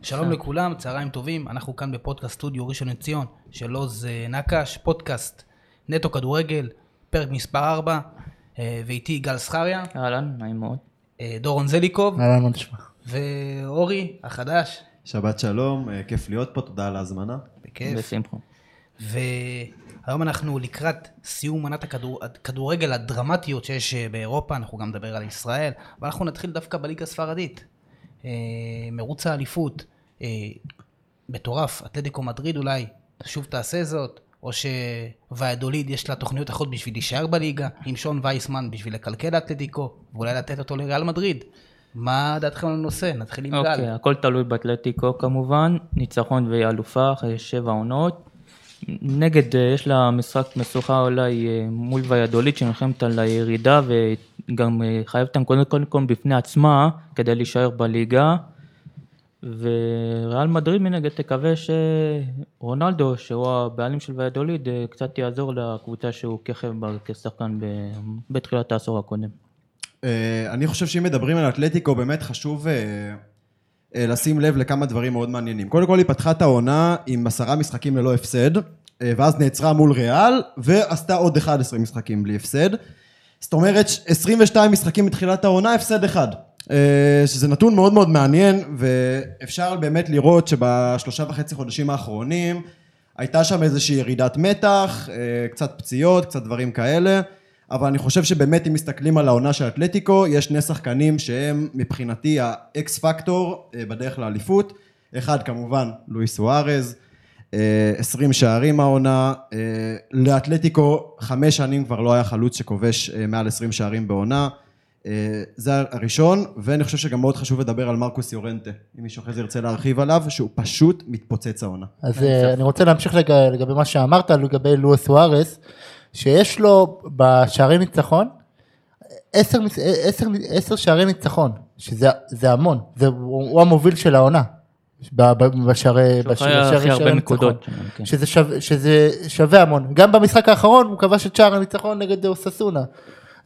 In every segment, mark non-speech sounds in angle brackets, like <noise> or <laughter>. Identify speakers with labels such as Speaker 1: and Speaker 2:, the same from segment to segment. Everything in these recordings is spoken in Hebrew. Speaker 1: אה.
Speaker 2: שלום לכולם, צהריים טובים, אנחנו כאן בפודקאסט סטודיו ראשון לציון של עוז אה, נקש, פודקאסט נטו כדורגל, פרק מספר 4, ואיתי יגאל זכריה,
Speaker 3: אהלן, נעים מאוד.
Speaker 2: אה, דורון זליקוב
Speaker 1: אהלן, מה נשמע?
Speaker 2: ואורי החדש,
Speaker 4: שבת שלום, אה, כיף להיות פה, תודה על ההזמנה.
Speaker 2: בכיף.
Speaker 3: בשמחה.
Speaker 2: והיום אנחנו לקראת סיום עונת הכדור- הכדורגל הדרמטיות שיש אה, באירופה, אנחנו גם נדבר על ישראל, אבל אנחנו נתחיל דווקא בליגה הספרדית. אה, מרוץ האליפות, אה, מטורף, אתלטיקו מדריד אולי, שוב תעשה זאת, או שוועדוליד יש לה תוכניות אחרות בשביל להישאר בליגה, עם שון וייסמן בשביל לקלקל לאתלטיקו, ואולי לתת אותו לריאל מדריד. מה דעתכם על הנושא? נתחיל עם גל.
Speaker 3: אוקיי, הכל תלוי באתלטיקו כמובן, ניצחון והיא אלופה אחרי שבע עונות. נגד, אה, יש לה משחק משוכה אולי אה, מול ויאדוליד שנלחמת על הירידה וגם אה, חייבת קודם כל- כל בפני עצמה כדי להישאר בליגה. וריאל מדריד מנגד תקווה שרונלדו, שהוא הבעלים של ויאדוליד, אה, קצת יעזור לקבוצה שהוא כיכב בה כשחקן ב- בתחילת העשור הקודם.
Speaker 4: אה, אני חושב שאם מדברים על אתלטיקו, באמת חשוב אה, אה, לשים לב לכמה דברים מאוד מעניינים. קודם כל, היא פתחה את העונה עם עשרה משחקים ללא הפסד, אה, ואז נעצרה מול ריאל, ועשתה עוד 11 משחקים בלי הפסד. זאת אומרת, 22 משחקים מתחילת העונה, הפסד אחד. אה, שזה נתון מאוד מאוד מעניין, ואפשר באמת לראות שבשלושה וחצי חודשים האחרונים הייתה שם איזושהי ירידת מתח, אה, קצת פציעות, קצת דברים כאלה, אבל אני חושב שבאמת אם מסתכלים על העונה של אתלטיקו, יש שני שחקנים שהם מבחינתי האקס פקטור אה, בדרך לאליפות. אחד כמובן, לואיס סוארז, אה, 20 שערים העונה, אה, לאתלטיקו חמש שנים כבר לא היה חלוץ שכובש אה, מעל 20 שערים בעונה. אה, זה הראשון, ואני חושב שגם מאוד חשוב לדבר על מרקוס יורנטה, אם מישהו אחרי זה ירצה להרחיב עליו, שהוא פשוט מתפוצץ העונה.
Speaker 1: אז אה, אני רוצה להמשיך לג... לגבי מה שאמרת, לגבי לואס סוארס, שיש לו בשערי ניצחון, עשר, מס- אה, עשר, עשר שערי ניצחון, שזה זה המון, זה, הוא הוא המוביל של העונה, ב- ב- בשערי
Speaker 3: שהוא
Speaker 1: בש-
Speaker 3: אחראי הכי
Speaker 1: בשערי-
Speaker 3: הרבה
Speaker 1: שערי
Speaker 3: נקודות,
Speaker 1: ניצחון.
Speaker 3: כן.
Speaker 1: שזה שווה- שזה שווה המון, גם במשחק האחרון הוא כבש את שער הניצחון נגד אוססונה.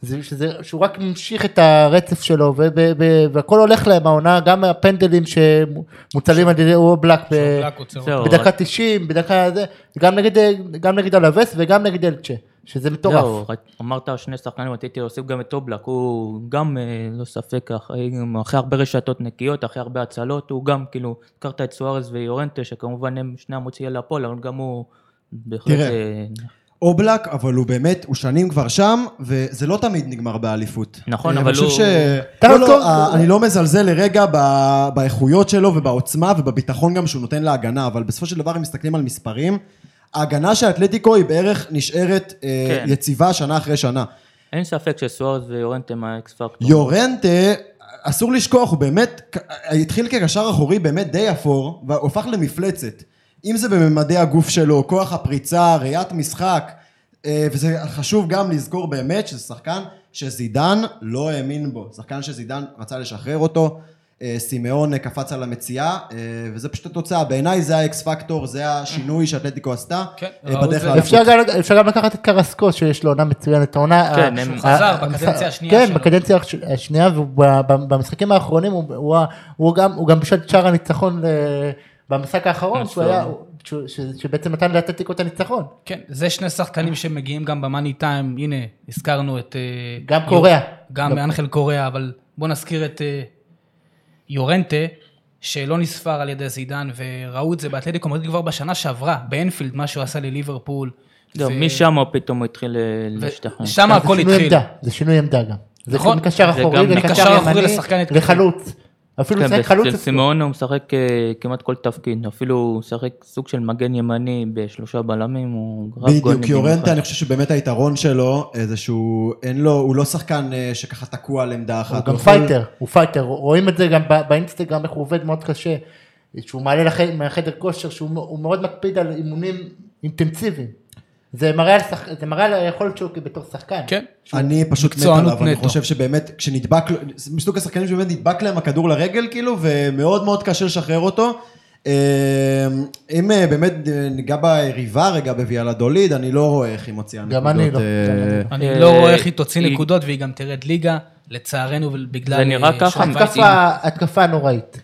Speaker 1: זה, שזה, שהוא רק ממשיך את הרצף שלו וב, ב, והכל הולך להם העונה גם הפנדלים שמוצלים על ידי אובלק ב-
Speaker 2: שאובלק עוצר אותו.
Speaker 3: זהו,
Speaker 1: בדקה 90, בדקה זה, גם נגד, גם נגד אלווס וגם נגד אלצ'ה, שזה
Speaker 3: זהו,
Speaker 1: מטורף.
Speaker 3: לא, רק- אמרת שני שחקנים, רציתי להוסיף גם את אובלק, הוא גם, אה, לא ספק, אחרי גם אחרי הרבה רשתות נקיות, אחרי הרבה הצלות, הוא גם, כאילו, הזכרת את סוארז ויורנטה, שכמובן הם שני המוציאים לפועל, אבל גם הוא בהחלט...
Speaker 4: תראה.
Speaker 3: אה,
Speaker 4: אובלק, אבל הוא באמת, הוא שנים כבר שם, וזה לא תמיד נגמר באליפות.
Speaker 3: נכון,
Speaker 4: אה,
Speaker 3: אבל
Speaker 4: אני
Speaker 3: הוא-
Speaker 4: חושב ש...
Speaker 1: טאו-
Speaker 4: לא, לא,
Speaker 1: טאו-
Speaker 4: אה, אני לא מזלזל לרגע ב- באיכויות שלו ובעוצמה ובביטחון גם שהוא נותן להגנה, אבל בסופו של דבר, אם מסתכלים על מספרים, ההגנה של אתלטיקו היא בערך נשארת אה,
Speaker 3: כן.
Speaker 4: יציבה שנה אחרי שנה.
Speaker 3: אין ספק שסוארז ויורנטה הם האקס פקטור.
Speaker 4: יורנטה, אסור לשכוח, הוא באמת, התחיל כקשר אחורי באמת די אפור, והופך למפלצת. אם זה בממדי הגוף שלו, כוח הפריצה, ראיית משחק, אה, וזה חשוב גם לזכור באמת שזה שחקן שזידן לא האמין בו. שחקן שזידן רצה לשחרר אותו, אה, סימאון אה, קפץ על המציאה, אה, וזה פשוט התוצאה. בעיניי זה האקס פקטור, זה השינוי שאתלטיקו עשתה.
Speaker 2: כן,
Speaker 4: אה,
Speaker 2: ראו את
Speaker 4: בדרך
Speaker 2: זה.
Speaker 4: לאליפות.
Speaker 1: אפשר גם, אפשר גם לקחת את קרסקו שיש לו עונה מצוינת, העונה... אה,
Speaker 3: כן,
Speaker 1: ה-
Speaker 3: הם- שהוא
Speaker 2: חזר
Speaker 1: ה-
Speaker 2: בקדנציה
Speaker 1: המשחק-
Speaker 2: השנייה
Speaker 1: כן,
Speaker 2: שלו.
Speaker 1: בקדנציה הש- השנייה, ובמשחקים האחרונים הוא, הוא, ה- הוא גם, הוא גם בשל שער הניצחון ל- במשחק
Speaker 3: אה,
Speaker 1: האחרון, שהוא היה, שהוא- ש- שבעצם נתן לאתלטיקו את הניצחון,
Speaker 2: כן, זה שני שחקנים שמגיעים גם במאני טיים, הנה, הזכרנו את... אה,
Speaker 1: גם
Speaker 2: יור-
Speaker 1: קוריאה.
Speaker 2: גם אנחל קוריאה, אבל בוא נזכיר את אה, יורנטה, שלא נספר על ידי זידן, וראו את זה באתלטיקו מדריד כבר בשנה שעברה, באנפילד, מה שהוא עשה לליברפול.
Speaker 3: זהו,
Speaker 2: ו-
Speaker 3: לא, משם הוא פתאום התחיל אה, להשתחרר.
Speaker 2: ושם
Speaker 1: זה
Speaker 2: הכל
Speaker 1: שינוי
Speaker 2: התחיל.
Speaker 1: עמדה, זה שינוי עמדה גם. זה
Speaker 2: נכון.
Speaker 1: מקשר
Speaker 3: זה
Speaker 1: אחורי
Speaker 3: גם
Speaker 2: מקשר
Speaker 1: לקשר
Speaker 2: אחורי לשחקן
Speaker 1: ימני
Speaker 2: התקפי.
Speaker 1: לחלוץ. אפילו
Speaker 3: כן,
Speaker 1: לשחק חלוץ.
Speaker 3: ואצל
Speaker 1: אצלו.
Speaker 3: סימאון הוא משחק אה, כמעט כל תפקיד, אפילו הוא משחק סוג של מגן ימני בשלושה בלמים, הוא רב גולים
Speaker 4: בדיוק,
Speaker 3: במיוחד.
Speaker 4: יורנטה, אני חושב שבאמת היתרון שלו, אה, זה שהוא, אין לו, הוא לא שחקן אה, שככה תקוע על עמדה אחת.
Speaker 1: הוא גם
Speaker 4: יכול-
Speaker 1: פייטר, הוא פייטר, רואים את זה גם ב- באינסטגרם איך הוא עובד מאוד קשה, שהוא מעלה לח- מהחדר כושר, שהוא מ- הוא מאוד מקפיד על אימונים אינטנסיביים. זה מראה על, שח... זה מראה על היכולת שלו כבתור שחקן.
Speaker 2: כן.
Speaker 4: אני פשוט מת
Speaker 2: מקצוענות
Speaker 4: עליו, אני
Speaker 2: נטו.
Speaker 4: חושב שבאמת, כשנדבק, לו- זה מסוג השחקנים שבאמת נדבק להם הכדור לרגל, כאילו, ומאוד מאוד קשה לשחרר אותו. אה, אם אה, באמת אה, ניגע ביריבה רגע בוויאלדוליד, אני לא רואה איך היא מוציאה נקודות.
Speaker 1: גם אני לא,
Speaker 4: אה,
Speaker 1: גם אני
Speaker 2: אני
Speaker 1: לא.
Speaker 3: אה,
Speaker 2: לא רואה איך היא תוציא
Speaker 3: היא-
Speaker 2: נקודות, והיא גם תרד ליגה, לצערנו, בגלל...
Speaker 3: זה נראה
Speaker 2: אה,
Speaker 3: ככה,
Speaker 2: שון
Speaker 3: מבחינת
Speaker 2: וייסמן.
Speaker 1: התקפה, התקפה נוראית.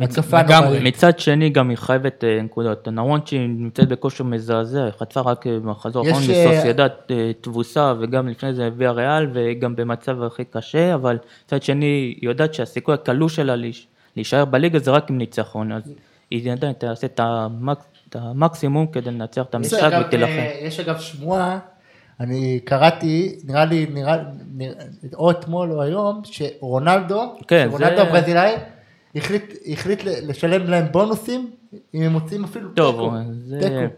Speaker 1: התקפה
Speaker 3: לגמרי.
Speaker 1: נוראית.
Speaker 3: מצד שני גם היא חייבת אה, נקודות. נרון שהיא נמצאת בכושר מזעזע, חטפה רק אה, מחזור
Speaker 1: יש,
Speaker 3: האחרון
Speaker 1: אה,
Speaker 3: מסוסיידט אה, תבוסה, וגם לפני זה הביאה ריאל, וגם במצב הכי קשה, אבל מצד שני היא יודעת שהסיכוי הקלוש שלה להיש- להישאר בליגה זה רק עם ניצחון, אז היא עדיין תעשה את המקס- את המקסימום כדי לנצח את
Speaker 1: יש
Speaker 3: המשחק
Speaker 1: אגב,
Speaker 3: ותילחם.
Speaker 1: אה, יש אגב שמועה, אני קראתי, נראה לי, נראה, נראה- או אתמול או היום, שרונלדו,
Speaker 3: כן,
Speaker 1: רונלדו
Speaker 3: זה-
Speaker 1: הברזילאי, החליט, החליט ל- לשלם להם בונוסים, אם הם מוצאים אפילו
Speaker 3: טוב, אה,
Speaker 1: תיקו,
Speaker 3: זה-
Speaker 1: תיקו,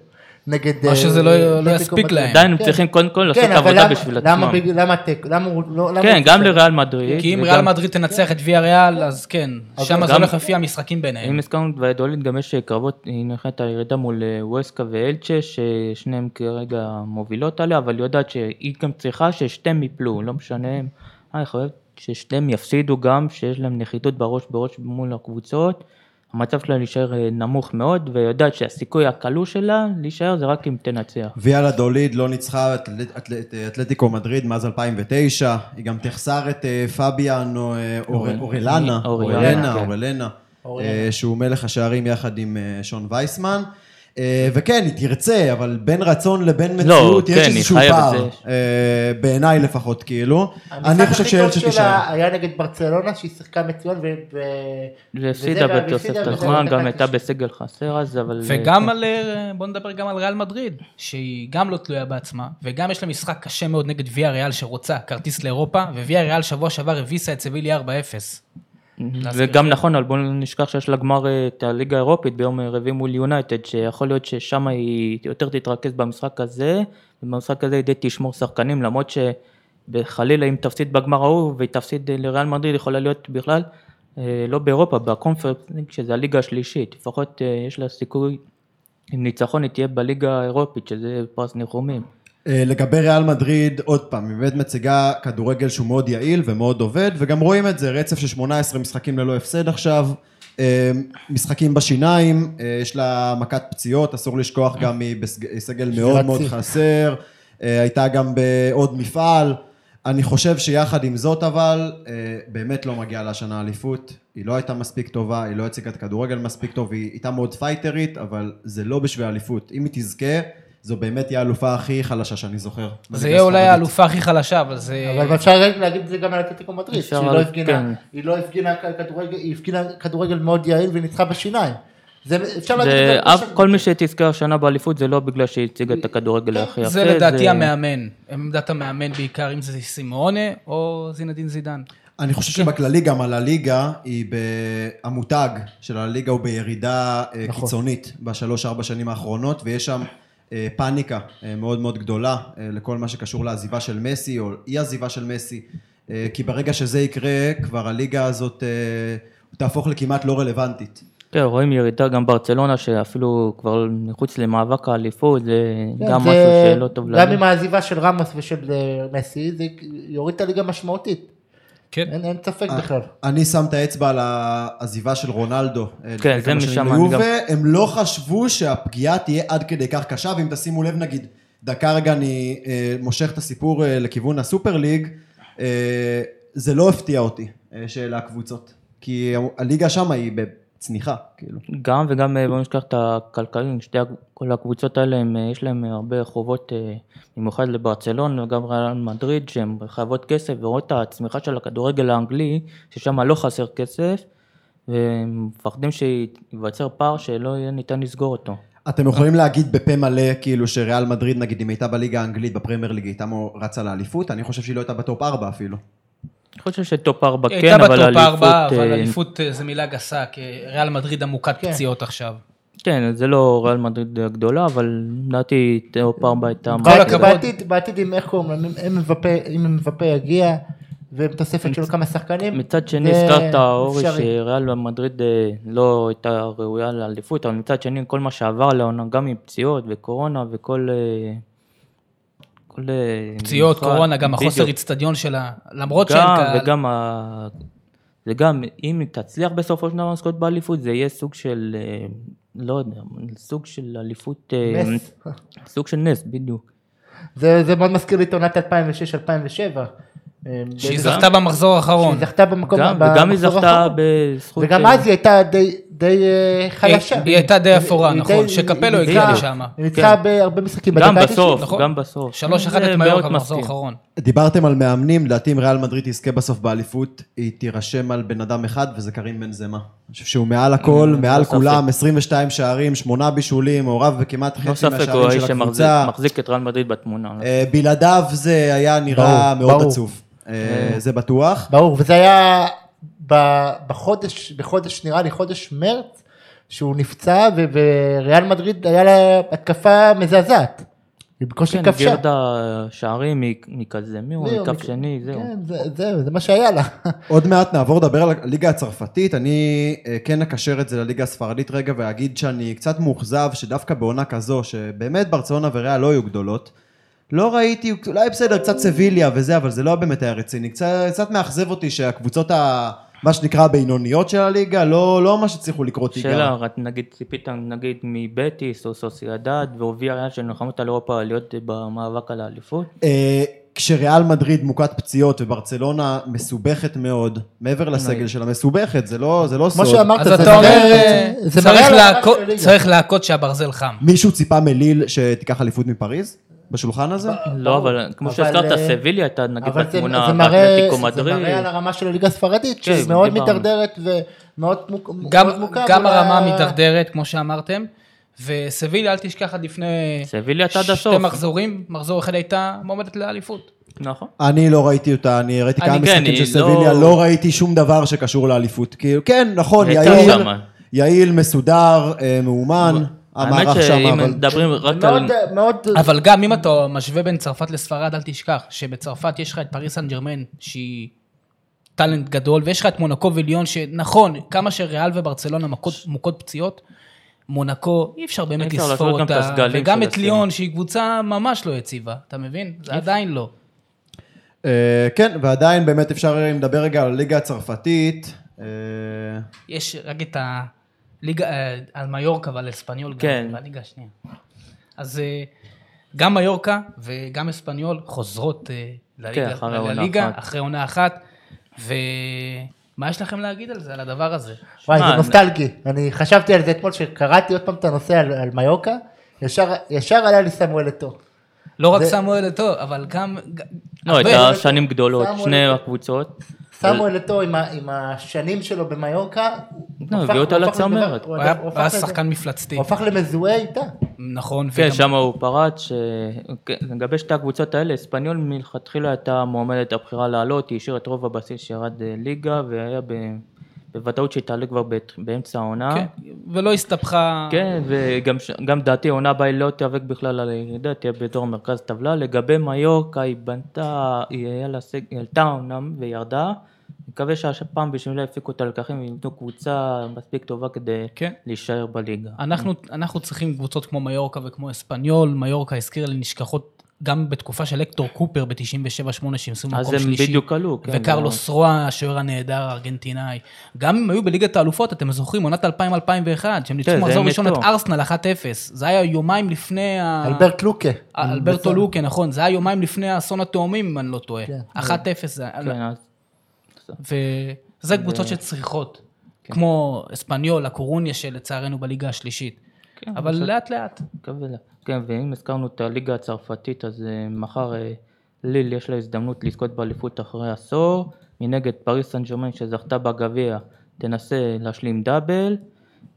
Speaker 1: נגד...
Speaker 5: מה
Speaker 1: אה,
Speaker 5: שזה לא- לא
Speaker 1: אתלטיקו
Speaker 5: יספיק
Speaker 1: מדריד.
Speaker 5: להם.
Speaker 3: עדיין הם
Speaker 1: כן.
Speaker 3: צריכים קודם כל לעשות
Speaker 1: כן, אבל
Speaker 3: עבודה
Speaker 1: למה-
Speaker 3: בשביל
Speaker 1: למה
Speaker 3: עצמם.
Speaker 1: בג- למה תיקו? למה הוא לא... למה
Speaker 3: כן,
Speaker 1: הוא-
Speaker 3: גם לריאל מדריד.
Speaker 5: כי אם
Speaker 3: וגם-
Speaker 5: ריאל מדריד תנצח את ויה ריאל, אז כן, שם זה
Speaker 3: גם-
Speaker 5: הולך לפי המשחקים ביניהם.
Speaker 3: אם הזכרנו את ויידולין, גם יש אה, קרבות, היא נכנסת הירידה מול אה, ווסקה ואלצ'ה, ששניהם כרגע מובילות עליה, אבל היא יודעת שהיא גם צריכה ששתיהם ייפלו, לא משנה, אה, היא חייבת ששתיהם יפסידו גם, שיש להם נחיתות בראש בראש מול הקבוצות. המצב שלה להישאר אה, נמוך מאוד, והיא יודעת שהסיכוי הקלוש שלה להישאר זה רק אם תנצח.
Speaker 4: ויאלה דוליד לא ניצחה את אתל- אתל- אתלטיקו מדריד מאז 2009, היא גם תחסר את אה, פביאן או, אה, אור-
Speaker 3: אורל-
Speaker 4: אורלנה,
Speaker 3: אורלנה,
Speaker 4: אורלנה,
Speaker 3: כן.
Speaker 4: אורלנה,
Speaker 1: אורלנה.
Speaker 4: אה, שהוא מלך השערים יחד עם אה, שון וייסמן. אה, וכן, היא תרצה, אבל בין רצון לבין מציאות
Speaker 3: כן,
Speaker 4: יש
Speaker 3: היא
Speaker 4: איזשהו
Speaker 3: חייבת,
Speaker 4: פער, אה, בעיניי לפחות, כאילו. אני חושב שאלצ'ה
Speaker 1: המשחק הכי
Speaker 4: תישאר.
Speaker 1: טוב שלה היה נגד ברצלונה, שהיא שיחקה מצוין, ו... ו-
Speaker 3: והפסידה
Speaker 1: וזה-
Speaker 3: בתוספת
Speaker 1: והפסידה
Speaker 3: הזמן,
Speaker 1: בדקה
Speaker 3: גם הייתה
Speaker 1: התשעים.
Speaker 3: בסגל חסר אז, אבל... אה,
Speaker 5: וגם על, אה, בוא נדבר גם על ריאל מדריד, שהיא גם לא תלויה בעצמה, וגם יש לה משחק קשה מאוד נגד ויה ריאל שרוצה כרטיס לאירופה, וויה ריאל שבוע שעבר הביסה את סביליה 4-0.
Speaker 3: זה גם נכון, אבל בואו לא נשכח שיש לה גמר אה, את הליגה האירופית ביום אה, רביעי מול יונייטד, שיכול להיות ששם היא יותר תתרכז במשחק הזה, ובמשחק הזה היא די תשמור שחקנים, למרות שחלילה אם תפסיד בגמר ההוא והיא תפסיד אה, לריאל מדריד, יכולה להיות בכלל אה, לא באירופה, בקונפרנטינג, שזה הליגה השלישית, לפחות אה, יש לה סיכוי, אם ניצחון היא תהיה בליגה האירופית, שזה פרס ניחומים.
Speaker 4: אה, לגבי ריאל מדריד, עוד פעם, היא באמת מציגה כדורגל שהוא מאוד יעיל ומאוד עובד, וגם רואים את זה, רצף של 18 משחקים ללא הפסד עכשיו, אה, משחקים בשיניים, אה, יש לה מכת פציעות, אסור לשכוח גם היא בסגל מאוד מאוד
Speaker 1: שיא.
Speaker 4: חסר, אה, הייתה גם בעוד מפעל. אני חושב שיחד עם זאת אבל, אה, באמת לא מגיעה לה השנה אליפות, היא לא הייתה מספיק טובה, היא לא הציגה את הכדורגל מספיק טוב, היא הייתה מאוד פייטרית, אבל זה לא בשביל האליפות. אם היא תזכה, זו באמת תהיה האלופה הכי חלשה שאני זוכר.
Speaker 5: זה יהיה אולי האלופה הכי חלשה, אבל זה...
Speaker 1: אבל אפשר רק להגיד את זה גם על אתלטיקו מדריד,
Speaker 3: אפשר,
Speaker 1: שהיא לא
Speaker 3: אבל
Speaker 1: הפגינה,
Speaker 3: כן.
Speaker 1: היא לא הפגינה כדורגל, היא הפגינה כדורגל מאוד יעיל וניצחה בשיניים. זה אפשר להגיד את
Speaker 3: זה
Speaker 1: זה.
Speaker 3: אף, כל מי שתזכר השנה באליפות זה לא בגלל שהיא הציגה את הכדורגל הכי יפה.
Speaker 5: זה לדעתי המאמן, עמדת המאמן בעיקר, אם זה סימאונה או זינדין זידן.
Speaker 4: אני חושב שבכללי גם על הליגה, היא ב... המותג של הליגה הוא בירידה אה, קיצונית בשלוש-ארבע שנים האחרונות, ויש שם אה, פאניקה אה, מאוד מאוד גדולה אה, לכל מה שקשור לעזיבה של מסי, או אי עזיבה של מסי, אה, כי ברגע שזה יקרה, כבר הליגה הזאת אה, תהפוך לכמעט לא רלוונטית.
Speaker 3: כן, רואים ירידה גם ברצלונה, שאפילו כבר מחוץ למאבק האליפות, זה
Speaker 1: כן,
Speaker 3: גם
Speaker 1: זה-
Speaker 3: משהו שלא טוב
Speaker 1: גם עם
Speaker 3: להם.
Speaker 1: העזיבה של רמוס ושל אה, מסי, זה יוריד את הליגה משמעותית.
Speaker 5: כן.
Speaker 1: אין אין ספק בכלל.
Speaker 4: אני שם את האצבע על העזיבה של רונלדו. אה, לפני
Speaker 3: כן, זה
Speaker 4: כמה
Speaker 3: משם
Speaker 4: שנים
Speaker 3: אני
Speaker 4: ליובה. הם לא חשבו שהפגיעה תהיה עד כדי כך קשה, ואם תשימו לב נגיד, דקה רגע אני אה, מושך את הסיפור אה, לכיוון הסופר ליג, אה, זה לא הפתיע אותי אה, שאלה הקבוצות. כי הליגה שם היא בצניחה, כאילו.
Speaker 3: גם וגם, אה, בואו נשכח את הכלכלים, שתי, הק- כל הקבוצות האלה, הם, אה, יש להם אה, הרבה חובות, אה, במיוחד לברצלון וגם ריאל מדריד, שהן חייבות כסף, ורואות את הצמיחה של הכדורגל האנגלי, ששם לא חסר כסף, והם מפחדים שייווצר פער שלא יהיה ניתן לסגור אותו.
Speaker 4: אתם יכולים להגיד בפה מלא, כאילו שריאל מדריד נגיד, אם הייתה בליגה האנגלית, בפרמייר ליג, היא הייתה מו- רצה לאליפות, אני חושב שהיא לא הייתה בטופ 4 אפילו.
Speaker 3: אני חושב שטופ ארבע
Speaker 5: היא
Speaker 3: כן,
Speaker 5: הייתה
Speaker 3: אבל
Speaker 5: בטופ ארבע,
Speaker 3: אליפות...
Speaker 5: אבל
Speaker 3: אה,
Speaker 5: אליפות אה, זה מילה גסה, כי ריאל מדריד עמוקת פציעות עכשיו.
Speaker 3: כן, זה לא ריאל מדריד הגדולה, אבל לדעתי טופ ארבע הייתה...
Speaker 5: כל
Speaker 3: משהו.
Speaker 5: הכבוד.
Speaker 1: בעתיד, בעתיד אם איך קוראים להם, אם- אם מבפה- אם מבפה יגיע, ועם תוספת של כמה שחקנים.
Speaker 3: מצד שני,
Speaker 1: זה
Speaker 3: הזכרת אורי
Speaker 1: אפשרי.
Speaker 3: שריאל מדריד אה, לא הייתה ראויה לאליפות, אבל מצד שני, כל מה שעבר לעונה, גם עם פציעות וקורונה וכל... אה, כל, אה,
Speaker 5: פציעות,
Speaker 3: משחק,
Speaker 5: קורונה, גם החוסר
Speaker 3: בדיוק.
Speaker 5: איצטדיון שלה, למרות שאין
Speaker 3: גם,
Speaker 5: קהל.
Speaker 3: וגם ה... זה גם, אם היא תצליח בסופו של דבר לזכות באליפות, זה יהיה סוג של, אה, לא יודע, סוג של אליפות... אה,
Speaker 1: נס.
Speaker 3: סוג של נס, בדיוק.
Speaker 1: זה זה מאוד מזכיר לי את עונת 2006-2007.
Speaker 5: שהיא זכתה במחזור האחרון.
Speaker 1: אה, שהיא זכתה במקום...
Speaker 3: גם,
Speaker 1: במחזור
Speaker 3: וגם היא זכתה
Speaker 1: האחרון.
Speaker 3: בזכות...
Speaker 1: וגם
Speaker 3: אה,
Speaker 1: אז היא הייתה די, די אה, חלשה.
Speaker 2: היא הייתה די אפורה,
Speaker 1: היא
Speaker 2: נכון,
Speaker 1: די-
Speaker 2: שקפלו כן.
Speaker 1: היא
Speaker 2: הגיע
Speaker 1: ניצחה-
Speaker 2: לשם.
Speaker 1: היא ניצחה בהרבה משחקים.
Speaker 3: גם
Speaker 1: בדקה התשעים.
Speaker 3: בסוף,
Speaker 2: נכון.
Speaker 3: גם בסוף.
Speaker 2: 3-1 את מיורקה
Speaker 3: זה מאוד
Speaker 2: במחזור
Speaker 3: מפתיע.
Speaker 2: האחרון.
Speaker 1: אה,
Speaker 4: דיברתם על מאמנים, לדעתי אם ריאל מדריד תזכה בסוף באליפות, היא תירשם על בן אדם אחד, וזה קרים בנזמה. אני חושב שהוא מעל הכל,
Speaker 3: לא
Speaker 4: מעל
Speaker 3: ספק.
Speaker 4: כולם, 22 שערים, 8 בישולים, מעורב בכמעט
Speaker 3: לא
Speaker 4: חצי
Speaker 3: ספק הוא
Speaker 4: מהשערים
Speaker 3: האיש
Speaker 4: של
Speaker 3: שמחזיק
Speaker 4: הקבוצה.
Speaker 3: מחזיק את רעל מדריד בתמונה. אוקיי,
Speaker 4: אה, בלעדיו זה היה נראה
Speaker 1: ברור,
Speaker 4: מאוד
Speaker 1: ברור.
Speaker 4: עצוב. אה, זה בטוח.
Speaker 1: ברור, וזה היה ב- בחודש, בחודש, נראה לי חודש מרץ, שהוא נפצע, ו- וריאל מדריד היה לה התקפה מזעזעת. היא בקושי
Speaker 3: כן,
Speaker 1: כבשה.
Speaker 3: גרדה שערים מ- מכזה, מי הוא?
Speaker 1: זהו,
Speaker 3: מכף
Speaker 1: מכ-
Speaker 3: שני, זהו.
Speaker 1: כן, זה- זהו, זה מה שהיה לה. <laughs>
Speaker 4: עוד מעט נעבור לדבר על הליגה הצרפתית, אני אה, כן אקשר את זה לליגה הספרדית רגע ואגיד שאני קצת מאוכזב שדווקא בעונה כזו, שבאמת ברצלונה וריאל לא היו גדולות, לא ראיתי, אולי בסדר, קצת סביליה וזה, אבל זה לא באמת היה רציני, קצת, קצת מאכזב אותי שהקבוצות ה... מה שנקרא הבינוניות של הליגה, לא, לא ממש הצליחו לקרוא תיגר.
Speaker 3: שאלה, רק נגיד ציפית נגיד מבטיס או סוסיידד ואובי הריאל שנלחמות על אירופה להיות במאבק על האליפות?
Speaker 4: אה, כשריאל מדריד מוכת פציעות וברצלונה מסובכת מאוד, מעבר לסגל שלה, מסובכת, זה לא, זה לא
Speaker 1: כמו
Speaker 4: סוד.
Speaker 1: שאמרת,
Speaker 2: אז
Speaker 1: זה
Speaker 2: אתה אומר,
Speaker 1: מראה-
Speaker 2: אה,
Speaker 1: זה
Speaker 2: צריך
Speaker 1: מראה על הרמה
Speaker 2: להכות-
Speaker 1: של הליגה.
Speaker 2: צריך להכות שהברזל חם.
Speaker 4: מישהו ציפה מליל שתיקח אליפות מפריז? בשולחן הזה?
Speaker 3: לא, אבל כמו
Speaker 1: אבל,
Speaker 3: שהזכרת,
Speaker 1: אה,
Speaker 3: סביליה הייתה נגיד
Speaker 1: אבל זה,
Speaker 3: בתמונה,
Speaker 1: זה, מראה,
Speaker 3: באתלטיקו
Speaker 1: זה
Speaker 3: מדריד.
Speaker 1: מראה על הרמה של הליגה הספרדית,
Speaker 3: כן,
Speaker 1: שהיא מאוד
Speaker 3: דיברנו.
Speaker 1: מידרדרת ומאוד מוק,
Speaker 2: גם,
Speaker 1: מאוד מוכה.
Speaker 2: גם
Speaker 1: מול ה-
Speaker 2: הרמה מידרדרת, כמו שאמרתם, וסביליה, אל תשכח, עד לפני
Speaker 3: סביליה הייתה עד הסוף.
Speaker 2: שתי מחזורים, מחזור אחד הייתה מועמדת לאליפות.
Speaker 3: נכון.
Speaker 4: אני לא ראיתי אותה, אני ראיתי
Speaker 3: אני
Speaker 4: כמה
Speaker 3: כן,
Speaker 4: משחקים
Speaker 3: היא
Speaker 4: של סביליה,
Speaker 3: לא-
Speaker 4: לא ראיתי שום דבר שקשור לאליפות. כאילו, כן, נכון,
Speaker 3: הייתה
Speaker 4: יעיל,
Speaker 3: שמה.
Speaker 4: יעיל, מסודר, אה, מאומן,
Speaker 3: האמת
Speaker 4: המערך שם,
Speaker 3: שאם
Speaker 4: אבל...
Speaker 3: מדברים רק על...
Speaker 1: מאוד, מאוד,
Speaker 3: אה,
Speaker 2: אבל גם אם אתה משווה בין צרפת לספרד, אל תשכח שבצרפת יש לך את פריס סן ג'רמן, שהיא טאלנט גדול, ויש לך את מונקו וליון, שנכון, כמה שריאל וברצלונה מכות, מוכות פציעות, מונקו, אי אפשר באמת
Speaker 3: אי אפשר
Speaker 2: לספור
Speaker 3: לעשות גם את
Speaker 2: אותה,
Speaker 3: הסגלים
Speaker 2: וגם
Speaker 3: של
Speaker 2: את
Speaker 3: הסין.
Speaker 2: ליון, שהיא קבוצה ממש לא יציבה, אתה מבין? זה עדיין לא.
Speaker 4: אה, כן, ועדיין באמת אפשר אה, אם נדבר רגע על הליגה הצרפתית. אה,
Speaker 2: יש רק את הליגה, אה, על מיורקה ועל אספניול,
Speaker 3: כן.
Speaker 2: גם, והליגה השנייה. אז אה, גם מיורקה וגם אספניול חוזרות אה, לליגה,
Speaker 3: כן, אחרי עונה
Speaker 2: לליגה
Speaker 3: אחת.
Speaker 2: אחרי עונה אחת, ומה יש לכם להגיד על זה, על הדבר הזה?
Speaker 1: וואי,
Speaker 3: מה,
Speaker 1: זה
Speaker 3: אני-
Speaker 1: נוסטלגי.
Speaker 3: אה.
Speaker 1: אני חשבתי על זה אתמול, שקראתי עוד פעם את הנושא על, על מיוקה, ישר, ישר עלה לי סמואל אתו.
Speaker 2: לא רק
Speaker 1: זה-
Speaker 2: סמואל אתו, אבל גם...
Speaker 3: לא,
Speaker 2: הרבה-
Speaker 3: הייתה שנים גדולות,
Speaker 1: שמו
Speaker 3: שני
Speaker 1: אותו.
Speaker 3: הקבוצות.
Speaker 1: סמואל אתו עם, ה- עם השנים שלו במיוקה, הוא
Speaker 3: לא,
Speaker 1: הפך-
Speaker 3: הביאו אותה
Speaker 1: הוא הפך
Speaker 3: לצמרת.
Speaker 1: לדבר-
Speaker 2: הוא היה-
Speaker 1: הוא
Speaker 2: הוא
Speaker 1: הפך
Speaker 2: היה
Speaker 1: לזה-
Speaker 2: שחקן מפלצתי,
Speaker 1: הוא הפך למזוהה איתה.
Speaker 2: נכון,
Speaker 3: כן,
Speaker 2: וגם-
Speaker 3: שם הוא פרץ, ש- כן, לגבי שתי הקבוצות האלה, אספניול מלכתחילה הייתה מועמדת הבחירה לעלות, היא השאירה את רוב הבסיס שירד אה, ליגה, והיה ב- בוודאות שהיא תעלה כבר בת- באמצע העונה.
Speaker 2: כן, ולא הסתבכה...
Speaker 3: כן, וגם ש- גם דעתי, העונה הבאה היא לא תיאבק בכלל על הירידה, תהיה בתור מרכז טבלה. לגבי מיורקה, היא בנתה, היא היה לה סג... היא עלתה אומנם וירדה. אני מקווה שהפעם בשבילה יפיקו את הלקחים ויבנו קבוצה מספיק טובה כדי
Speaker 2: כן.
Speaker 3: להישאר בליגה.
Speaker 2: אנחנו, אנחנו צריכים קבוצות כמו מיורקה וכמו אספניול, מיורקה הזכירה לי נשכחות גם בתקופה של הקטור קופר ב-97-8 שהם
Speaker 3: אז
Speaker 2: מקום
Speaker 3: הם
Speaker 2: שלישי.
Speaker 3: בדיוק עלו, כן,
Speaker 2: וקרלוס רוע, השוער הנהדר הארגנטינאי. גם אם היו בליגת האלופות, אתם זוכרים, עונת 2000-2001, שהם ניצחו
Speaker 3: כן, זה
Speaker 2: מחזור
Speaker 3: הם
Speaker 2: ראשון את
Speaker 3: נטו.
Speaker 2: ארסנל 1-0. זה היה יומיים לפני
Speaker 3: אה.
Speaker 2: ה...
Speaker 1: אלברט לוקה.
Speaker 2: ה- אלברטו לוקה, נכון, זה היה יומיים לפני האסון התאומים, אם אני לא טועה.
Speaker 1: כן.
Speaker 2: 1-0 זה לא, היה...
Speaker 3: כן, אז
Speaker 2: וזה קבוצות שצריכות,
Speaker 3: כן.
Speaker 2: כמו אספניול, הקורוניה שלצערנו בליגה השלישית.
Speaker 3: כן,
Speaker 2: אבל
Speaker 3: בסדר.
Speaker 2: לאט לאט.
Speaker 3: מקווה לה. כן, ואם הזכרנו את הליגה הצרפתית, אז אה, מחר אה, ליל יש לה הזדמנות לזכות באליפות אחרי עשור. מנגד פריס סן ג'רמן שזכתה בגביע תנסה להשלים דאבל.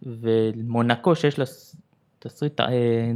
Speaker 3: ומונקו שיש לה ס- תסריט אה,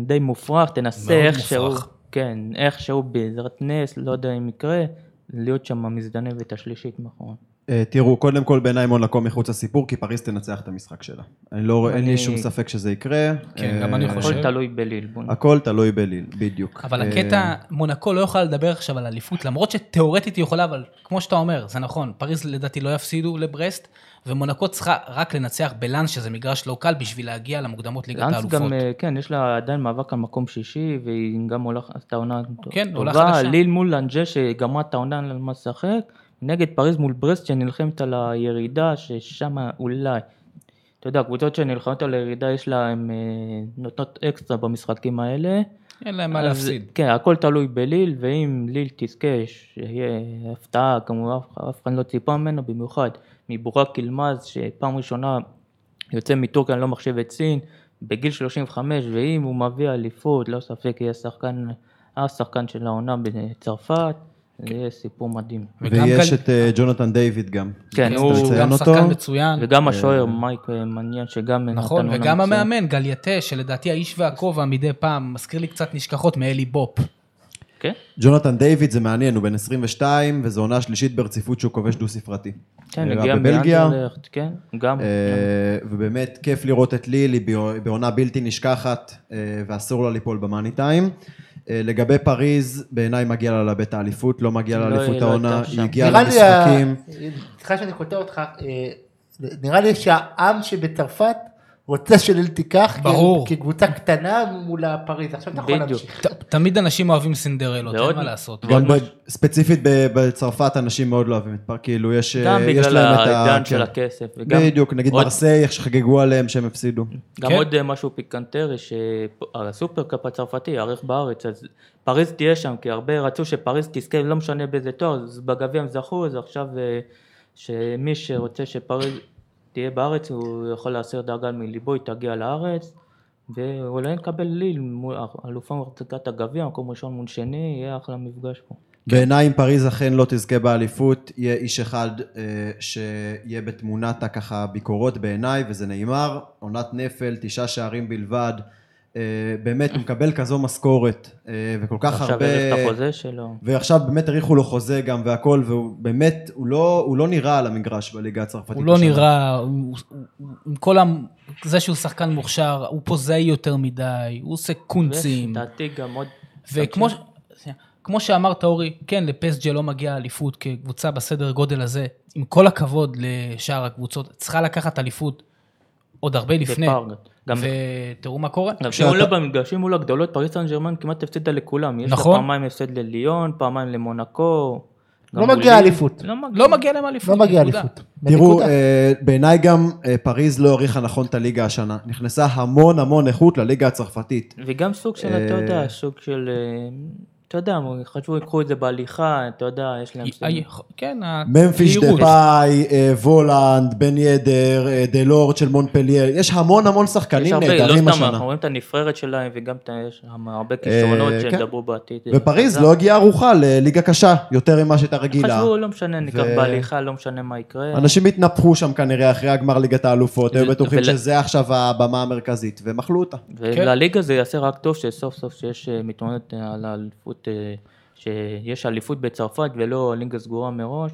Speaker 3: די מופרך, תנסה
Speaker 2: מאוד
Speaker 3: איכשהו,
Speaker 2: מופרך.
Speaker 3: כן, איכשהו בעזרת נס, לא יודע אם יקרה, להיות שם המזדנבת השלישית מחר.
Speaker 4: אה, תראו, קודם כל בעיניי מונקו מחוץ לסיפור, כי פריז תנצח את המשחק שלה. אני לא, אין לי
Speaker 3: אני-
Speaker 4: שום ספק שזה יקרה.
Speaker 2: כן,
Speaker 4: אה,
Speaker 2: גם אני חושב.
Speaker 3: הכל תלוי בליל. בוא נ-
Speaker 4: הכל תלוי בליל, בדיוק.
Speaker 2: אבל
Speaker 4: אה,
Speaker 2: הקטע, מונקו לא יכולה לדבר עכשיו על אליפות, למרות שתיאורטית היא יכולה, אבל כמו שאתה אומר, זה נכון, פריז לדעתי לא יפסידו לברסט, ומונקו צריכה רק לנצח בלאנס, שזה מגרש לא קל, בשביל להגיע למוקדמות ליגת
Speaker 3: לאנס
Speaker 2: האלופות.
Speaker 3: גם, אה, כן, יש לה עדיין מאבק על מקום שישי, והיא גם הולכת, עשתה עונה
Speaker 2: כן, עולה
Speaker 3: טובה.
Speaker 2: חדשה.
Speaker 3: ליל מול לאנג'ה שגמרה את העונה על מה לשחק, נגד פריז מול ברסט שנלחמת על הירידה, ששם אולי, אתה יודע, קבוצות שנלחמות על הירידה, יש להן אה, נותנות אקסטרה במשחקים האלה.
Speaker 2: אין להם מה
Speaker 3: אז-
Speaker 2: להפסיד.
Speaker 3: כן, הכל תלוי בליל, ואם ליל תזכה, שיהיה הפתעה, כמובן אף- אף אחד לא ציפה ממנו, במיוחד מבורק אילמז, שפעם ראשונה יוצא מטורקיה, אני לא מחשב את סין, בגיל 35, ואם הוא מביא אליפות, לא ספק יהיה שחקן, השחקן של העונה בצרפת, זה יהיה סיפור מדהים.
Speaker 5: וגם
Speaker 4: ויש
Speaker 5: גל-
Speaker 4: את אה, ג'ונתן דיוויד גם.
Speaker 3: כן,
Speaker 5: כן,
Speaker 3: הוא
Speaker 4: צריך לציין
Speaker 5: גם
Speaker 4: אותו.
Speaker 5: שחקן מצוין.
Speaker 3: וגם השוער מייק אה, מניין שגם נתן
Speaker 5: נכון,
Speaker 3: עונה
Speaker 5: וגם
Speaker 3: מצוינת.
Speaker 5: המאמן, גלייטה, שלדעתי האיש והכובע מדי פעם, מזכיר לי קצת נשכחות מאלי בופ.
Speaker 3: כן,
Speaker 4: ג'ונתן דיוויד זה מעניין, הוא בן 22, וזו עונה שלישית ברציפות שהוא כובש דו ספרתי.
Speaker 3: כן,
Speaker 4: נראה
Speaker 3: הגיע
Speaker 4: אה, בבלגיה.
Speaker 3: מאנדרלכט, כן, גם.
Speaker 4: אה, ובאמת כיף לראות את לילי בעו- בעונה בלתי נשכחת, אה, ואסור לה ליפול במאני טיים. אה, לגבי פריז, בעיניי מגיע לה לאבד את האליפות, לא מגיע לה
Speaker 3: לא,
Speaker 4: לאליפות
Speaker 3: היא לא
Speaker 4: העונה,
Speaker 3: הייתה שם.
Speaker 4: היא הגיעה
Speaker 1: נראה לי, ה-
Speaker 4: למשחקים.
Speaker 1: סליחה שאני קוטע אותך, אה, נראה לי שהעם שבצרפת רוצה שליל תיקח,
Speaker 5: ברור.
Speaker 1: כי הם כקבוצה קטנה מול הפריז, עכשיו אתה יכול
Speaker 3: בדיוק.
Speaker 1: להמשיך.
Speaker 5: ת- תמיד אנשים אוהבים סינדרלות,
Speaker 3: ועוד-
Speaker 5: אין מה לעשות.
Speaker 4: גם
Speaker 3: לא-
Speaker 4: ב- ספציפית ב- בצרפת אנשים מאוד לא אוהבים את פארק, כאילו יש
Speaker 3: גם
Speaker 4: אה, יש
Speaker 3: בגלל
Speaker 4: להם את ה...
Speaker 3: העידן
Speaker 4: כן.
Speaker 3: של הכסף. וגם-
Speaker 4: בדיוק, נגיד
Speaker 3: עוד-
Speaker 4: מרסיי, איך שחגגו עליהם שהם הפסידו.
Speaker 3: גם
Speaker 5: כן.
Speaker 3: עוד אה, משהו פיקנטרי, שהסופרקאפ הצרפתי יארך בארץ, אז פריז תהיה שם, כי הרבה רצו שפריז תזכה, לא משנה באיזה תואר, אז בגביע הם זכו, אז עכשיו אה, שמי שרוצה שפריז תהיה בארץ, הוא יכול להסיר דאגה מליבו, היא תגיע לארץ, ואולי נקבל ליל, מול- אלופה מחזיקת הגביע, מקום ראשון מול שני, יהיה אחלה מפגש פה.
Speaker 4: בעיניי אם פריז אכן לא תזכה באליפות, יהיה איש אחד אה, שיהיה בתמונת הככה ביקורות בעיניי, וזה נאמר, עונת נפל, תשעה שערים בלבד, אה, באמת הוא מקבל כזו משכורת, אה, וכל כך
Speaker 3: עכשיו
Speaker 4: הרבה...
Speaker 3: יארך את החוזה שלו.
Speaker 4: ועכשיו באמת האריכו לו חוזה גם והכל, והוא באמת, הוא לא, הוא לא נראה על המגרש בליגה הצרפתית.
Speaker 5: הוא לא
Speaker 4: השנה.
Speaker 5: נראה, הוא- הוא- הוא- עם כל ה... זה שהוא שחקן מוכשר, הוא פוזאי יותר מדי, הוא עושה קונצים.
Speaker 3: ולדעתי גם עוד...
Speaker 5: וכמו ש- שנייה, כמו שאמרת אורי, כן, לפסג'ה לא מגיעה אליפות כקבוצה בסדר גודל הזה. עם כל הכבוד לשאר הקבוצות, צריכה לקחת אליפות עוד הרבה לפני.
Speaker 3: בפרגת. גם
Speaker 5: ותראו מה קורה.
Speaker 3: גם
Speaker 4: כשאתה-
Speaker 3: כשהוא לא במגרשים מול הגדולות, פריס סן ג'רמן כמעט הפסידה לכולם. יש לה
Speaker 5: נכון.
Speaker 3: פעמיים הפסד לליון, פעמיים למונקו. גם
Speaker 1: לא
Speaker 3: מול
Speaker 1: מגיעה
Speaker 3: ליל.
Speaker 1: אליפות.
Speaker 3: לא מגיע.
Speaker 5: לא מגיע להם אליפות.
Speaker 1: לא מגיע
Speaker 5: נקודה.
Speaker 1: אליפות.
Speaker 4: תראו,
Speaker 1: בנקודה.
Speaker 4: אה, בעיניי גם אה, פריז לא העריכה נכון את הליגה השנה. נכנסה המון המון איכות לליגה הצרפתית.
Speaker 3: וגם סוג של,
Speaker 4: אה,
Speaker 3: אתה יודע, סוג של... אה, אתה יודע, הם חשבו ייקחו את זה בהליכה, אתה יודע, יש להם...
Speaker 5: אה, כן,
Speaker 4: ממפיש
Speaker 5: הזהירות.
Speaker 4: דפאי, אה, וולנד, בן ידר, אה, דה לורד של מונפלייר, יש המון המון
Speaker 3: יש
Speaker 4: שחקנים
Speaker 3: הרבה, לא
Speaker 4: נהדרים
Speaker 3: סתם,
Speaker 4: השנה.
Speaker 3: אנחנו רואים את הנפררת שלהם, וגם את ה- יש שם הרבה כישרונות
Speaker 4: אה, כן.
Speaker 3: שידברו בעתיד.
Speaker 4: ופריז
Speaker 3: חזק.
Speaker 4: לא הגיעה ערוכה לליגה קשה יותר ממה שהייתה רגילה.
Speaker 3: חשבו, לא משנה, ניקח
Speaker 4: ו-
Speaker 3: בהליכה, לא משנה מה יקרה.
Speaker 4: אנשים התנפחו שם כנראה אחרי הגמר ליגת האלופות, היו
Speaker 3: ו-
Speaker 4: בטוחים
Speaker 3: ול-
Speaker 4: שזה עכשיו הבמה המרכזית, והם אכלו אותה.
Speaker 1: כן.
Speaker 3: ולליגה זה יעשה רק טוב שסוף סוף שיש אה, מתמודדת אה, על האליפות, אה, שיש אליפות בצרפת ולא ליגה סגורה מראש,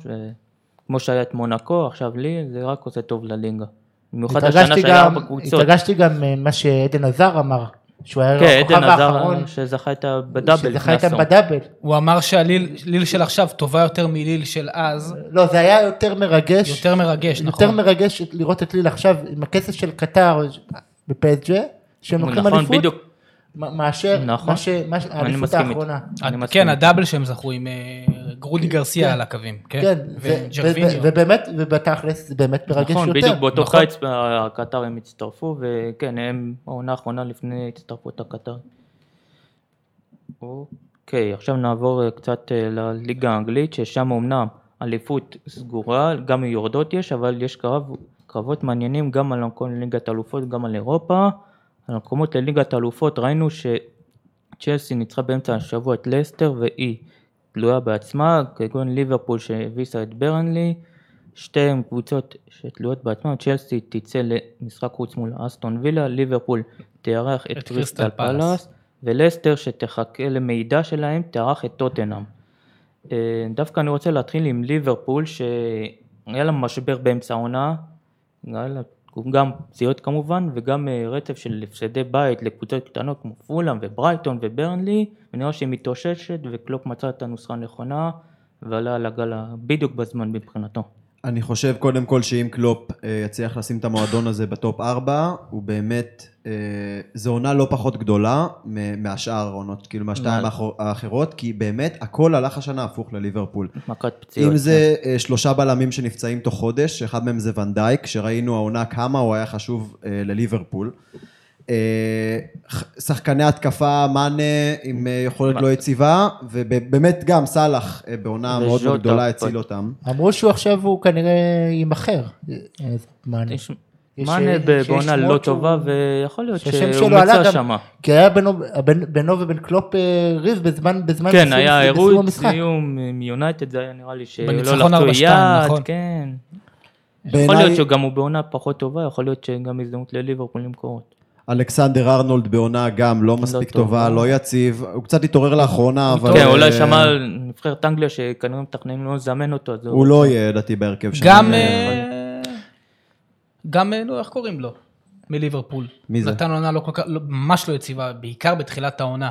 Speaker 3: וכמו שהיה את מונקו, עכשיו לי, זה רק עושה טוב לליגה. במיוחד השנה
Speaker 1: התרגשתי
Speaker 3: שהיה
Speaker 1: גם,
Speaker 3: ארבע קבוצות.
Speaker 1: התרגשתי גם אה, מה שעדן עזר אמר, שהוא
Speaker 3: כן,
Speaker 1: היה הכוכב
Speaker 3: עדן
Speaker 1: האחרון,
Speaker 3: עזר שזכה את בדאבל
Speaker 1: שזכה
Speaker 3: לפני
Speaker 1: איתם
Speaker 3: עשור.
Speaker 1: בדאבל.
Speaker 5: הוא אמר שהליל של עכשיו טובה יותר מליל של אז,
Speaker 1: לא, זה היה יותר מרגש.
Speaker 5: יותר מרגש, נכון?
Speaker 1: יותר מרגש לראות את ליל עכשיו עם הכסף של קטר בפג'ה, שהם לוקחים
Speaker 3: נכון,
Speaker 1: אליפות,
Speaker 3: בדיוק.
Speaker 1: מ- מאשר
Speaker 3: נכון.
Speaker 1: מה ש- מה ש- האליפות
Speaker 3: מסכים איתך.
Speaker 1: האחרונה.
Speaker 3: אני
Speaker 5: אה,
Speaker 3: מסכים.
Speaker 5: כן, הדאבל שהם זכו עם אה, גרודי גרסיה על הקווים,
Speaker 1: כן,
Speaker 5: כן?
Speaker 1: זה- ו-
Speaker 5: וג'רוויניו.
Speaker 1: ובאמת, ובתכלס זה באמת מרגש יותר.
Speaker 3: נכון, בדיוק באותו
Speaker 5: נכון.
Speaker 3: חיץ אה, הקטרים הצטרפו, וכן, הם העונה האחרונה לפני הצטרפות הקטרים. אוקיי, עכשיו נעבור אה, קצת אה, לליגה האנגלית, ששם אמנם אליפות סגורה, גם יורדות יש, אבל יש קרב, קרבות מעניינים גם על המקום לליגת אלופות, גם על אירופה. על המקומות לליגת אלופות ראינו שצ'לסי ניצחה באמצע השבוע את לסטר והיא תלויה בעצמה, כגון ליברפול שהביסה את ברנלי. שתיהן קבוצות שתלויות בעצמן, צ'לסי תצא למשחק חוץ מול אסטון וילה, ליברפול תארח את,
Speaker 5: את קריסטל
Speaker 3: קריסטל
Speaker 5: פלאס.
Speaker 3: פלאס, ולסטר שתחכה למידע שלהם תארח את טוטנאם. אה, דווקא אני רוצה להתחיל עם ליברפול שהיה לה משבר באמצע העונה, היה לה גם פציעות כמובן וגם אה, רצף של הפסדי בית לקבוצות קטנות כמו פולאם וברייטון וברנלי ונראה שהיא מתאוששת וקלופ מצא את הנוסחה הנכונה ועלה על הגל בדיוק בזמן מבחינתו.
Speaker 4: אני חושב קודם כל שאם קלופ אה, יצליח לשים את המועדון הזה בטופ 4, הוא באמת, אה, זו עונה לא פחות גדולה מ- מהשאר העונות, כאילו מהשתיים
Speaker 3: מה-
Speaker 4: האחור- האחרות, כי באמת הכל הלך השנה הפוך לליברפול.
Speaker 3: מכת פציעות.
Speaker 4: אם זה
Speaker 3: כן.
Speaker 4: אה, שלושה בלמים שנפצעים תוך חודש, שאחד מהם זה ונדייק, שראינו העונה כמה הוא היה חשוב אה, לליברפול. אה, ח- שחקני התקפה, מאנה עם אה, יכולת
Speaker 3: מה-
Speaker 4: לא יציבה, ובאמת גם סאלח אה, בעונה מאוד
Speaker 3: וז'וטה,
Speaker 4: מאוד גדולה
Speaker 3: פה.
Speaker 4: הציל אותם.
Speaker 1: אמרו שהוא עכשיו הוא כנראה יימכר. אה, אה, מעניין.
Speaker 3: יש-
Speaker 1: יש-
Speaker 3: מאנה ב-
Speaker 1: שיש
Speaker 3: בעונה
Speaker 1: שמועות
Speaker 3: לא
Speaker 1: שהוא-
Speaker 3: טובה, ויכול להיות
Speaker 1: שהשם
Speaker 3: שהוא
Speaker 1: שלו עלה
Speaker 3: מצא
Speaker 1: גם,
Speaker 3: שמה.
Speaker 1: כי היה בינו, בין- בינו ובין קלופ אה, ריב בזמן, בזמן
Speaker 3: כן,
Speaker 1: סיום-
Speaker 3: היה
Speaker 1: בסיום
Speaker 3: עירוי
Speaker 1: המשחק.
Speaker 3: סיום עם יונייטד, זה היה נראה לי שלא
Speaker 5: בניצחון
Speaker 3: לחצו
Speaker 5: 4-2, נכון.
Speaker 3: יד, כן. יכול
Speaker 4: בעיניי-
Speaker 3: להיות שגם הוא בעונה פחות טובה, יכול להיות שגם הזדמנות לליברפול למכור אותו.
Speaker 4: אלכסנדר ארנולד בעונה גם לא מספיק
Speaker 3: טוב.
Speaker 4: טובה, לא יציב, הוא קצת התעורר לאחרונה, אבל...
Speaker 3: כן,
Speaker 4: אה,
Speaker 3: אולי שמע על נבחרת אנגליה שכנראה מתכננים לא לזמן אותו, אז
Speaker 4: הוא לא יהיה לדעתי בהרכב שלנו.
Speaker 5: גם, אה, גם, אה, נו, איך קוראים לו? מליברפול.
Speaker 4: מי זה?
Speaker 5: נתן עונה לא כל כך, לא- ממש לא יציבה, בעיקר בתחילת העונה.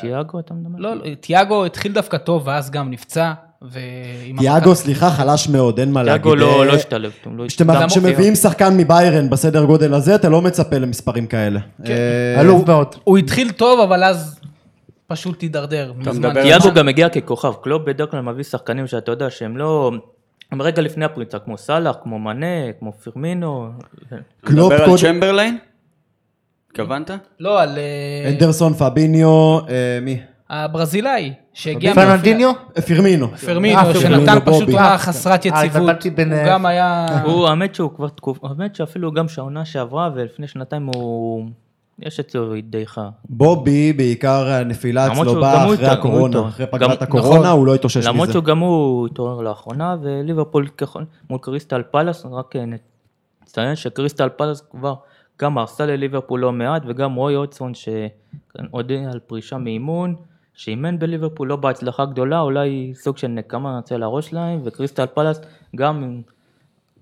Speaker 3: תיאגו אתה מדבר?
Speaker 5: לא, לא, תיאגו התחיל דווקא טוב, ואז גם נפצע, ועם
Speaker 4: תיאגו, סליחה, חלש מאוד, אין מה להגיד.
Speaker 3: תיאגו לא
Speaker 4: אה,
Speaker 3: לא השתלב. הוא לא
Speaker 4: כשאתם-
Speaker 3: השתלב.
Speaker 4: כשמביאים שחקן מביירן בסדר גודל הזה, אתה לא מצפה למספרים כאלה. אה,
Speaker 1: עלוב מאוד.
Speaker 5: הוא התחיל טוב, אבל אז פשוט הידרדר. מזמן.
Speaker 6: מדבר-
Speaker 3: תיאגו גם מגיע ככוכב, קלופ בדרך כלל מביא שחקנים שאתה יודע שהם לא... הם רגע לפני הפריצה, כמו סאלח, כמו מנה, כמו פירמינו.
Speaker 4: קלופ
Speaker 6: מדבר על
Speaker 4: לא קודם-
Speaker 6: צ'מברליין? התכוונת?
Speaker 2: כן.
Speaker 5: לא, על אה,
Speaker 4: אנדרסון, פביניו, אה, מי?
Speaker 5: הברזילאי, שהגיע...
Speaker 1: פרננדיניו?
Speaker 4: אה, פירמינו.
Speaker 5: כן. פרמינו,
Speaker 1: אה,
Speaker 5: שנתן
Speaker 4: פרמינו,
Speaker 5: פשוט
Speaker 4: בובי.
Speaker 5: עונה
Speaker 4: אה,
Speaker 5: חסרת
Speaker 1: אה,
Speaker 5: יציבות.
Speaker 1: התבלבלתי בין,
Speaker 5: הוא
Speaker 1: אה,
Speaker 5: גם היה...
Speaker 3: הוא, האמת שהוא כבר תקופה, האמת שאפילו גם שהעונה שעברה ולפני שנתיים הוא... יש אצלו דעיכה.
Speaker 4: בובי, בעיקר הנפילה
Speaker 3: למרות
Speaker 4: אצלו
Speaker 3: שהוא- גם
Speaker 4: באה
Speaker 3: הוא
Speaker 4: אחרי
Speaker 3: איתו, הוא
Speaker 4: הקורונה,
Speaker 3: איתו.
Speaker 4: אחרי
Speaker 3: גם-
Speaker 4: פגרת הקורונה,
Speaker 3: נכון.
Speaker 4: הוא לא התאושש
Speaker 3: למרות
Speaker 4: מזה.
Speaker 3: שהוא גם הוא התעורר לאחרונה, וליברפול ככל, מול קריסטל פלאס, רק אה, נציין שקריסטל פלאס כבר גם הרסה לליברפול לא מעט, וגם רוי הודסון שהודיע על פרישה מאימון, שאימן בליברפול לא בהצלחה גדולה, אולי סוג של נקמה יוצא לראש להם, וקריסטל פלאס גם,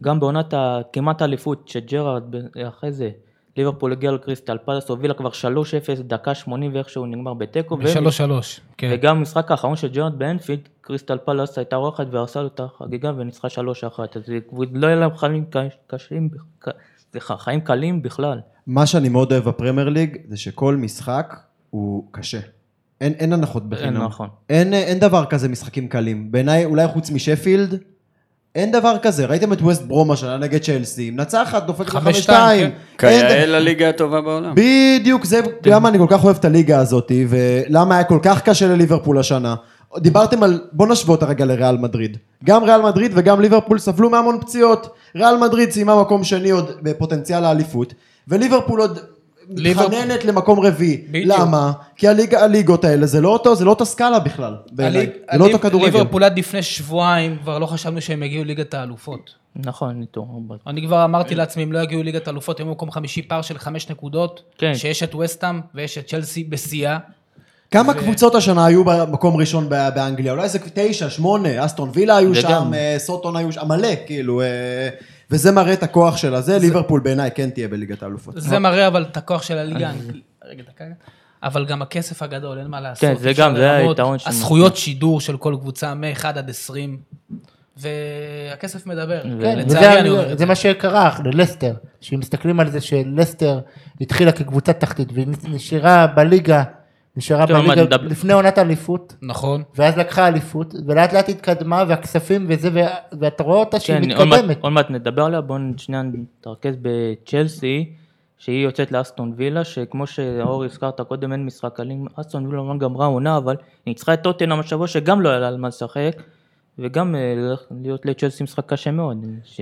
Speaker 3: גם בעונת הכמעט אליפות שג'רארד ב- אחרי זה. ליברפול הגיע לקריסטל פלאס, הובילה כבר 3-0, דקה 80 ואיכשהו נגמר בתיקו. והם
Speaker 5: שלוש שלוש. כן.
Speaker 3: וגם במשחק האחרון של ג'ונד באנפילד, קריסטל פלאס הייתה אורחת והרסה לו את החגיגה וניצחה 3-1, אז זה- לא היה להם חיים ק- קשים, ק- סליחה, חיים קלים בכלל.
Speaker 4: מה שאני מאוד אוהב בפרמייר ליג, זה שכל משחק הוא קשה. אין, אין הנחות בחינם.
Speaker 3: אין, נכון.
Speaker 4: אין, אה, אין דבר כזה משחקים קלים. בעיניי, אולי חוץ משפילד, אין דבר כזה. ראיתם את ווסט ברום השנה נגד צ'לסי, מנצחת, דופקת
Speaker 5: חמש,
Speaker 4: לחמש
Speaker 5: שתיים,
Speaker 4: שתיים.
Speaker 3: כן.
Speaker 6: כן,
Speaker 4: אין-
Speaker 6: כיאה לליגה הטובה בעולם.
Speaker 4: בדיוק, זה
Speaker 5: כן.
Speaker 4: גם אני כל כך אוהב את הליגה הזאת, ולמה היה כל כך קשה לליברפול השנה. דיברתם על, בוא נשוות הרגע לריאל מדריד. גם ריאל מדריד וגם ליברפול סבלו מהמון פציעות. ריאל מדריד סיימה מקום שני עוד בפוטנציאל האליפות, וליברפול עוד
Speaker 5: ליברפול.
Speaker 4: מתחננת למקום רביעי.
Speaker 5: בדיוק.
Speaker 4: למה? כי הליג, הליגות האלה זה לא אותו, זה לא אותה סקאלה בכלל, בעיניי.
Speaker 5: הליג-
Speaker 4: זה לא אותו
Speaker 5: הליג-
Speaker 4: כדורגל.
Speaker 5: ליברפול עד לפני שבועיים, כבר לא חשבנו שהם יגיעו ליגת האלופות.
Speaker 3: נכון, ניתור. אבל-
Speaker 5: אני כבר אמרתי לעצמי, אם לא יגיעו ליגת האלופות, הם במקום חמישי פער של חמש נקודות,
Speaker 3: כן.
Speaker 5: שיש את וסטאם ויש את צ'לסי בשיאה.
Speaker 4: כמה קבוצות השנה היו במקום ראשון ב- באנגליה? אולי איזה תשע, שמונה, אסטון וילה היו
Speaker 3: זה
Speaker 4: שם,
Speaker 3: גם.
Speaker 4: אה, סוטון היו שם, מלא, כאילו, אה, וזה מראה את הכוח שלה. זה ליברפול בעיניי כן תהיה בליגת האלופות.
Speaker 5: זה מראה אבל את הכוח של הליגה. רגע, דקה. אבל גם הכסף הגדול, אין מה לעשות.
Speaker 3: כן, זה
Speaker 5: אפשר
Speaker 3: גם, זה
Speaker 5: לרמות.
Speaker 3: היתרון של-
Speaker 5: הזכויות שידור של כל קבוצה, מ-1 עד 20, והכסף מדבר.
Speaker 1: כן,
Speaker 5: לצערי
Speaker 1: וזה-
Speaker 5: אני אומר את
Speaker 1: זה
Speaker 5: זה.
Speaker 1: מה שקרה ללסטר, שאם מסתכלים על זה שלסטר התחילה כקבוצת תחתית והיא נשארה בליגה, נשארה
Speaker 3: טוב,
Speaker 1: בליגה
Speaker 3: אבל נדבר-
Speaker 1: לפני עונת אליפות,
Speaker 5: נכון.
Speaker 1: ואז לקחה אליפות, ולאט לאט התקדמה והכספים וזה, ו- ואתה רואה אותה שהיא
Speaker 3: כן, עוד מעט-
Speaker 1: מתקדמת.
Speaker 3: עוד מעט נדבר עליה, בואו שנייה נתרכז בצ'לסי, שהיא יוצאת לאסטון וילה, שכמו שאור הזכרת קודם, אין משחק אלים, אסטון וילה לא גמרה עונה, אבל היא ניצחה את טוטנאם השבוע, שגם לא היה לה על מה לשחק, וגם אה, הולך להיות לצ'לסי משחק קשה מאוד, ש...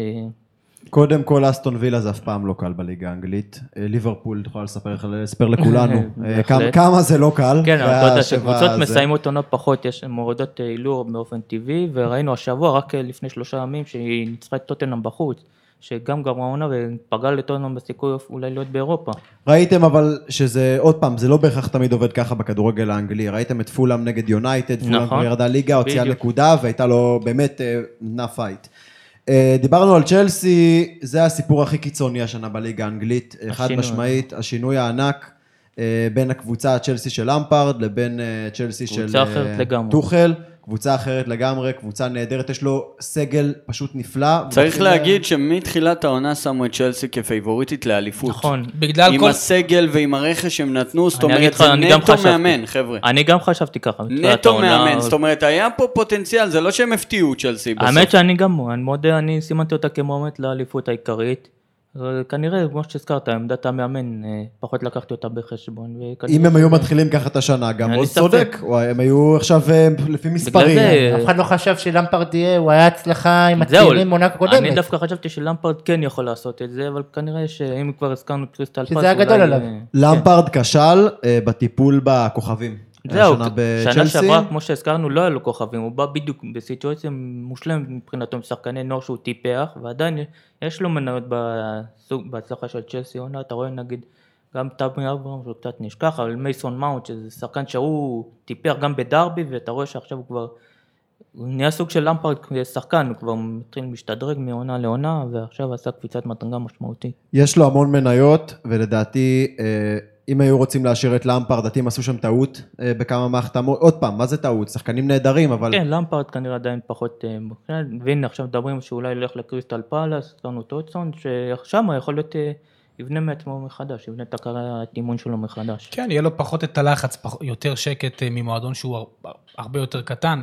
Speaker 4: קודם כל, אסטון וילה זה אף פעם לא קל בליגה האנגלית. אה, ליברפול, יכולה לספר לך- לספר <laughs> לכולנו אה,
Speaker 3: בהחלט.
Speaker 4: כמה- כמה זה לא קל.
Speaker 3: כן, אבל אתה יודע
Speaker 4: והשבע
Speaker 3: שקבוצות
Speaker 4: הזה.
Speaker 3: מסיימות עונה פחות, יש מורדות אה, הילוך באופן טבעי, וראינו השבוע, רק אה, לפני שלושה ימים, שהיא ניצחה את טוטנאם בחוץ, שגם גמרה עונה ופגעה לטוטנאם בסיכוי אולי להיות באירופה.
Speaker 4: ראיתם אבל שזה, עוד פעם, זה לא בהכרח תמיד עובד ככה בכדורגל האנגלי. ראיתם את פולאם נגד יונייטד, פולאם
Speaker 3: נכון.
Speaker 4: כבר ירדה ליגה, הוציאה
Speaker 3: בדיוק.
Speaker 4: נקודה והייתה לו באמת אה, נתנה פייט. אה, דיברנו על צ'לסי, זה הסיפור הכי קיצוני השנה בליגה האנגלית, אה, חד
Speaker 3: השינוי.
Speaker 4: משמעית, השינוי הענק אה, בין הקבוצה הצ'לסי של למפרד לבין אה, צ'לסי
Speaker 3: קבוצה
Speaker 4: של אה,
Speaker 3: אחרת לגמרי.
Speaker 4: טוחל, קבוצה אחרת לגמרי, קבוצה נהדרת, יש לו סגל פשוט נפלא.
Speaker 6: צריך
Speaker 4: ומתחיל-
Speaker 6: להגיד שמתחילת העונה שמו את צ'לסי כפייבוריטית לאליפות.
Speaker 3: נכון.
Speaker 5: בגלל
Speaker 6: עם
Speaker 5: כל...
Speaker 6: הסגל ועם הרכש שהם נתנו, זאת
Speaker 3: אני אגיד
Speaker 6: אומרת,
Speaker 3: לך,
Speaker 6: זה
Speaker 3: אני גם
Speaker 6: נטו
Speaker 3: חשבתי.
Speaker 6: מאמן, חבר'ה.
Speaker 3: אני גם חשבתי ככה. בתחילת
Speaker 6: נטו
Speaker 3: העונה.
Speaker 6: מאמן, זאת אומרת, היה פה פוטנציאל, זה לא שהם הפתיעו את צ'לסי בסוף.
Speaker 3: האמת שאני גם, אני מודה, אני סימנתי אותה כמועמד לאליפות העיקרית. אה, כנראה, כמו שהזכרת, עמדת המאמן, אה, פחות לקחתי אותה בחשבון. וכנראה
Speaker 4: אם הם היו
Speaker 3: ש-
Speaker 4: מתחילים ככה את השנה, גם
Speaker 3: אין לי
Speaker 4: עוז
Speaker 3: ספק.
Speaker 4: צודק, וואי, הם היו עכשיו אה, לפי מספרים.
Speaker 3: זה-
Speaker 1: אף אחד לא חשב שלמפרד יהיה, הוא היה הצלחה עם
Speaker 3: אה, זהו,
Speaker 1: הצעירים עונה
Speaker 3: אני
Speaker 1: קודמת.
Speaker 3: דווקא חשבתי שלמפרד כן יכול לעשות את זה, אבל כנראה שאם כבר הזכרנו את קריסטל פאס,
Speaker 1: שזה היה גדול עליו.
Speaker 3: אה,
Speaker 4: למפרד כשל אה, בטיפול בכוכבים.
Speaker 3: זהו,
Speaker 4: השנה
Speaker 3: שנה
Speaker 4: בצ'לסי.
Speaker 3: שעברה, כמו שהזכרנו, לא היה לו כוכבים, הוא בא בדיוק בסיטואציה מושלמת מבחינתו עם שחקני נוער שהוא טיפח, ועדיין יש לו מניות בסוג, בהצלחה של צ'לסי עונה, אתה רואה נגיד גם טאבי אברהם שהוא קצת נשכח, אבל מייסון מאונט, שזה שחקן שהוא טיפח גם בדרבי, ואתה רואה שעכשיו הוא כבר, הוא נהיה סוג של למפרד שחקן, הוא כבר מתחיל להשתדרג מעונה לעונה, ועכשיו עשה קפיצת מדרגה משמעותית.
Speaker 4: יש לו המון מניות, ולדעתי, אה, אם היו רוצים להשאיר את למפרד, דעתי הם עשו שם טעות אה, בכמה מהחתמות. עוד פעם, מה זה טעות? שחקנים נהדרים, אבל...
Speaker 3: כן, למפרד כנראה עדיין פחות אה, מבחינת, והנה עכשיו מדברים שאולי ילך לקריסטל פאלאס, קרנו טוטסון, ששם יכול להיות, אה, יבנה מעצמו מחדש, יבנה את הקריירת אימון שלו מחדש.
Speaker 2: כן, יהיה לו פחות את הלחץ, פח- יותר שקט אה, ממועדון שהוא הר- הרבה יותר קטן.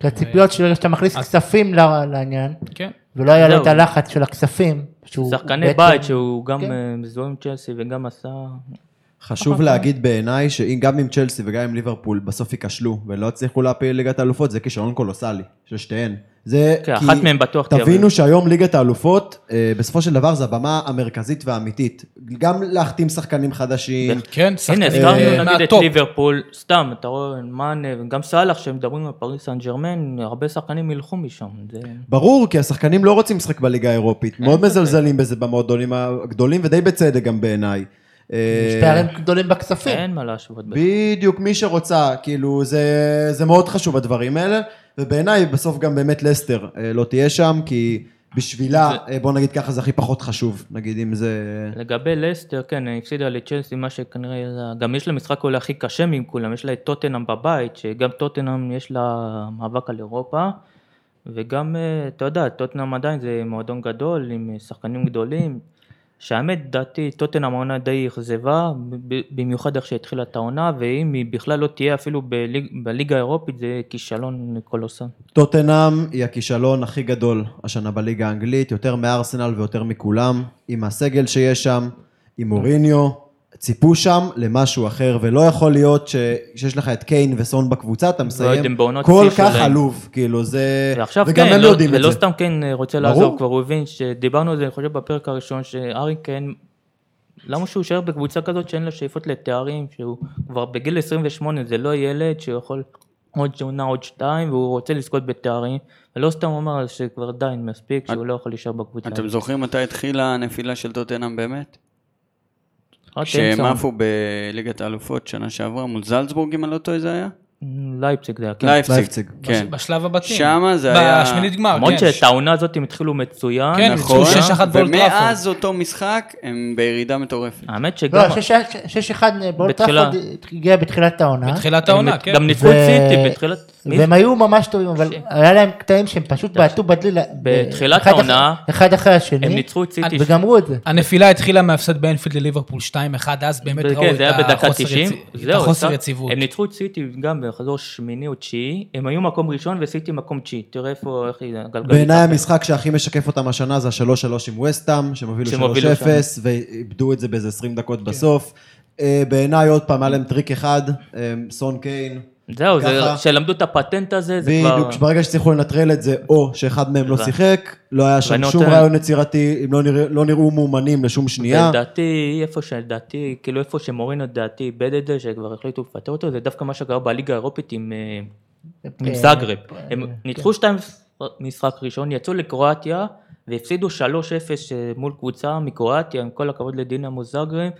Speaker 1: כי הציפיות שלו, כשאתה מכניס כספים ל- לעניין,
Speaker 2: כן.
Speaker 1: ולא היה לו
Speaker 3: אה, זהו.
Speaker 1: את הלחץ של הכספים. שהוא
Speaker 3: שחקני
Speaker 1: בעצם-
Speaker 3: בית שהוא גם
Speaker 1: כן.
Speaker 3: אה, מזוהה עם צ'לסי וגם עשה...
Speaker 4: חשוב להגיד בעיניי שגם עם צ'לסי וגם עם ליברפול בסוף ייכשלו ולא הצליחו להפיל ליגת האלופות, זה כישלון קולוסלי של שתיהן. זה
Speaker 3: כן, אחת מהן בטוח תהיה,
Speaker 4: תבינו
Speaker 3: אבל-
Speaker 4: שהיום ליגת האלופות, אה, בסופו של דבר זו הבמה המרכזית והאמיתית. גם להחתים שחקנים חדשים,
Speaker 2: כן,
Speaker 3: הנה,
Speaker 2: שחקנים
Speaker 3: הזכרנו נגיד את
Speaker 2: מהטופ.
Speaker 3: ליברפול, סתם, אתה רואה, מאנה, גם סאלח, שמדברים על פריס סן ג'רמן, הרבה שחקנים ילכו משם. זה-
Speaker 4: ברור, כי השחקנים לא רוצים לשחק בליגה
Speaker 3: אה,
Speaker 4: האירופית. מאוד
Speaker 3: אוקיי.
Speaker 4: מזלזלים בזה במועדונים הגדולים, ודי בצדק גם בעיניי. אה,
Speaker 1: יש פערים גדולים בכספים.
Speaker 3: אין מה להשוות. בכלל.
Speaker 4: בדיוק, מי שרוצה, כאילו, זה, זה מאוד חשוב הדברים האלה, ובעיניי בסוף גם באמת לסטר אה, לא תהיה שם, כי בשבילה, אה, בוא נגיד ככה, זה הכי פחות חשוב, נגיד אם זה...
Speaker 3: לגבי לסטר, כן, היא הפסידה לצ'לסי, מה שכנראה, היה- גם יש לה משחק אולי הכי קשה מכולם, יש לה את טוטנאם בבית, שגם טוטנאם יש לה מאבק על אירופה, וגם, אה, אתה יודע, טוטנאם עדיין זה מועדון גדול, עם אה, שחקנים גדולים, שהאמת, דעתי, טוטנאם העונה די אכזבה, ב- במיוחד איך שהתחילה את העונה, ואם היא בכלל לא תהיה אפילו בליג, בליגה האירופית, זה כישלון קולוסן.
Speaker 4: טוטנאם היא הכישלון הכי גדול השנה בליגה האנגלית, יותר מארסנל ויותר מכולם, עם הסגל שיש שם, עם מוריניו, ציפו שם למשהו אחר, ולא יכול להיות ש- שיש לך את קיין וסון בקבוצה, אתה מסיים
Speaker 3: הם לא בעונות
Speaker 4: כל
Speaker 3: שיא
Speaker 4: כך
Speaker 3: שלהם.
Speaker 4: עלוב, כאילו, זה...
Speaker 3: ועכשיו
Speaker 4: וגם
Speaker 3: כן,
Speaker 4: הם
Speaker 3: לא,
Speaker 4: יודעים את
Speaker 3: ולא
Speaker 4: זה.
Speaker 3: סתם כן אה, רוצה
Speaker 4: ברור.
Speaker 3: לעזוב, כבר הוא הבין שדיברנו על זה, אני חושב, בפרק הראשון, שארי כן, למה שהוא יישאר בקבוצה כזאת שאין לה שאיפות לתארים, שהוא כבר בגיל 28, זה לא ילד שיכול עוד עונה, עוד שתיים, והוא רוצה לזכות בתארים, ולא סתם הוא אמר שכבר די, מספיק, שהוא לא יכול להישאר בקבוצה.
Speaker 6: אתם זוכרים מתי התחילה הנפילה של טוטנאם באמת?
Speaker 3: כן, רק
Speaker 6: כשהם
Speaker 3: אמצע.
Speaker 6: עפו בליגת האלופות שנה שעברה מול זלצבורג, אם אני לא טועה זה היה?
Speaker 3: לייפציג זה היה, כן.
Speaker 6: לייפציג.
Speaker 4: לייפציג.
Speaker 6: כן.
Speaker 2: בשלב הבתים.
Speaker 6: שמה זה היה-
Speaker 2: בשמינית גמר,
Speaker 3: למרות
Speaker 2: כן.
Speaker 3: שאת העונה הזאת הם התחילו מצוין.
Speaker 2: כן, הם
Speaker 6: נכון,
Speaker 2: ניצחו 6-1 באולט טראפורד.
Speaker 6: ומאז אותו משחק הם בירידה מטורפת.
Speaker 3: האמת
Speaker 1: לא,
Speaker 3: שגם...
Speaker 1: 6-1
Speaker 3: בתחילה.
Speaker 1: בולטראפורד אה, הגיע בתחילת העונה.
Speaker 2: בתחילת העונה,
Speaker 4: אה,
Speaker 3: הם
Speaker 2: כן.
Speaker 3: גם ניצחו את סיטי בתחילת... מי
Speaker 1: והם היו ממש טובים, אבל היה להם קטעים שהם פשוט בעטו בדליל.
Speaker 3: בתחילת
Speaker 1: אחד אחרי-
Speaker 3: העונה,
Speaker 1: אחד אחרי
Speaker 3: הם
Speaker 1: השני,
Speaker 3: ניצחו את סיטי.
Speaker 1: וגמרו את זה.
Speaker 2: הנפילה התחילה מהפסד באנפילד לליברפול 2-1, אז באמת
Speaker 3: כן,
Speaker 2: ראו את
Speaker 3: זה היה בדקה
Speaker 2: החוסר
Speaker 3: 90,
Speaker 2: יצי- את
Speaker 3: זהו,
Speaker 2: החוסר
Speaker 3: סתם.
Speaker 2: יציבות.
Speaker 3: הם ניצחו את סיטי גם במחזור שמיני או תשיעי, הם היו מקום ראשון וסיטי מקום תשיעי, תראה איפה, איך היא הגלגלית.
Speaker 4: בעיניי המשחק שהכי משקף אותם השנה זה השלוש שלוש עם וסטאם, שהם
Speaker 3: שהם
Speaker 4: הובילו 3-0
Speaker 3: הובילו כן.
Speaker 4: ואיבדו את זה באיזה 20 דקות בסוף. אה, בעיניי עוד פעם היה להם טריק אחד, אה, סון קיין.
Speaker 3: זהו, זה-
Speaker 4: ככה.
Speaker 3: שלמדו את הפטנט הזה, זה כבר...
Speaker 4: בדיוק, שברגע שהצליחו לנטרל את זה, או שאחד מהם לא
Speaker 3: הבנתי.
Speaker 4: שיחק, לא היה שם
Speaker 3: ואני
Speaker 4: שום
Speaker 3: נותן- אוקיי,
Speaker 4: רעיון יצירתי, אם לא נרא- לא נראו מאומנים לשום שנייה.
Speaker 3: לדעתי, איפה שלדעתי, כאילו איפה שמורינו לדעתי איבד את זה, שכבר החליטו לפטר אותו, זה דווקא מה שקרה בליגה האירופית עם אה, עם זאגרב. הם ניצחו שתיים משחק ראשון, יצאו לקרואטיה והפסידו 3-0 מול קבוצה מקרואטיה, עם כל הכבוד לדינמו זאגרב.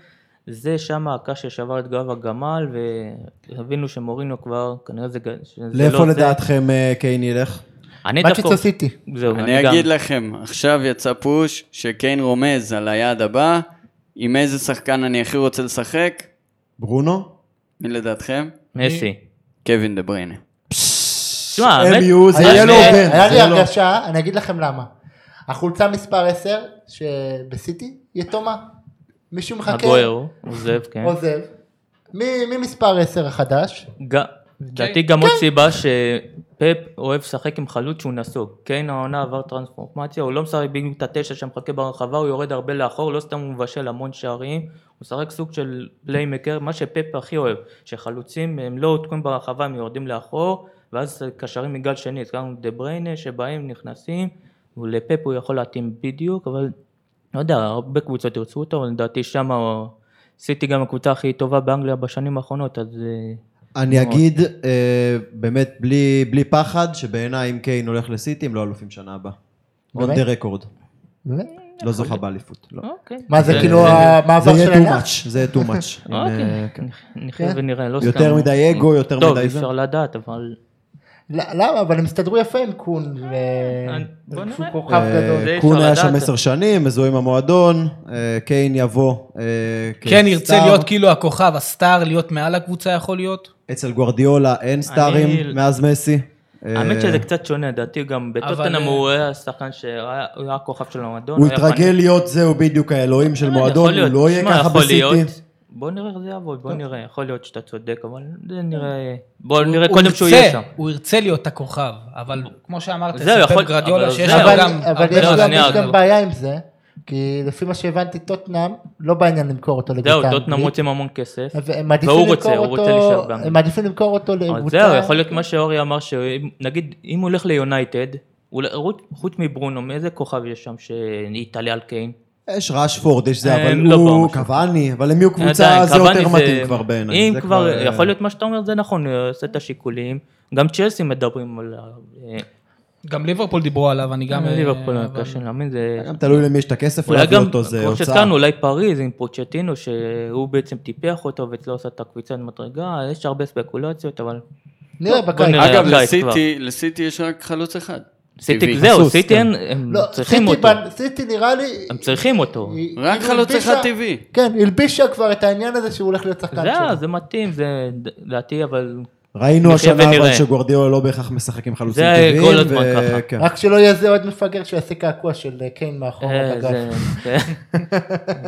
Speaker 3: זה שם הקש ששבר את גב הגמל, והבינו שמורינו כבר, כנראה זה, ג- שזה
Speaker 4: לאיפה
Speaker 3: לא זה.
Speaker 4: לדעתכם אה, קיין ילך?
Speaker 3: אני דווקא...
Speaker 1: מצ'סטר סיטי.
Speaker 3: זהו,
Speaker 6: אני אגיד לכם, עכשיו יצא פוש שקיין רומז על היעד הבא, עם איזה שחקן אני הכי רוצה לשחק,
Speaker 4: ברונו?
Speaker 6: מי לדעתכם?
Speaker 3: מסי.
Speaker 6: קווין דה בריינה.
Speaker 3: תשמע, האמת-
Speaker 4: MU, זה
Speaker 3: האמת-
Speaker 4: יהיה לו הוגן.
Speaker 1: היה לי
Speaker 4: זה לא.
Speaker 1: הרגשה, אני אגיד לכם למה. החולצה מספר 10 שבסיטי יתומה. מישהו מחכה,
Speaker 3: הגוירו, עוזב, כן.
Speaker 1: עוזב. מי מי מספר 10 החדש?
Speaker 3: ג- לדעתי גם עוד סיבה ש... פפ אוהב לשחק עם חלוץ שהוא נסוג. קיין העונה עבר טרנספורמציה, הוא לא משחק בדיוק את התשע שמחכה ברחבה, הוא יורד הרבה לאחור, לא סתם הוא מבשל המון שערים, הוא משחק סוג של פליימקר, מה שפפ הכי אוהב, שחלוצים הם לא עודקים ברחבה, הם יורדים לאחור, ואז קשרים מגל שני, הזכרנו את דה בריינה, שבאים, נכנסים, ולפפ הוא יכול להתאים בדיוק, אבל לא יודע, הרבה קבוצות ירצו אותו, אבל לדעתי שמה סיטי גם הקבוצה הכי טובה באנגליה בשנים האחרונות, אז... אה,
Speaker 4: אני אגיד, אה, באמת, בלי בלי פחד, שבעיניי אם קיין הולך לסיטי, הם לא אלופים שנה הבאה. עוד
Speaker 1: באמת?
Speaker 4: דה רקורד.
Speaker 1: באמת?
Speaker 4: לא זוכה באליפות. לא.
Speaker 3: אוקיי.
Speaker 1: מה זה
Speaker 3: זה-
Speaker 1: כאילו
Speaker 3: זה-
Speaker 4: זה
Speaker 1: המעבר
Speaker 4: יהיה
Speaker 1: של כן.
Speaker 4: too
Speaker 1: הלך?
Speaker 4: much, זה יהיה too
Speaker 1: <laughs>
Speaker 4: much.
Speaker 3: אוקיי, נחיה ונראה, לא סתם.
Speaker 4: כן. יותר מדי אגו, יותר
Speaker 3: טוב,
Speaker 4: מדי
Speaker 3: אי
Speaker 4: זה.
Speaker 3: אפשר לדעת, אבל...
Speaker 1: למה? אבל הם הסתדרו יפה עם קון ו...
Speaker 3: אה, בוא נראה.
Speaker 1: שהוא כוכב
Speaker 3: אה,
Speaker 1: גדול.
Speaker 3: זה אי אפשר
Speaker 4: קון היה
Speaker 3: לדעת.
Speaker 4: שם עשר שנים, מזוהה עם המועדון, אה, קיין יבוא. אה,
Speaker 2: כן ירצה
Speaker 4: כסטאר.
Speaker 2: להיות כאילו הכוכב, הסטאר, להיות מעל הקבוצה יכול להיות.
Speaker 4: אצל גוורדיולה אין
Speaker 3: לא
Speaker 4: סטארים מאז מסי. אה,
Speaker 3: האמת שזה קצת שונה, דעתי גם בטוטנאם
Speaker 2: אה,
Speaker 3: הוא היה השחקן שהיה הוא היה הכוכב של המועדון.
Speaker 4: הוא
Speaker 3: הוא היה פנ-
Speaker 4: התרגל להיות זהו בדיוק האלוהים של
Speaker 3: כן,
Speaker 4: מועדון,
Speaker 3: לא יכול
Speaker 4: הוא
Speaker 3: להיות.
Speaker 4: לא יהיה
Speaker 3: שמע,
Speaker 4: ככה
Speaker 3: יכול
Speaker 4: בסיטי. כן.
Speaker 3: להיות. בוא נראה איך זה יעבוד, בוא נראה, יכול להיות שאתה צודק, אבל זה נראה, בוא נראה
Speaker 2: הוא
Speaker 3: קודם שהוא
Speaker 2: ירצה,
Speaker 3: יהיה שם.
Speaker 2: הוא ירצה להיות הכוכב, אבל כמו שאמרת,
Speaker 3: זהו,
Speaker 2: אצל
Speaker 3: יכול-
Speaker 2: פפ גרדיולה
Speaker 3: אבל
Speaker 2: שיש
Speaker 3: זהו.
Speaker 2: לו
Speaker 1: אבל
Speaker 2: גם...
Speaker 1: אבל
Speaker 2: הרבה
Speaker 1: יש
Speaker 3: לא,
Speaker 2: מאוד-
Speaker 1: גם-
Speaker 3: שנייה,
Speaker 1: יש גם
Speaker 3: אבל-
Speaker 1: בעיה עם זה, כי לפי מה שהבנתי טוטנאם לא בעניין למכור אותו
Speaker 3: זהו,
Speaker 4: כן,
Speaker 1: לקבוצה
Speaker 3: טוטנאם
Speaker 1: אנגלית.
Speaker 3: רוצים המון כסף.
Speaker 1: אז הם מעדיפים
Speaker 3: והוא
Speaker 1: למכור
Speaker 3: רוצה, הוא רוצה להישאר
Speaker 1: אותו,
Speaker 3: באנגליה.
Speaker 1: הם מעדיפים למכור אותו
Speaker 3: אבל
Speaker 1: לקבוצה.
Speaker 3: זהו, יכול להיות מה שאורי אמר, שנגיד, אם הוא הולך ליונייטד, הוא לא- חוץ- חוץ מברונו, איזה כוכב יש שם שיתעלה על קיין?
Speaker 4: יש רשפורד, יש זה,
Speaker 3: אה,
Speaker 4: אבל
Speaker 3: לא
Speaker 4: הוא
Speaker 3: פה, משהו.
Speaker 4: קוואני, אבל הם יהיו קבוצה,
Speaker 3: עדיין,
Speaker 4: זה
Speaker 3: קוואני
Speaker 4: יותר מתאים כבר בעיניי.
Speaker 3: אם
Speaker 4: זה
Speaker 3: כבר,
Speaker 4: אה,
Speaker 3: יכול להיות מה שאתה אומר, זה נכון, הוא עושה את השיקולים. גם צ'לסי מדברים על... אה,
Speaker 2: גם ליברפול דיברו עליו, אני גם...
Speaker 3: גם ליברפול,
Speaker 2: אה, אבל-
Speaker 3: קשה להאמין, זה...
Speaker 4: גם תלוי למי יש את הכסף
Speaker 3: אולי
Speaker 4: להביא
Speaker 3: גם,
Speaker 4: אותו, זה
Speaker 3: כמו
Speaker 4: הוצאה.
Speaker 3: שהזכרנו, אולי פריז עם פוצ'טינו, שהוא בעצם טיפח אותו ואצלו עשה את הקביצת מדרגה, יש הרבה ספקולציות, אבל...
Speaker 1: נראה בקיץ.
Speaker 3: נראה.
Speaker 6: אגב,
Speaker 3: די, כבר.
Speaker 6: לסיטי, לסיטי יש רק חלוץ אחד. טבעי.
Speaker 3: סיטי, זהו,
Speaker 4: חסוס,
Speaker 3: סיטי אין-
Speaker 4: כן.
Speaker 3: הם
Speaker 1: לא,
Speaker 3: צריכים
Speaker 1: סיטי
Speaker 3: אותו.
Speaker 1: בנ- סיטי נראה לי...
Speaker 3: הם צריכים אותו.
Speaker 1: היא-
Speaker 6: רק
Speaker 1: כאילו
Speaker 6: חלוץ
Speaker 1: הלבישה-
Speaker 6: אחד טבעי.
Speaker 1: כן, הלבישה כבר את העניין הזה שהוא הולך להיות שחקן
Speaker 3: זהו,
Speaker 1: שלו.
Speaker 3: זה מתאים, זה דעתי, אבל... נחיה
Speaker 4: ראינו השנה אבל
Speaker 3: ונראה.
Speaker 4: שגוורדיאלה לא בהכרח משחק עם חלוצים
Speaker 3: זה
Speaker 4: טבעיים.
Speaker 3: כל הזמן
Speaker 4: ו-
Speaker 3: ככה.
Speaker 4: כן.
Speaker 1: רק שלא יהיה זה עוד מפגר שיעשה קעקוע של אה, קיין מאחור
Speaker 3: אה,
Speaker 1: בגב.
Speaker 3: זה- זה-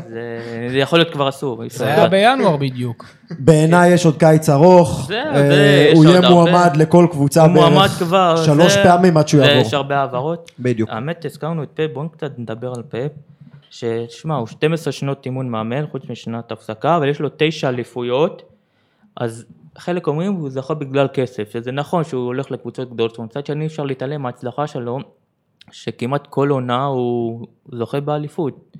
Speaker 3: זה- זה יכול להיות כבר אסור.
Speaker 2: זה היה בינואר בדיוק.
Speaker 4: בעיניי יש עוד קיץ ארוך,
Speaker 3: זה,
Speaker 4: אה,
Speaker 3: זה, יש
Speaker 4: הוא יהיה
Speaker 3: עוד הרבה.
Speaker 4: מועמד לכל קבוצה
Speaker 3: הוא מועמד
Speaker 4: בערך
Speaker 3: כבר,
Speaker 4: שלוש
Speaker 3: זה-
Speaker 4: פעמים עד שהוא
Speaker 3: זה-
Speaker 4: יעבור.
Speaker 3: יש הרבה העברות.
Speaker 4: בדיוק.
Speaker 3: האמת, הזכרנו את פאפ, בואו קצת נדבר על פאפ. ששמע, הוא 12 שנות אימון מאמן, חוץ משנת הפסקה, אבל יש לו 9 אליפויות, אז חלק אומרים הוא זכה בגלל כסף, שזה נכון שהוא הולך לקבוצות גדולות, מצד שני אי אפשר להתעלם מההצלחה שלו, שכמעט כל עונה הוא זוכה באליפות.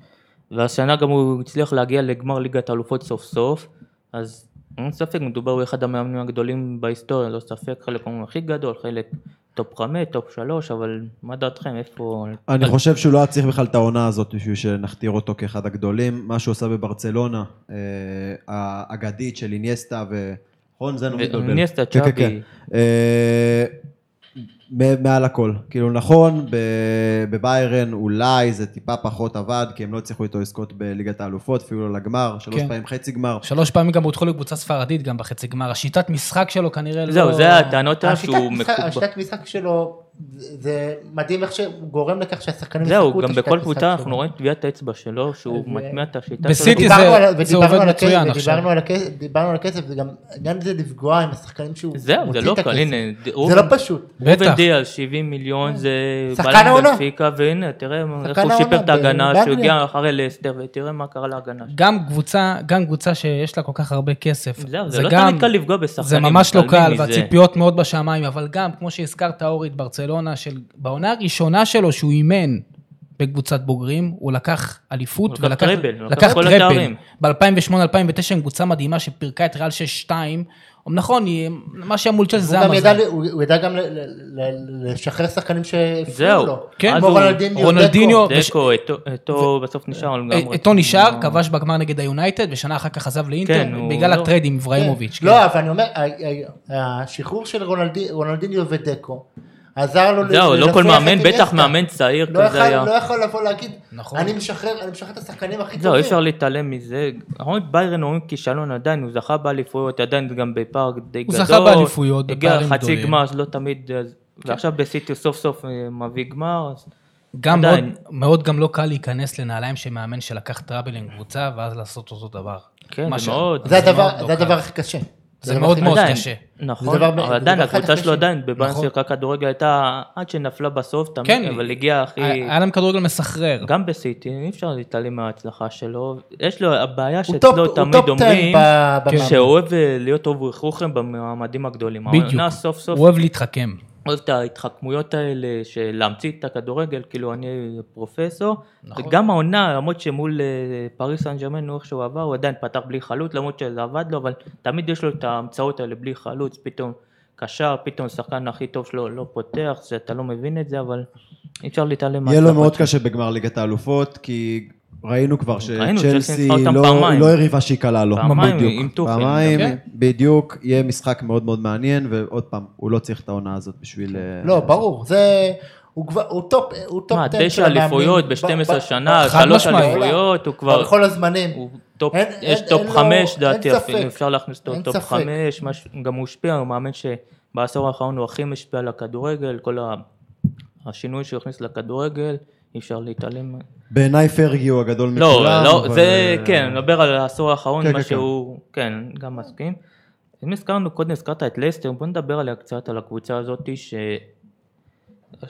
Speaker 3: והשנה גם הוא הצליח להגיע לגמר ליגת האלופות סוף סוף, אז אין ספק, מדובר באחד המאמנים הגדולים בהיסטוריה, לא ספק, חלק אומרים הכי גדול, חלק טופ חמש, טופ שלוש, אבל מה דעתכם, איפה...
Speaker 4: אני חושב שהוא לא היה צריך בכלל את העונה הזאת בשביל שנכתיר אותו כאחד הגדולים. מה שהוא עשה בברצלונה, אה, האגדית של איניאסטה ו... נכון? זה נורא מתבלבל.
Speaker 3: איניאסטה,
Speaker 4: כן, כן,
Speaker 3: צ'אבי.
Speaker 4: כן. אה, מ- מעל הכל. כאילו נכון, ב- בביירן אולי זה טיפה פחות עבד, כי הם לא הצליחו איתו לזכות בליגת האלופות, אפילו לא לגמר, שלוש
Speaker 2: כן.
Speaker 4: פעמים חצי גמר.
Speaker 2: שלוש פעמים גם הודחו לקבוצה ספרדית, גם בחצי גמר. השיטת משחק שלו כנראה לא...
Speaker 3: זהו, זה הטענות שלה
Speaker 1: השיטת
Speaker 3: שהוא
Speaker 1: משחק-
Speaker 3: מקובל.
Speaker 1: השיטת משחק שלו, זה זה מדהים איך שהוא גורם לכך שהשחקנים
Speaker 3: זהו,
Speaker 1: ישחקו את
Speaker 3: גם
Speaker 1: השיטת
Speaker 3: בכל
Speaker 1: משחק
Speaker 3: קבוצה
Speaker 1: שלו.
Speaker 3: אנחנו רואים טביעת האצבע שלו, שהוא
Speaker 1: אז,
Speaker 3: מטמיע את השיטה שלו.
Speaker 2: בסיטי
Speaker 1: דיברנו
Speaker 2: זה-
Speaker 1: על-
Speaker 2: זה
Speaker 1: ודיברנו
Speaker 2: עובד
Speaker 1: על הכסף,
Speaker 2: מצוין
Speaker 1: ודיברנו
Speaker 2: עכשיו.
Speaker 1: על הכסף, דיברנו על הכסף, זה גם עניין זה לפגוע עם השחקנים שהוא
Speaker 3: זהו, זה
Speaker 1: מוציא
Speaker 3: לא
Speaker 1: את
Speaker 3: קל,
Speaker 1: הכסף.
Speaker 3: הנה,
Speaker 1: זה לא פשוט.
Speaker 3: ראובן
Speaker 2: בטח.
Speaker 3: דיאל, 70 מיליון, זה
Speaker 1: שחקן
Speaker 3: בלם
Speaker 1: העונה.
Speaker 3: בנפיקה, והנה, תראה איך הוא
Speaker 1: העונה
Speaker 3: שיפר את
Speaker 1: ב-
Speaker 3: ההגנה, שהוא
Speaker 1: באנגליה.
Speaker 3: הגיע אחרי לסטר, ותראה מה קרה להגנה.
Speaker 2: גם קבוצה, גם קבוצה שיש לה כל כך הרבה כסף.
Speaker 3: זהו, זה לא תמיד קל לפגוע בשחקנים.
Speaker 2: זה ממש לא קל,
Speaker 3: מתעלמים מזה.
Speaker 2: והציפיות מאוד בשמיים, אבל גם, כמו שהזכרת, אורי, את ברצלונה, של... בעונה הראשונה שלו, שהוא אימן בקבוצת בוגרים, הוא לקח אליפות,
Speaker 3: הוא לקח טראבל, הוא לקח
Speaker 2: לקח
Speaker 3: כל
Speaker 2: טראבל.
Speaker 3: התארים.
Speaker 2: ב-2008-2009 עם קבוצה מדהימה שפירקה את ריאל 6-2. נכון, היא- מה שהיה מול צ'ס
Speaker 1: הוא
Speaker 2: זה
Speaker 1: גם
Speaker 2: המזל.
Speaker 1: ידע, ל- הוא הוא ידע גם ל- ל- ל- לשחרר שחקנים שהפריעו
Speaker 3: זהו.
Speaker 1: לו.
Speaker 2: כן,
Speaker 1: כמו כן.
Speaker 3: אז הוא-
Speaker 1: רונלדיניו,
Speaker 2: רונלדיניו,
Speaker 1: דקו.
Speaker 3: דקו, אתו- אתו בסוף נשאר לגמרי.
Speaker 2: אה,
Speaker 3: לא-
Speaker 2: אתו נשאר, כבש בגמר נגד היונייטד, ושנה אחר כך עזב
Speaker 3: כן,
Speaker 2: לאינטר,
Speaker 3: הוא
Speaker 2: בגלל
Speaker 3: לא-
Speaker 2: הטרייד עם אברהימוביץ'. כן.
Speaker 1: לא, אבל אני אומר, ה- ה- השחרור של רונלדי- רונלדיניו ודקו עזר לו ל-
Speaker 3: זהו, לא כל
Speaker 1: לנצח את
Speaker 3: מאמן, בטח
Speaker 1: איניאסטה.
Speaker 3: מאמן צעיר
Speaker 1: לא
Speaker 3: כזה
Speaker 1: יכול-
Speaker 3: היה.
Speaker 1: לא יכול לבוא להגיד,
Speaker 2: נכון.
Speaker 1: אני משחרר אני משחרר את השחקנים הכי
Speaker 3: זהו, אי אפשר
Speaker 1: טובים.
Speaker 3: להתעלם מזה. נכון, ביירן אומרים כישלון עדיין, הוא זכה באליפויות, עדיין גם בפער די
Speaker 2: הוא
Speaker 3: גדול.
Speaker 2: זכה באליפויות,
Speaker 3: הגיע
Speaker 2: בפערים
Speaker 3: חצי
Speaker 2: גדולים.
Speaker 3: גמר, אז לא תמיד... אז-
Speaker 1: כן.
Speaker 3: ועכשיו בסיטי סוף סוף אה, מביא גמר, אז
Speaker 2: גם מאוד,
Speaker 3: עדיין.
Speaker 2: מאוד גם לא קל להיכנס לנעליים של מאמן שלקח טראבל עם קבוצה, ואז לעשות אותו דבר.
Speaker 3: כן,
Speaker 2: מה
Speaker 3: זה מאוד.
Speaker 1: זה
Speaker 2: מאוד
Speaker 1: הדבר-
Speaker 2: לא
Speaker 1: זה
Speaker 2: קל.
Speaker 1: הדבר הכי קשה.
Speaker 2: זה מאוד לא מאוד
Speaker 3: עדיין,
Speaker 2: קשה.
Speaker 1: זה
Speaker 3: נכון,
Speaker 1: דבר- זה
Speaker 3: אבל עדיין,
Speaker 1: דבר אחד
Speaker 3: הקבוצה
Speaker 1: אחרי
Speaker 3: שלו
Speaker 1: ש-
Speaker 3: עדיין,
Speaker 2: נכון.
Speaker 3: בבאנסר הכדורגל הייתה עד שנפלה בסוף, תמיד,
Speaker 2: כן.
Speaker 3: אבל הגיעה הכי...
Speaker 2: היה היה להם כדורגל מסחרר.
Speaker 3: גם בסיטי, אי אפשר להתעלם מההצלחה שלו. יש לו, הבעיה
Speaker 1: הוא טופ-
Speaker 3: שאצלו
Speaker 1: הוא
Speaker 3: תמיד
Speaker 1: טופ 10
Speaker 3: אומרים,
Speaker 1: ב-
Speaker 2: כן.
Speaker 1: במעמד.
Speaker 3: שהוא אוהב אה, להיות אובר חוכם במעמדים הגדולים.
Speaker 2: בדיוק.
Speaker 3: העונה סוף סוף
Speaker 2: הוא אוהב להתחכם.
Speaker 3: אוהב את ההתחכמויות האלה של להמציא את הכדורגל, כאילו אני פרופסור.
Speaker 2: נכון?
Speaker 3: וגם העונה, למרות שמול אה, פריס סן ג'רמן הוא איך שהוא עבר, הוא עדיין פתח בלי חלוץ, למרות שזה עבד לו, אבל תמיד יש לו את ההמצאות האלה בלי חלוץ, פתאום קשר, פתאום השחקן הכי טוב שלו לא פותח, שאתה לא מבין את זה, אבל אי אפשר להתעלם
Speaker 4: יהיה לו
Speaker 3: מההצלחות
Speaker 4: מאוד
Speaker 3: שלו.
Speaker 4: קשה בגמר ליגת האלופות, כי ראינו כבר
Speaker 3: ראינו, צ'לסי
Speaker 4: שצ'לסי
Speaker 3: ניצחה אותם
Speaker 4: לא-
Speaker 3: פעמיים.
Speaker 4: לא הריבה שהיא קלה לו.
Speaker 3: פעמיים,
Speaker 4: בדיוק.
Speaker 3: עם טוחל.
Speaker 4: פעמיים,
Speaker 2: כן.
Speaker 4: בדיוק, יהיה משחק מאוד מאוד מעניין, ועוד פעם, הוא לא צריך את העונה הזאת בשביל... אה,
Speaker 1: לא, ברור, זה... הוא כבר, הוא טופ, הוא טופ
Speaker 3: מה,
Speaker 1: 10 של
Speaker 3: תשע
Speaker 1: המאמנים.
Speaker 3: אליפויות
Speaker 1: ב- ב-
Speaker 3: ב-12 שנה,
Speaker 2: חד
Speaker 3: שלוש
Speaker 2: משמעית.
Speaker 3: אליפויות, הוא כבר,
Speaker 1: בכל הזמנים.
Speaker 3: הוא טופ,
Speaker 1: כן. אין-
Speaker 3: יש
Speaker 1: אין-
Speaker 3: טופ
Speaker 1: אין לו-
Speaker 3: חמש
Speaker 1: אין
Speaker 3: דעתי
Speaker 1: ספק.
Speaker 3: אפילו, אפשר להכניס אותו
Speaker 1: אין
Speaker 3: טופ
Speaker 1: ספק.
Speaker 3: חמש, מש- גם הוא השפיע, הוא מאמן שבעשור האחרון הוא הכי משפיע על הכדורגל, כל ה- השינוי שהוא הכניס לכדורגל, אי אפשר להתעלם.
Speaker 4: בעיניי פרגי הוא הגדול
Speaker 3: לא,
Speaker 4: מכולם.
Speaker 3: לא,
Speaker 4: אבל,
Speaker 3: זה,
Speaker 4: אה,
Speaker 3: כן, אני מדבר על העשור האחרון,
Speaker 4: כן,
Speaker 3: מה
Speaker 4: כן,
Speaker 3: שהוא, כן, גם מסכים. אם הזכרנו קודם, הזכרת את לסטר, בוא נדבר עליה קצת, על הקבוצה הזאת ש...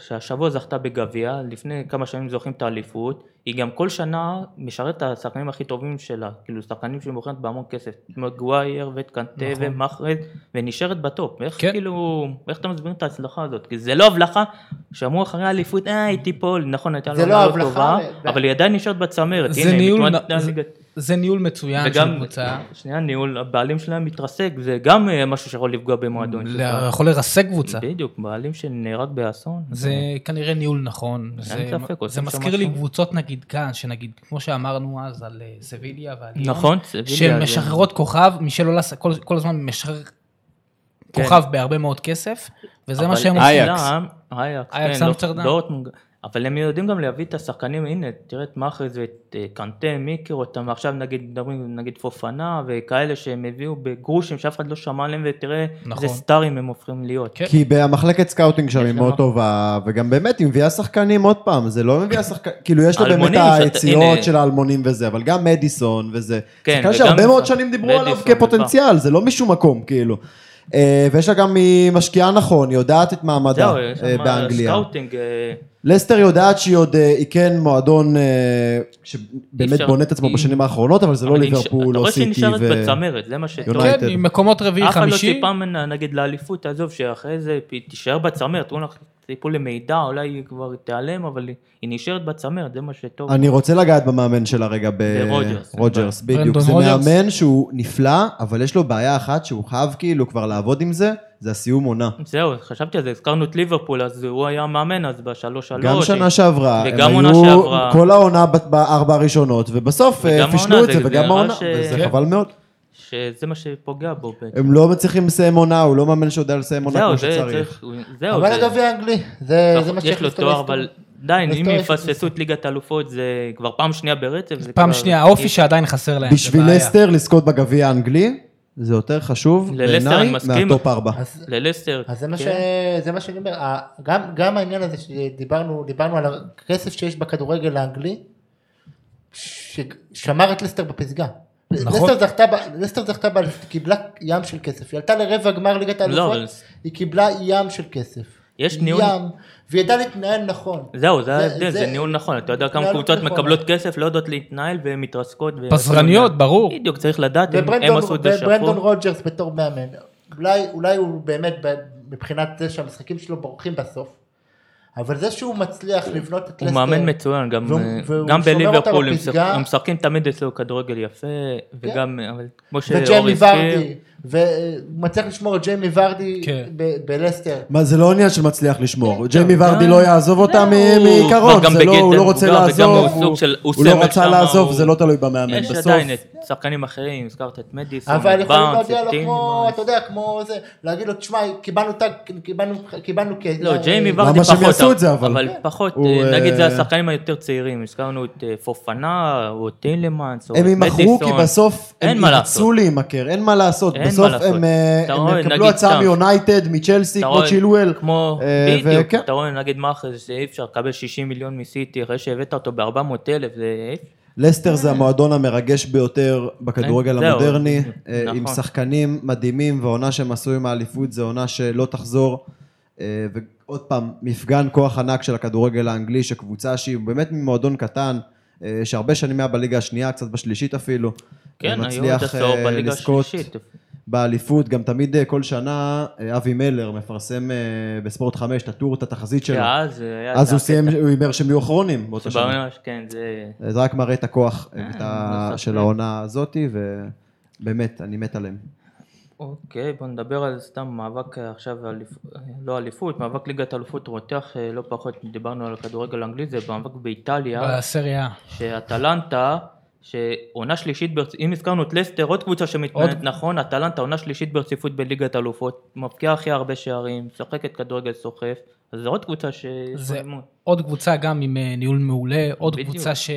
Speaker 3: שהשבוע זכתה בגביע, לפני כמה שנים זוכים את האליפות, היא גם כל שנה משרת את השחקנים הכי טובים שלה, כאילו שחקנים שמוכרת בהמון כסף, כמו גווייר ואת קנטה
Speaker 2: נכון.
Speaker 3: ומחרד, ונשארת בטופ, איך
Speaker 2: כן.
Speaker 3: כאילו, איך אתה מסביר את ההצלחה הזאת? כי זה לא הבלחה, שאמרו אחרי האליפות, אה, היא תיפול, נכון, הייתה לה
Speaker 1: זה לא
Speaker 3: עונה לא
Speaker 1: הבלחה,
Speaker 3: טובה,
Speaker 1: ו-
Speaker 3: אבל היא עדיין נשארת בצמרת,
Speaker 2: זה
Speaker 3: הנה, היא
Speaker 2: ניהול
Speaker 3: מתמודדת
Speaker 2: נ-
Speaker 3: לליגת-
Speaker 2: זה ניהול מצוין של
Speaker 3: וגם,
Speaker 2: קבוצה.
Speaker 3: שנייה, ניהול, הבעלים שלהם מתרסק, זה גם אה, משהו שיכול לפגוע במועדון.
Speaker 2: ל- יכול לרסק קבוצה.
Speaker 3: בדיוק, בעלים שנהרג באסון.
Speaker 2: זה כנראה ניהול נכון. זה-
Speaker 3: ספק, עושים
Speaker 2: זה
Speaker 3: שם
Speaker 2: מזכיר לי
Speaker 3: משהו.
Speaker 2: קבוצות נגיד כאן, שנגיד, כמו שאמרנו אז על אה, סביליה ועל ליאון,
Speaker 3: נכון, סביליה,
Speaker 2: שהן
Speaker 3: זה-
Speaker 2: משחררות כוכב, מישל אולס כל כל הזמן משחרר
Speaker 3: כן.
Speaker 2: כוכב בהרבה מאוד כסף, וזה מה
Speaker 3: אבל
Speaker 2: שהם
Speaker 6: אייקס.
Speaker 2: עושים.
Speaker 3: אצלם- אייקס,
Speaker 2: אייקס
Speaker 3: כן, לא-
Speaker 2: אמסטרדם.
Speaker 3: דורטמונד. אבל הם יודעים גם להביא את השחקנים, הנה, תראה את מאחז ואת אה, קנטה, מי הכיר אותם, ועכשיו נגיד, מדברים נגיד פופנה, וכאלה שהם הביאו בגרושים שאף אחד לא שמע עליהם, ותראה
Speaker 2: נכון.
Speaker 3: איזה סטארים הם הופכים להיות.
Speaker 2: כן.
Speaker 4: כי במחלקת סקאוטינג שם היא
Speaker 3: לה
Speaker 4: מאוד
Speaker 3: מה.
Speaker 4: טובה, וגם באמת היא מביאה שחקנים עוד פעם, זה לא מביאה שחקנים, <laughs> כאילו יש לה באמת
Speaker 3: אלמונים, שאתה-
Speaker 4: היציאות
Speaker 3: הנה.
Speaker 4: של האלמונים וזה, אבל גם מדיסון וזה,
Speaker 3: כן,
Speaker 4: שחקן
Speaker 3: וגם-
Speaker 4: שהרבה מאוד שנים דיברו עליו
Speaker 3: מדיסון, נכון.
Speaker 4: כפוטנציאל, זה לא משום מקום כאילו. אה, ויש לה גם, היא משקיעה נכון, היא יודעת את מעמדה
Speaker 3: זהו, יש
Speaker 4: אה,
Speaker 3: שם
Speaker 4: באנגליה.
Speaker 3: סקאוטינג, אה,
Speaker 4: לסטר יודעת שהיא עוד, אה, היא כן מועדון אה,
Speaker 3: אי
Speaker 4: שבאמת
Speaker 3: אפשר-
Speaker 4: בונה את עצמו
Speaker 3: היא-
Speaker 4: בשנים האחרונות, אבל זה לא
Speaker 3: אבל היא נשאר-
Speaker 4: ליברפול,
Speaker 3: אתה
Speaker 4: לא
Speaker 3: רואה שהיא
Speaker 4: סיטי.
Speaker 3: נשארת
Speaker 4: ו-
Speaker 3: בצמרת, זה מה שטוב.
Speaker 4: יונייטד.
Speaker 2: כן, עם מקומות רביעי
Speaker 3: אף אחד לא
Speaker 2: חמישי,
Speaker 3: ציפה ממנה, נגיד, לאליפות, תעזוב, שאחרי זה היא תישאר בצמרת, אולי טיפול למידע, אולי היא כבר תיעלם, אבל היא- היא נשארת בצמרת, זה מה שטוב.
Speaker 4: אני רוצה לגעת במאמן שלה רגע,
Speaker 3: ברוג'רס.
Speaker 4: ברוג'רס, בדיוק.
Speaker 2: ברנדון
Speaker 4: זה
Speaker 2: רוג'רס.
Speaker 4: מאמן שהוא נפלא, אבל יש לו בעיה אחת שהוא חייב כאילו כבר לעבוד עם זה, זה הסיום עונה.
Speaker 3: זהו, חשבתי על זה, הזכרנו את ליברפול, אז הוא היה מאמן אז בשלוש שלוש.
Speaker 4: גם שנה שעברה, הם
Speaker 3: אוקיי. וגם עונה
Speaker 4: היו
Speaker 3: שעברה.
Speaker 4: כל העונה ב- בארבע הראשונות, ובסוף
Speaker 3: וגם
Speaker 4: אה,
Speaker 3: העונה,
Speaker 4: פישלו את
Speaker 3: זה-
Speaker 4: זה,
Speaker 3: זה
Speaker 4: וגם
Speaker 3: נראה
Speaker 4: העונה,
Speaker 3: ש-
Speaker 4: וזה
Speaker 3: כן.
Speaker 4: חבל מאוד.
Speaker 3: שזה מה שפוגע בו בעצם.
Speaker 4: הם לא מצליחים לסיים עונה, הוא לא מאמן שיודע לסיים עונה
Speaker 3: זהו,
Speaker 4: כמו
Speaker 3: זה
Speaker 4: שצריך.
Speaker 3: צריך, זהו.
Speaker 1: אבל
Speaker 3: לא, זה-
Speaker 1: הגביע האנגלי, זה
Speaker 3: נכון,
Speaker 1: זה מה
Speaker 3: יש לו
Speaker 1: שהכניס אותו
Speaker 3: תואר,
Speaker 1: להיסטוריה.
Speaker 3: אבל עדיין, אם
Speaker 1: להיסטוריה של
Speaker 3: יפספסו את ליגת האלופות, זה כבר פעם שנייה ברצף. זה
Speaker 2: פעם
Speaker 3: כבר-
Speaker 2: שנייה, האופי שעדיין חסר להם. זה
Speaker 4: בשביל
Speaker 2: בעיה.
Speaker 4: לסטר לזכות בגביע האנגלי, זה יותר חשוב
Speaker 3: ללסטר אני
Speaker 4: בעיניי
Speaker 3: מסכים.
Speaker 4: מהטופ ארבע.
Speaker 1: אז-
Speaker 3: ללסטר.
Speaker 1: אז זה מה ש-
Speaker 3: כן.
Speaker 1: זה מה שאני אומר, ה- גם- גם העניין הזה שדיברנו דיברנו על הכסף שיש בכדורגל האנגלי, ששמר את לסטר בפסגה.
Speaker 2: נכון.
Speaker 1: לסטר זכתה, ב- לסטר זכתה, באליפות, היא קיבלה ים של כסף, היא עלתה לרבע גמר ליגת האלופות,
Speaker 3: לא, אבל-
Speaker 1: היא קיבלה ים של כסף.
Speaker 3: יש ניהול-
Speaker 1: ים, והיא ידעה להתנהל נכון.
Speaker 3: זהו, זה
Speaker 1: זה-
Speaker 3: ההבדל,
Speaker 1: זה-
Speaker 3: זה ניהול נכון. אתה יודע כמה
Speaker 1: התנהלות
Speaker 3: קבוצות
Speaker 1: נכונה.
Speaker 3: מקבלות כסף, לא יודעות להתנהל והן מתרסקות. ו-
Speaker 2: פזרניות, ברור.
Speaker 3: בדיוק, צריך לדעת, הם- הם
Speaker 1: וברנדון
Speaker 3: עשו את זה
Speaker 1: וברנדון
Speaker 3: שפור.
Speaker 1: רוג'רס בתור מאמן, אולי, אולי הוא באמת ב- מבחינת זה שהמשחקים שלו בורחים בסוף, אבל זה שהוא מצליח לבנות את
Speaker 3: הוא
Speaker 1: לסטר,
Speaker 3: מאמן מצוין, גם,
Speaker 1: והוא-
Speaker 3: אה,
Speaker 1: והוא
Speaker 3: גם
Speaker 1: שומר
Speaker 3: בליברפול,
Speaker 1: אותה
Speaker 3: הם משחק-
Speaker 1: בפסגה.
Speaker 3: הם משחקים תמיד אצלו כדורגל יפה, וגם, אבל כמו שאורי
Speaker 1: וג'יימי
Speaker 3: הזכיר,
Speaker 1: ורדי, והוא מצליח לשמור את ג'יימי ורדי
Speaker 2: כן.
Speaker 1: ב- בלסטר.
Speaker 4: מה זה לא עניין שמצליח לשמור, ג'יימי
Speaker 3: כן,
Speaker 4: ורדי
Speaker 3: כן.
Speaker 4: לא יעזוב אותה מ-
Speaker 3: הוא
Speaker 4: מעיקרון,
Speaker 3: כבר גם
Speaker 4: זה לא, הוא
Speaker 3: בגדר
Speaker 4: לא רוצה
Speaker 3: מבוגר, וגם
Speaker 4: לעזוב,
Speaker 3: הוא סוג של- הוא
Speaker 4: הוא לא
Speaker 3: סמל
Speaker 4: רצה
Speaker 3: שמה,
Speaker 4: לעזוב,
Speaker 3: הוא-
Speaker 4: זה לא תלוי במאמן,
Speaker 3: יש
Speaker 4: בסוף
Speaker 3: עדיין את שחקנים אחרים, הזכרת את מדיסון, את
Speaker 1: אבל יכולים
Speaker 3: באונס,
Speaker 1: להודיע
Speaker 3: את
Speaker 1: לו כמו,
Speaker 3: טינמאס.
Speaker 1: אתה יודע, כמו זה, להגיד לו, תשמע, קיבלנו טאג, קיבלנו, קיבלנו כ...
Speaker 3: לא, ג'יימי
Speaker 1: אה,
Speaker 3: ורדי
Speaker 4: למה
Speaker 3: פחות,
Speaker 4: שהם יעשו את זה, אבל?
Speaker 3: אבל
Speaker 1: כן.
Speaker 3: פחות,
Speaker 4: הוא,
Speaker 3: אה, נגיד זה
Speaker 4: אה,
Speaker 3: השחקנים היותר צעירים, הזכרנו את אה, פופנה, או טילמנס, או
Speaker 4: הם
Speaker 3: את
Speaker 4: יימכרו כי
Speaker 3: מדיסון.
Speaker 4: בסוף
Speaker 3: אין
Speaker 4: הם
Speaker 3: מה
Speaker 4: ירצו
Speaker 3: לעשות.
Speaker 4: להימכר, אין מה לעשות,
Speaker 3: אין מה
Speaker 4: בסוף
Speaker 3: לעשות.
Speaker 4: הם אה,
Speaker 3: אתה
Speaker 4: הם
Speaker 3: רואה,
Speaker 4: יקבלו
Speaker 3: נגיד
Speaker 4: הצעה
Speaker 3: צ'אמס.
Speaker 4: מיונייטד, מצ'לסי,
Speaker 3: אתה
Speaker 4: כמו
Speaker 3: רואה,
Speaker 4: צ'ילואל,
Speaker 3: כמו,
Speaker 4: אה,
Speaker 3: בדיוק,
Speaker 4: וכן.
Speaker 3: אתה רואה נגיד מאחז שאי אפשר לקבל 60 מיליון מסיטי אחרי שהבאת אותו ב-400 אלף, זה...
Speaker 4: לסטר זה המועדון המרגש ביותר בכדורגל
Speaker 3: זהו.
Speaker 4: המודרני, אה, עם
Speaker 3: נכון.
Speaker 4: שחקנים מדהימים, והעונה שהם עשו עם האליפות זו עונה שלא תחזור. אה, ועוד פעם, מפגן כוח ענק של הכדורגל האנגלי, שקבוצה שהיא באמת ממועדון קטן, אה, שהרבה שנים היה בליגה השנייה, קצת בשלישית אפילו. אה,
Speaker 3: כן, היו עוד
Speaker 4: מצליח,
Speaker 3: עשור
Speaker 4: אה,
Speaker 3: בליגה
Speaker 4: לזכות
Speaker 3: השלישית.
Speaker 4: באליפות, גם תמיד אה, כל שנה אה, אבי מלר מפרסם אה, בספורט 5 את הטור, את התחזית שלו.
Speaker 3: שאז היה...
Speaker 4: אז
Speaker 3: זה
Speaker 4: הוא סיים,
Speaker 3: הקטע.
Speaker 4: הוא הימר שהם יהיו אחרונים באותה שנה.
Speaker 3: ברור, כן, זה...
Speaker 4: זה רק מראה את הכוח
Speaker 3: אה,
Speaker 4: את ה...
Speaker 3: לא
Speaker 4: של
Speaker 3: ספק.
Speaker 4: העונה הזאתי, ובאמת, אני מת עליהם.
Speaker 3: אוקיי, בוא נדבר על סתם מאבק אה, עכשיו, אליפ... אה, לא אליפות, מאבק ליגת אלופות רותח, אה, לא פחות, דיברנו על הכדורגל האנגלי, זה מאבק באיטליה,
Speaker 2: בסריה. A.
Speaker 3: שאטלנטה, שעונה שלישית, ברצ... אם הזכרנו את לסטר, עוד קבוצה שמתנהלת
Speaker 2: עוד-
Speaker 3: נכון, אטלנטה עונה שלישית ברציפות בליגת אלופות, מבקיעה הכי הרבה שערים, משחקת כדורגל סוחף, אז זו עוד קבוצה ש...
Speaker 2: זה עוד קבוצה גם עם אה, ניהול מעולה, עוד
Speaker 3: בדיוק.
Speaker 2: קבוצה ש...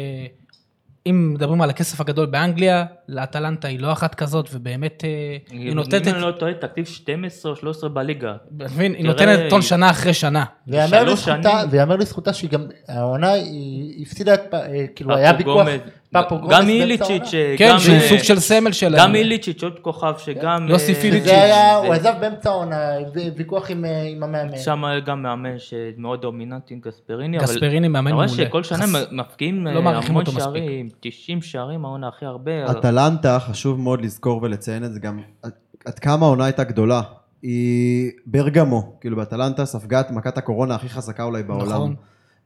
Speaker 2: אם מדברים על הכסף הגדול באנגליה, לאטלנטה היא לא אחת כזאת, ובאמת אה, היא נותנת,
Speaker 3: אם אני לא טועה, תקציב 12 או
Speaker 2: <laughs>
Speaker 3: 13 בליגה.
Speaker 2: אתה מבין? היא
Speaker 3: תראה,
Speaker 2: נותנת טון
Speaker 3: היא- אה,
Speaker 2: שנה אחרי שנה.
Speaker 1: ויאמר
Speaker 3: שלוש
Speaker 1: לזכותה,
Speaker 3: שנים.
Speaker 1: ויאמר לזכותה שהיא גם, העונה היא הפסידה, את פ- אה, כאילו
Speaker 3: פפו
Speaker 1: היה ויכוח,
Speaker 3: גומז.
Speaker 1: פפו גומז
Speaker 3: גם
Speaker 1: באמצע
Speaker 3: איליצ'יץ',
Speaker 1: העונה.
Speaker 2: כן,
Speaker 3: שגם,
Speaker 2: שהוא
Speaker 3: אה,
Speaker 2: סוג של סמל שלהם.
Speaker 3: גם איליצ'יץ', עוד כוכב שגם...
Speaker 2: יוסי
Speaker 3: אה,
Speaker 2: פיליצ'יץ'.
Speaker 1: זה היה,
Speaker 3: זה-
Speaker 1: הוא עזב באמצע העונה, ו- ויכוח עם אה, עם המאמן.
Speaker 3: שם היה גם מאמן שמאוד דומיננטי, גספריני. אבל-
Speaker 2: גספריני מאמן
Speaker 3: אתה רואה
Speaker 2: מעולה.
Speaker 3: שכל שנה
Speaker 2: חס-
Speaker 3: מפקיעים
Speaker 2: לא מעריכים
Speaker 3: המון
Speaker 2: אותו מספיק.
Speaker 3: שערים, 90 שערים העונה הכי הרבה.
Speaker 1: לא
Speaker 4: אטלנטה, חשוב מאוד לזכור ולציין את זה גם, עד- עד כמה העונה הייתה גדולה. היא ברגמו, כאילו באטלנטה ספגה את מכת הקורונה הכי חזקה אולי בעולם.
Speaker 2: נכון.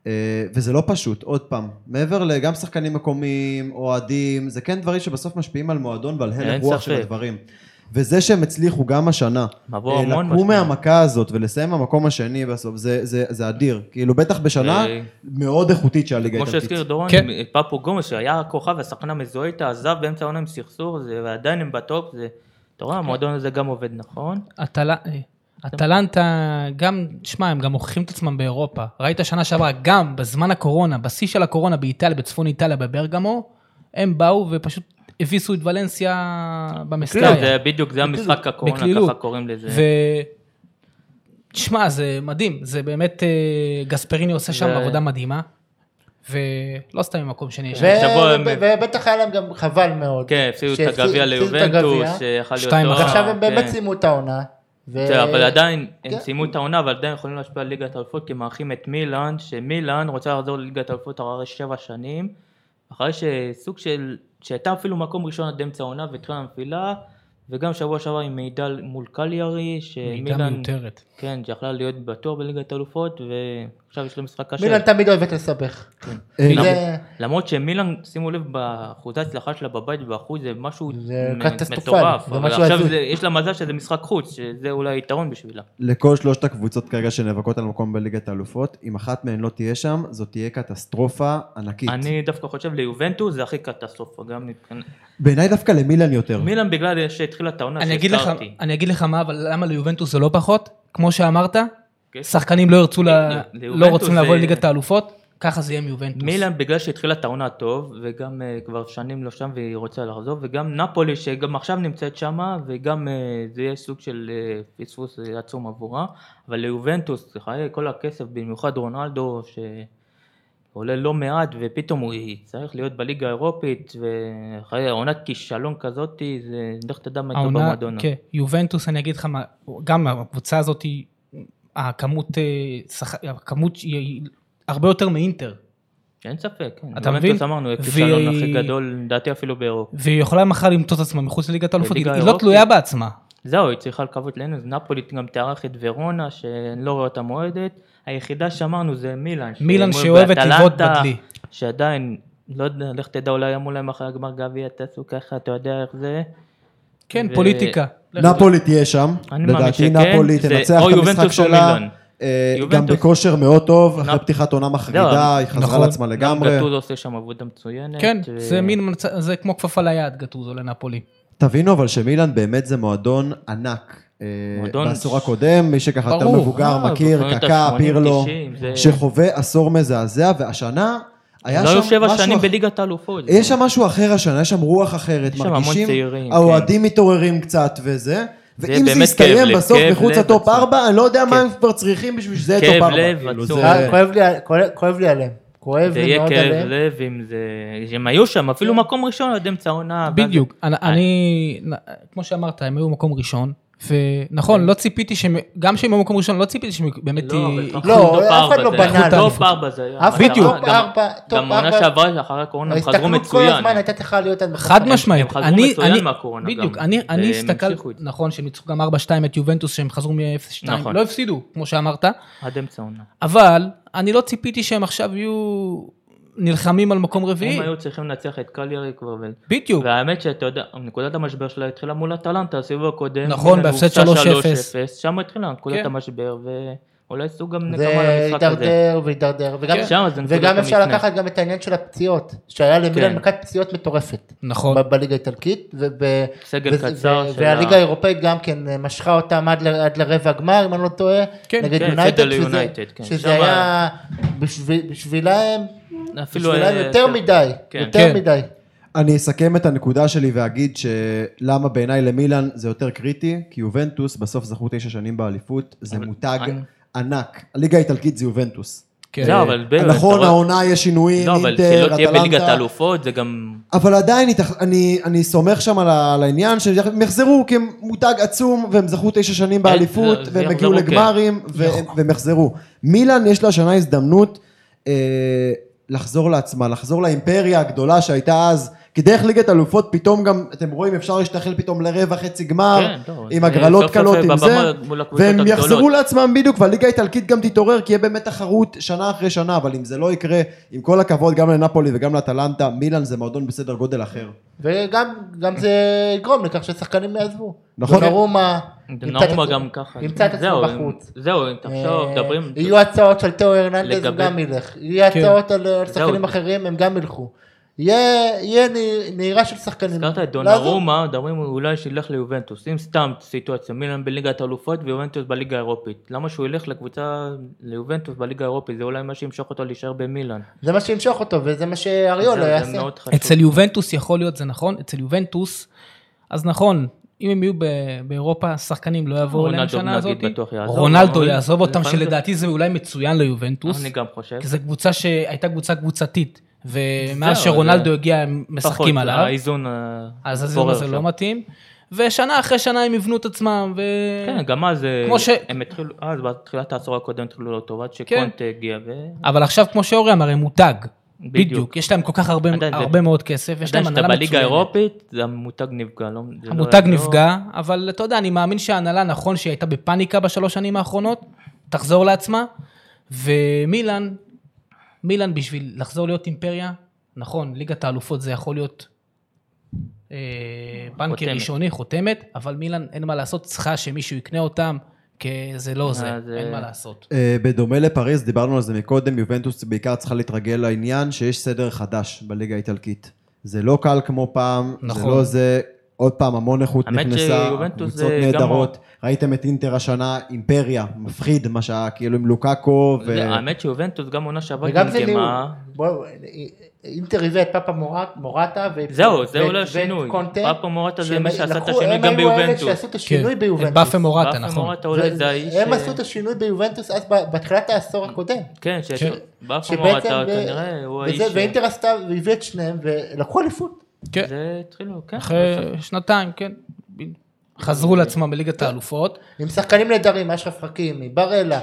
Speaker 4: אה, וזה לא פשוט, עוד פעם, מעבר לגם שחקנים מקומיים, אוהדים, זה כן דברים שבסוף משפיעים על מועדון ועל הלך
Speaker 3: אין
Speaker 4: רוח של
Speaker 3: ספק.
Speaker 4: הדברים. וזה שהם הצליחו גם השנה,
Speaker 3: מבוא
Speaker 4: אה,
Speaker 3: המון
Speaker 4: לקום
Speaker 3: משמעות.
Speaker 4: מהמכה הזאת ולסיים במקום השני בסוף, זה, זה, זה אדיר. כאילו, בטח בשנה
Speaker 3: אה,
Speaker 4: מאוד איכותית שהליגה
Speaker 3: כמו
Speaker 4: האיטלקית.
Speaker 3: שהזכיר דורון,
Speaker 2: כן.
Speaker 3: עם פפו גומז, שהיה הכוכב והשחקן המזוהה איתה, עזב באמצע העונה עם סכסוך, זה- ועדיין הם בטופ, זה... אתה
Speaker 2: כן.
Speaker 3: רואה, המועדון הזה גם עובד נכון.
Speaker 2: אטל- אה, אטלנטה, גם, שמע, הם גם מוכיחים את עצמם באירופה. ראית שנה שעברה, גם בזמן הקורונה, בשיא של הקורונה באיטליה, בצפון איטליה, בברגמו, הם באו ופשוט הביסו את ולנסיה
Speaker 3: כן, זה
Speaker 2: במסקריה.
Speaker 3: בדיוק, זה המשחק הקורונה,
Speaker 2: בקלילות.
Speaker 3: ככה קוראים לזה.
Speaker 2: ו... שמע, זה מדהים, זה באמת, אה, גספריני עושה שם
Speaker 3: זה-
Speaker 2: עבודה מדהימה, ולא סתם ממקום שני.
Speaker 1: ו-
Speaker 2: שם.
Speaker 3: שבוע הם-
Speaker 1: ו- ובטח היה להם גם חבל מאוד.
Speaker 3: כן, הפסידו את
Speaker 1: שהפסידו-
Speaker 3: הגביע
Speaker 1: הפסידו את הגביע,
Speaker 3: ליובנטוס, שיכל להיות...
Speaker 2: שתיים
Speaker 3: תואר,
Speaker 2: אחת.
Speaker 1: ועכשיו הם
Speaker 3: כן.
Speaker 1: באמת סיימו את העונה. ו-
Speaker 3: תראה, אבל עדיין, הם
Speaker 1: כן.
Speaker 3: סיימו את העונה, אבל עדיין יכולים להשפיע על ליגת האלופות, כי מארחים את מילאן, שמילאן רוצה לחזור לליגת האלופות אחרי שבע שנים, אחרי שסוג של, שהייתה אפילו מקום ראשון עד אמצע העונה והתחילה הנפילה, וגם שבוע שעבר היא מעידה מול קליארי,
Speaker 2: מידע
Speaker 3: שמילאן,
Speaker 2: מיותרת.
Speaker 3: כן, שיכלה להיות בתור בליגת האלופות, ועכשיו יש לה משחק קשה.
Speaker 1: מילן תמיד אוהבת לסבך.
Speaker 3: כן.
Speaker 4: אה,
Speaker 1: זה-
Speaker 3: למרות שמילאן, שימו לב, באחוזי ההצלחה שלה בבית ובחוץ זה משהו
Speaker 1: זה
Speaker 3: מ-
Speaker 1: קטסטרופלי,
Speaker 3: מטורף,
Speaker 1: זה
Speaker 3: אבל
Speaker 1: משהו
Speaker 3: עכשיו
Speaker 1: הזוי.
Speaker 3: זה- יש לה מזל שזה משחק חוץ, שזה אולי יתרון בשבילה.
Speaker 4: לכל שלושת הקבוצות כרגע שנאבקות על מקום בליגת האלופות, אם אחת מהן לא תהיה שם, זאת תהיה קטסטרופה ענקית.
Speaker 3: אני דווקא חושב ליובנטוס זה הכי קטסטרופה, גם מבחינת...
Speaker 4: בעיניי דווקא למילן יותר.
Speaker 3: מילאן בגלל שהתחילה את העונה
Speaker 2: אני אגיד לך-
Speaker 3: שהזכרתי.
Speaker 2: אני אגיד לך מה, אבל למה ליובנטוס זה לא פחות? כמו שאמרת,
Speaker 3: כן.
Speaker 2: שחקנים לא ירצו, ל-
Speaker 3: ליובנטוס
Speaker 2: לא רוצים
Speaker 3: זה-
Speaker 2: לבוא לליגת האלופות, ככה זה יהיה עם יובנטוס.
Speaker 3: מילאן בגלל שהתחילה את העונה טוב, וגם אה, כבר שנים לא שם והיא רוצה לחזור, וגם נפולי שגם עכשיו נמצאת שמה, וגם אה, זה יהיה סוג של אה, פספוס אה, עצום עבורה, אבל ליובנטוס, חיי כל הכסף, במיוחד רונלדו, שעולה לא מעט, ופתאום הוא יצטרך להיות בליגה האירופית, ואחרי עונת כישלון כזאת, זה לך תדע מה יקרה
Speaker 2: העונה,
Speaker 3: במועדון.
Speaker 2: כן, יובנטוס, אני אגיד לך מה, גם הקבוצה הזאת, היא- הכמות, אה, שח- הכמות היא- היא הרבה יותר מאינטר,
Speaker 3: אין ספק, כן.
Speaker 2: אתה
Speaker 3: יובנטוס,
Speaker 2: מבין?
Speaker 3: אמרנו,
Speaker 2: ו-
Speaker 3: הכישלון הכי גדול, לדעתי אפילו באירופה.
Speaker 2: והיא יכולה מחר למצוא את עצמה מחוץ לליגת האלופות, היא
Speaker 3: בליגה
Speaker 2: היא לא
Speaker 3: האירופית.
Speaker 2: תלויה בעצמה.
Speaker 3: זהו, היא צריכה לקוות לנו, נפולי גם תארח את ורונה, שאני לא רואה אותה מועדת. היחידה שאמרנו זה מילאן.
Speaker 2: מילאן
Speaker 3: שהם
Speaker 2: שאוהבת
Speaker 3: באטלנטה,
Speaker 2: לבעוט בדלי.
Speaker 3: שעדיין, לא יודע, לך תדע, אולי אמרו להם אחרי הגמר גביע, תעשו ככה, אתה יודע איך זה.
Speaker 2: כן,
Speaker 3: ו-
Speaker 2: פוליטיקה.
Speaker 4: נפולי תהיה שם,
Speaker 3: אני מאמין
Speaker 4: לדעתי
Speaker 3: שכן,
Speaker 4: נפולי
Speaker 3: זה
Speaker 4: תנצח
Speaker 3: או
Speaker 4: את המשחק
Speaker 3: יובנטוס או
Speaker 4: שלה,
Speaker 3: מילאן.
Speaker 4: אה, גם
Speaker 3: יובנטוס.
Speaker 4: בכושר מאוד טוב, אחרי
Speaker 3: נפ-
Speaker 4: פתיחת עונה
Speaker 3: זהו,
Speaker 4: מחרידה, היא חזרה
Speaker 2: נכון.
Speaker 4: לעצמה לגמרי.
Speaker 3: גם גטוז עושה שם עבודה מצוינת.
Speaker 2: כן,
Speaker 3: ו-
Speaker 2: זה מין, מצ- זה כמו כפפה ליד, גטוזו לנפולי.
Speaker 4: תבינו אבל שמילאן באמת זה מועדון ענק. אה,
Speaker 3: מועדון
Speaker 4: בעשור
Speaker 3: ש-
Speaker 4: הקודם, מי שככה יותר
Speaker 2: ברור.
Speaker 4: מבוגר,
Speaker 3: אה,
Speaker 4: מכיר,
Speaker 3: זוכרים את
Speaker 4: קקה,
Speaker 3: ה- 80,
Speaker 4: פירלו,
Speaker 3: 90, זה-
Speaker 4: שחווה עשור מזעזע, והשנה היה
Speaker 3: לא היו
Speaker 4: שם
Speaker 3: שבע
Speaker 4: משהו
Speaker 3: שנים
Speaker 4: אחר.
Speaker 3: בליגת האלופות.
Speaker 4: יש שם משהו אחר השנה, יש שם רוח אחרת,
Speaker 3: יש שם המון
Speaker 4: מרגישים,
Speaker 3: צעירים, כן.
Speaker 4: האוהדים מתעוררים קצת וזה, ואם זה
Speaker 3: באמת
Speaker 4: יסתיים
Speaker 3: כאב לב,
Speaker 4: בסוף
Speaker 3: כאב
Speaker 4: מחוץ
Speaker 3: לב
Speaker 4: לטופ
Speaker 3: עצום.
Speaker 4: 4, אני לא יודע מה הם כבר צריכים בשביל שזה יהיה
Speaker 3: כאב
Speaker 4: טופ 4.
Speaker 3: לב עצום.
Speaker 1: אה, כואב לי- כואב- כואב לי עליהם. כואב
Speaker 3: זה
Speaker 1: לי
Speaker 3: יהיה
Speaker 1: מאוד
Speaker 3: כאב
Speaker 1: עליהם.
Speaker 3: לב אם זה... הם היו שם, אפילו מקום ראשון עד אמצע העונה. ואז-
Speaker 2: בדיוק. אני-
Speaker 3: אה.
Speaker 2: אני, כמו שאמרת, הם היו מקום ראשון, ונכון, לא ציפיתי שהם, גם שהם היו מקום ראשון, לא ציפיתי שהם באמת...
Speaker 3: לא,
Speaker 2: י-
Speaker 3: אבל אנחנו
Speaker 1: לא,
Speaker 3: טופ
Speaker 1: אף אחד
Speaker 3: ארבע,
Speaker 1: לא
Speaker 3: זה-
Speaker 1: בנה
Speaker 3: אנחנו
Speaker 1: עליהם.
Speaker 3: טופ ארבע זה היה.
Speaker 1: אף
Speaker 3: המטרה.
Speaker 2: בדיוק.
Speaker 3: גם-
Speaker 1: טופ ארבע, טופ
Speaker 3: גם העונה
Speaker 1: ארבע.
Speaker 3: שעברה אחרי הקורונה הם חזרו
Speaker 1: ההסתכלות כל
Speaker 3: מצוין.
Speaker 1: הזמן הייתה צריכה להיות על
Speaker 2: חד משמעית.
Speaker 3: הם חזרו
Speaker 2: אני-
Speaker 3: מצוין
Speaker 2: אני-
Speaker 3: מהקורונה
Speaker 2: בדיוק,
Speaker 3: גם,
Speaker 2: אני- אני
Speaker 3: והם
Speaker 2: אסתכל,
Speaker 3: המשיכו את זה.
Speaker 2: נכון, שהם ניצחו גם 4-2 את יובנטוס, שהם חזרו מ-0-2,
Speaker 3: נכון.
Speaker 2: לא הפסידו, כמו שאמרת,
Speaker 3: עד אמצע העונה.
Speaker 2: אבל אני לא ציפיתי שהם עכשיו יהיו נלחמים על מקום רביעי.
Speaker 3: הם היו צריכים לנצח את קליירי כבר. ו-
Speaker 2: בדיוק.
Speaker 3: והאמת שאתה יודע, נקודת המשבר שלה התחילה מול אטלנטה, הסיבוב הקודם.
Speaker 2: נכון,
Speaker 3: מילאן
Speaker 2: בהפסד
Speaker 3: הובסה
Speaker 2: 3-0.
Speaker 3: 3-0, שם התחילה נקודת
Speaker 2: כן.
Speaker 3: המשבר, ואולי סוג גם נקמה
Speaker 1: זה
Speaker 3: למשחק הזה.
Speaker 1: הידרדר והידרדר, וגם-
Speaker 3: כן. שם זה נקודת
Speaker 1: וגם אפשר
Speaker 3: המפנה.
Speaker 1: לקחת גם את העניין של הפציעות, שהיה למילן
Speaker 3: כן.
Speaker 1: מכת פציעות מטורפת.
Speaker 2: נכון.
Speaker 1: ב- בליגה האיטלקית, וב-
Speaker 3: סגל
Speaker 1: וזה-
Speaker 3: קצר
Speaker 1: ו-
Speaker 3: של
Speaker 1: והליגה
Speaker 3: ה-
Speaker 1: האירופאית גם כן משכה אותם עד ל- עד לרבע הגמר, אם אני לא טועה,
Speaker 2: כן,
Speaker 1: נגד
Speaker 3: כן,
Speaker 1: יונייטד,
Speaker 3: הפסד
Speaker 1: שזה-
Speaker 3: ליונייטד, כן.
Speaker 1: שזה
Speaker 3: שם
Speaker 1: היה בשביל- בשבילם,
Speaker 3: אפילו...
Speaker 1: בשבילם
Speaker 3: אה,
Speaker 1: יותר מדי,
Speaker 3: כן.
Speaker 1: יותר
Speaker 2: כן.
Speaker 1: מדי.
Speaker 4: אני אסכם את הנקודה שלי ואגיד שלמה בעיניי למילאן זה יותר קריטי, כי יובנטוס בסוף זכו תשע שנים באליפות, זה מותג
Speaker 3: אני-
Speaker 4: ענק. הליגה האיטלקית זה יובנטוס.
Speaker 2: כן.
Speaker 3: לא, אבל ב-
Speaker 4: נכון,
Speaker 3: אתה רואה-
Speaker 4: העונה יש שינויים,
Speaker 3: לא, אבל שלא
Speaker 4: אינטר,
Speaker 3: תהיה בליגת
Speaker 4: אטלנטה.
Speaker 3: האלופות, זה גם...
Speaker 4: אבל עדיין התאח- אני, אני סומך שם על, ה- על העניין שהם יחזרו כי הם מותג עצום והם זכו תשע שנים באליפות
Speaker 3: זה- זה
Speaker 4: והם הגיעו
Speaker 3: יחזרו, כן.
Speaker 4: לגמרים והם, והם יחזרו. מילאן יש לה השנה הזדמנות אה, לחזור לעצמה, לחזור לאימפריה הגדולה שהייתה אז. כי דרך ליגת אלופות פתאום גם, אתם רואים, אפשר להשתחל פתאום לרבע חצי גמר,
Speaker 3: כן, טוב,
Speaker 4: עם
Speaker 3: זה
Speaker 4: הגרלות
Speaker 3: סוף סוף
Speaker 4: קלות, עם
Speaker 3: בבמה
Speaker 4: זה,
Speaker 3: מול הקבוצות
Speaker 4: והם
Speaker 3: הגדולות.
Speaker 4: יחזרו לעצמם בדיוק, והליגה האיטלקית גם תתעורר, כי יהיה באמת תחרות שנה אחרי שנה, אבל אם זה לא יקרה, עם כל הכבוד גם לנפולי וגם לאטלנטה, מילאן זה מועדון בסדר גודל אחר.
Speaker 1: וגם גם זה יגרום לכך ששחקנים יעזבו.
Speaker 4: נכון.
Speaker 1: דונרומה, ימצא
Speaker 3: נורמה
Speaker 1: את-
Speaker 3: גם ככה.
Speaker 1: ימצא את עצמו
Speaker 3: זהו,
Speaker 1: בחוץ.
Speaker 3: זהו, אם תחשוב,
Speaker 1: אה,
Speaker 3: מדברים...
Speaker 1: יהיו הצעות של תאו הרננדז, הוא
Speaker 3: לגבי-
Speaker 1: גם ילך. יהיו הצעות על על שחקנים
Speaker 3: זהו.
Speaker 1: אחרים, הם גם ילכו. יהיה יהיה נ- נהירה של שחקנים.
Speaker 3: הזכרת את
Speaker 1: לעזוב.
Speaker 3: דונרומה, מדברים אולי שילך ליובנטוס. אם סתם סיטואציה, מילאן בליגת האלופות ויובנטוס בליגה האירופית. למה שהוא ילך לקבוצה, ליובנטוס בליגה האירופית? זה אולי מה שימשוך אותו להישאר במילאן.
Speaker 1: זה מה שימשוך אותו, וזה מה שאריולה
Speaker 3: זה-
Speaker 1: לא יעשה.
Speaker 3: זה מאוד חשוב.
Speaker 2: אצל יובנטוס יכול להיות, זה נכון, אצל יובנטוס, אז נכון, אם הם יהיו ב- באירופה, שחקנים לא יבואו אליהם
Speaker 3: רונלדו,
Speaker 2: שנה
Speaker 3: נגיד,
Speaker 2: הזאת.
Speaker 3: בטוח יעזוב,
Speaker 2: רונלדו
Speaker 3: אבל-
Speaker 2: יעזוב אותם,
Speaker 3: לפעמים זה-
Speaker 2: שלדעתי זה אולי מצוין ליובנטוס,
Speaker 3: אני גם חושב.
Speaker 2: כי זו קבוצה שהייתה קבוצה קבוצתית, ומאז
Speaker 3: זהו,
Speaker 2: שרונלדו
Speaker 3: זה-
Speaker 2: הגיע הם
Speaker 3: פחות,
Speaker 2: משחקים עליו,
Speaker 3: האיזון...
Speaker 2: אז
Speaker 3: הבורר
Speaker 2: הזיון הזה
Speaker 3: שם.
Speaker 2: לא מתאים, ושנה אחרי שנה הם יבנו את עצמם, ו...
Speaker 3: כן, גם אז אה,
Speaker 2: כמו ש-
Speaker 3: הם התחילו, אז בתחילת העשור הקודם התחילו לא טוב, עד
Speaker 2: כן.
Speaker 3: שקונט הגיע ו...
Speaker 2: אבל עכשיו, כמו שאורי אמר, הם מותג.
Speaker 3: בדיוק.
Speaker 2: בדיוק. יש להם כל כך הרבה-
Speaker 3: עדיין זה-
Speaker 2: הרבה מאוד כסף, יש להם
Speaker 3: עדיין
Speaker 2: הנהלה
Speaker 3: שאתה
Speaker 2: מצוינת.
Speaker 3: בליגה האירופית, זה המותג נפגע. לא- זה לא
Speaker 2: המותג
Speaker 3: יעזור.
Speaker 2: נפגע, אבל אתה יודע, אני מאמין שההנהלה, נכון שהיא הייתה בפאניקה בשלוש שנים האחרונות, תחזור לעצמה, ומילאן, מילאן בשביל לחזור להיות אימפריה, נכון, ליגת האלופות זה יכול להיות אה, בנקר
Speaker 3: חותמת.
Speaker 2: ראשוני, חותמת, אבל מילאן, אין מה לעשות, צריכה שמישהו יקנה אותם, כי זה לא זה,
Speaker 3: אז, אה,
Speaker 2: אין מה לעשות.
Speaker 4: אה, בדומה לפריז, דיברנו על זה מקודם, יובנטוס בעיקר צריכה להתרגל לעניין שיש סדר חדש בליגה האיטלקית. זה לא קל כמו פעם, זה
Speaker 2: נכון.
Speaker 4: לא זה, עוד פעם המון איכות
Speaker 3: האמת
Speaker 4: נכנסה,
Speaker 3: שיובנטוס
Speaker 4: קבוצות
Speaker 3: זה גם
Speaker 4: נהדרות, ראיתם את אינטר השנה, אימפריה, מפחיד מה שהיה, כאילו עם לוקאקו,
Speaker 3: זה-
Speaker 4: ו...
Speaker 3: האמת שיובנטוס גם עונה שעברה
Speaker 1: וגם זה ניהול.
Speaker 3: גמגמה.
Speaker 1: בואו, אינטר הביאה את פאפה מורט- מורטה ואת
Speaker 3: זהו, זה
Speaker 1: ואת-
Speaker 3: אולי
Speaker 1: ואת
Speaker 3: השינוי.
Speaker 1: קונטה,
Speaker 3: פאפה מורטה זה
Speaker 1: שהם
Speaker 3: מי שעשה את
Speaker 1: לקחו-
Speaker 3: השינוי
Speaker 1: הם
Speaker 3: גם
Speaker 1: היו אלה
Speaker 3: ביובנטוס.
Speaker 1: שעשו את השינוי
Speaker 2: כן, את
Speaker 1: ביובנטוס.
Speaker 2: באפה מורטה,
Speaker 3: באפה
Speaker 2: נכון.
Speaker 3: מורטה אולי
Speaker 1: ו-
Speaker 3: זה האיש...
Speaker 1: הם
Speaker 3: אה,
Speaker 1: עשו את השינוי ביובנטוס אז ב- בתחילת העשור הקודם.
Speaker 3: כן, ש-
Speaker 2: כן.
Speaker 3: באפה
Speaker 1: שבעצם,
Speaker 3: מורטה
Speaker 1: ו-
Speaker 3: כנראה הוא האיש...
Speaker 1: וזה- ואינטר עשתה והביאה את שניהם ולקחו אליפות.
Speaker 2: כן.
Speaker 3: זה התחילו, כן.
Speaker 2: אחרי שנתיים, כן. חזרו לעצמם בליגת האלופות.
Speaker 1: עם שחקנים נהדרים, אשרף חכימי, בראלה,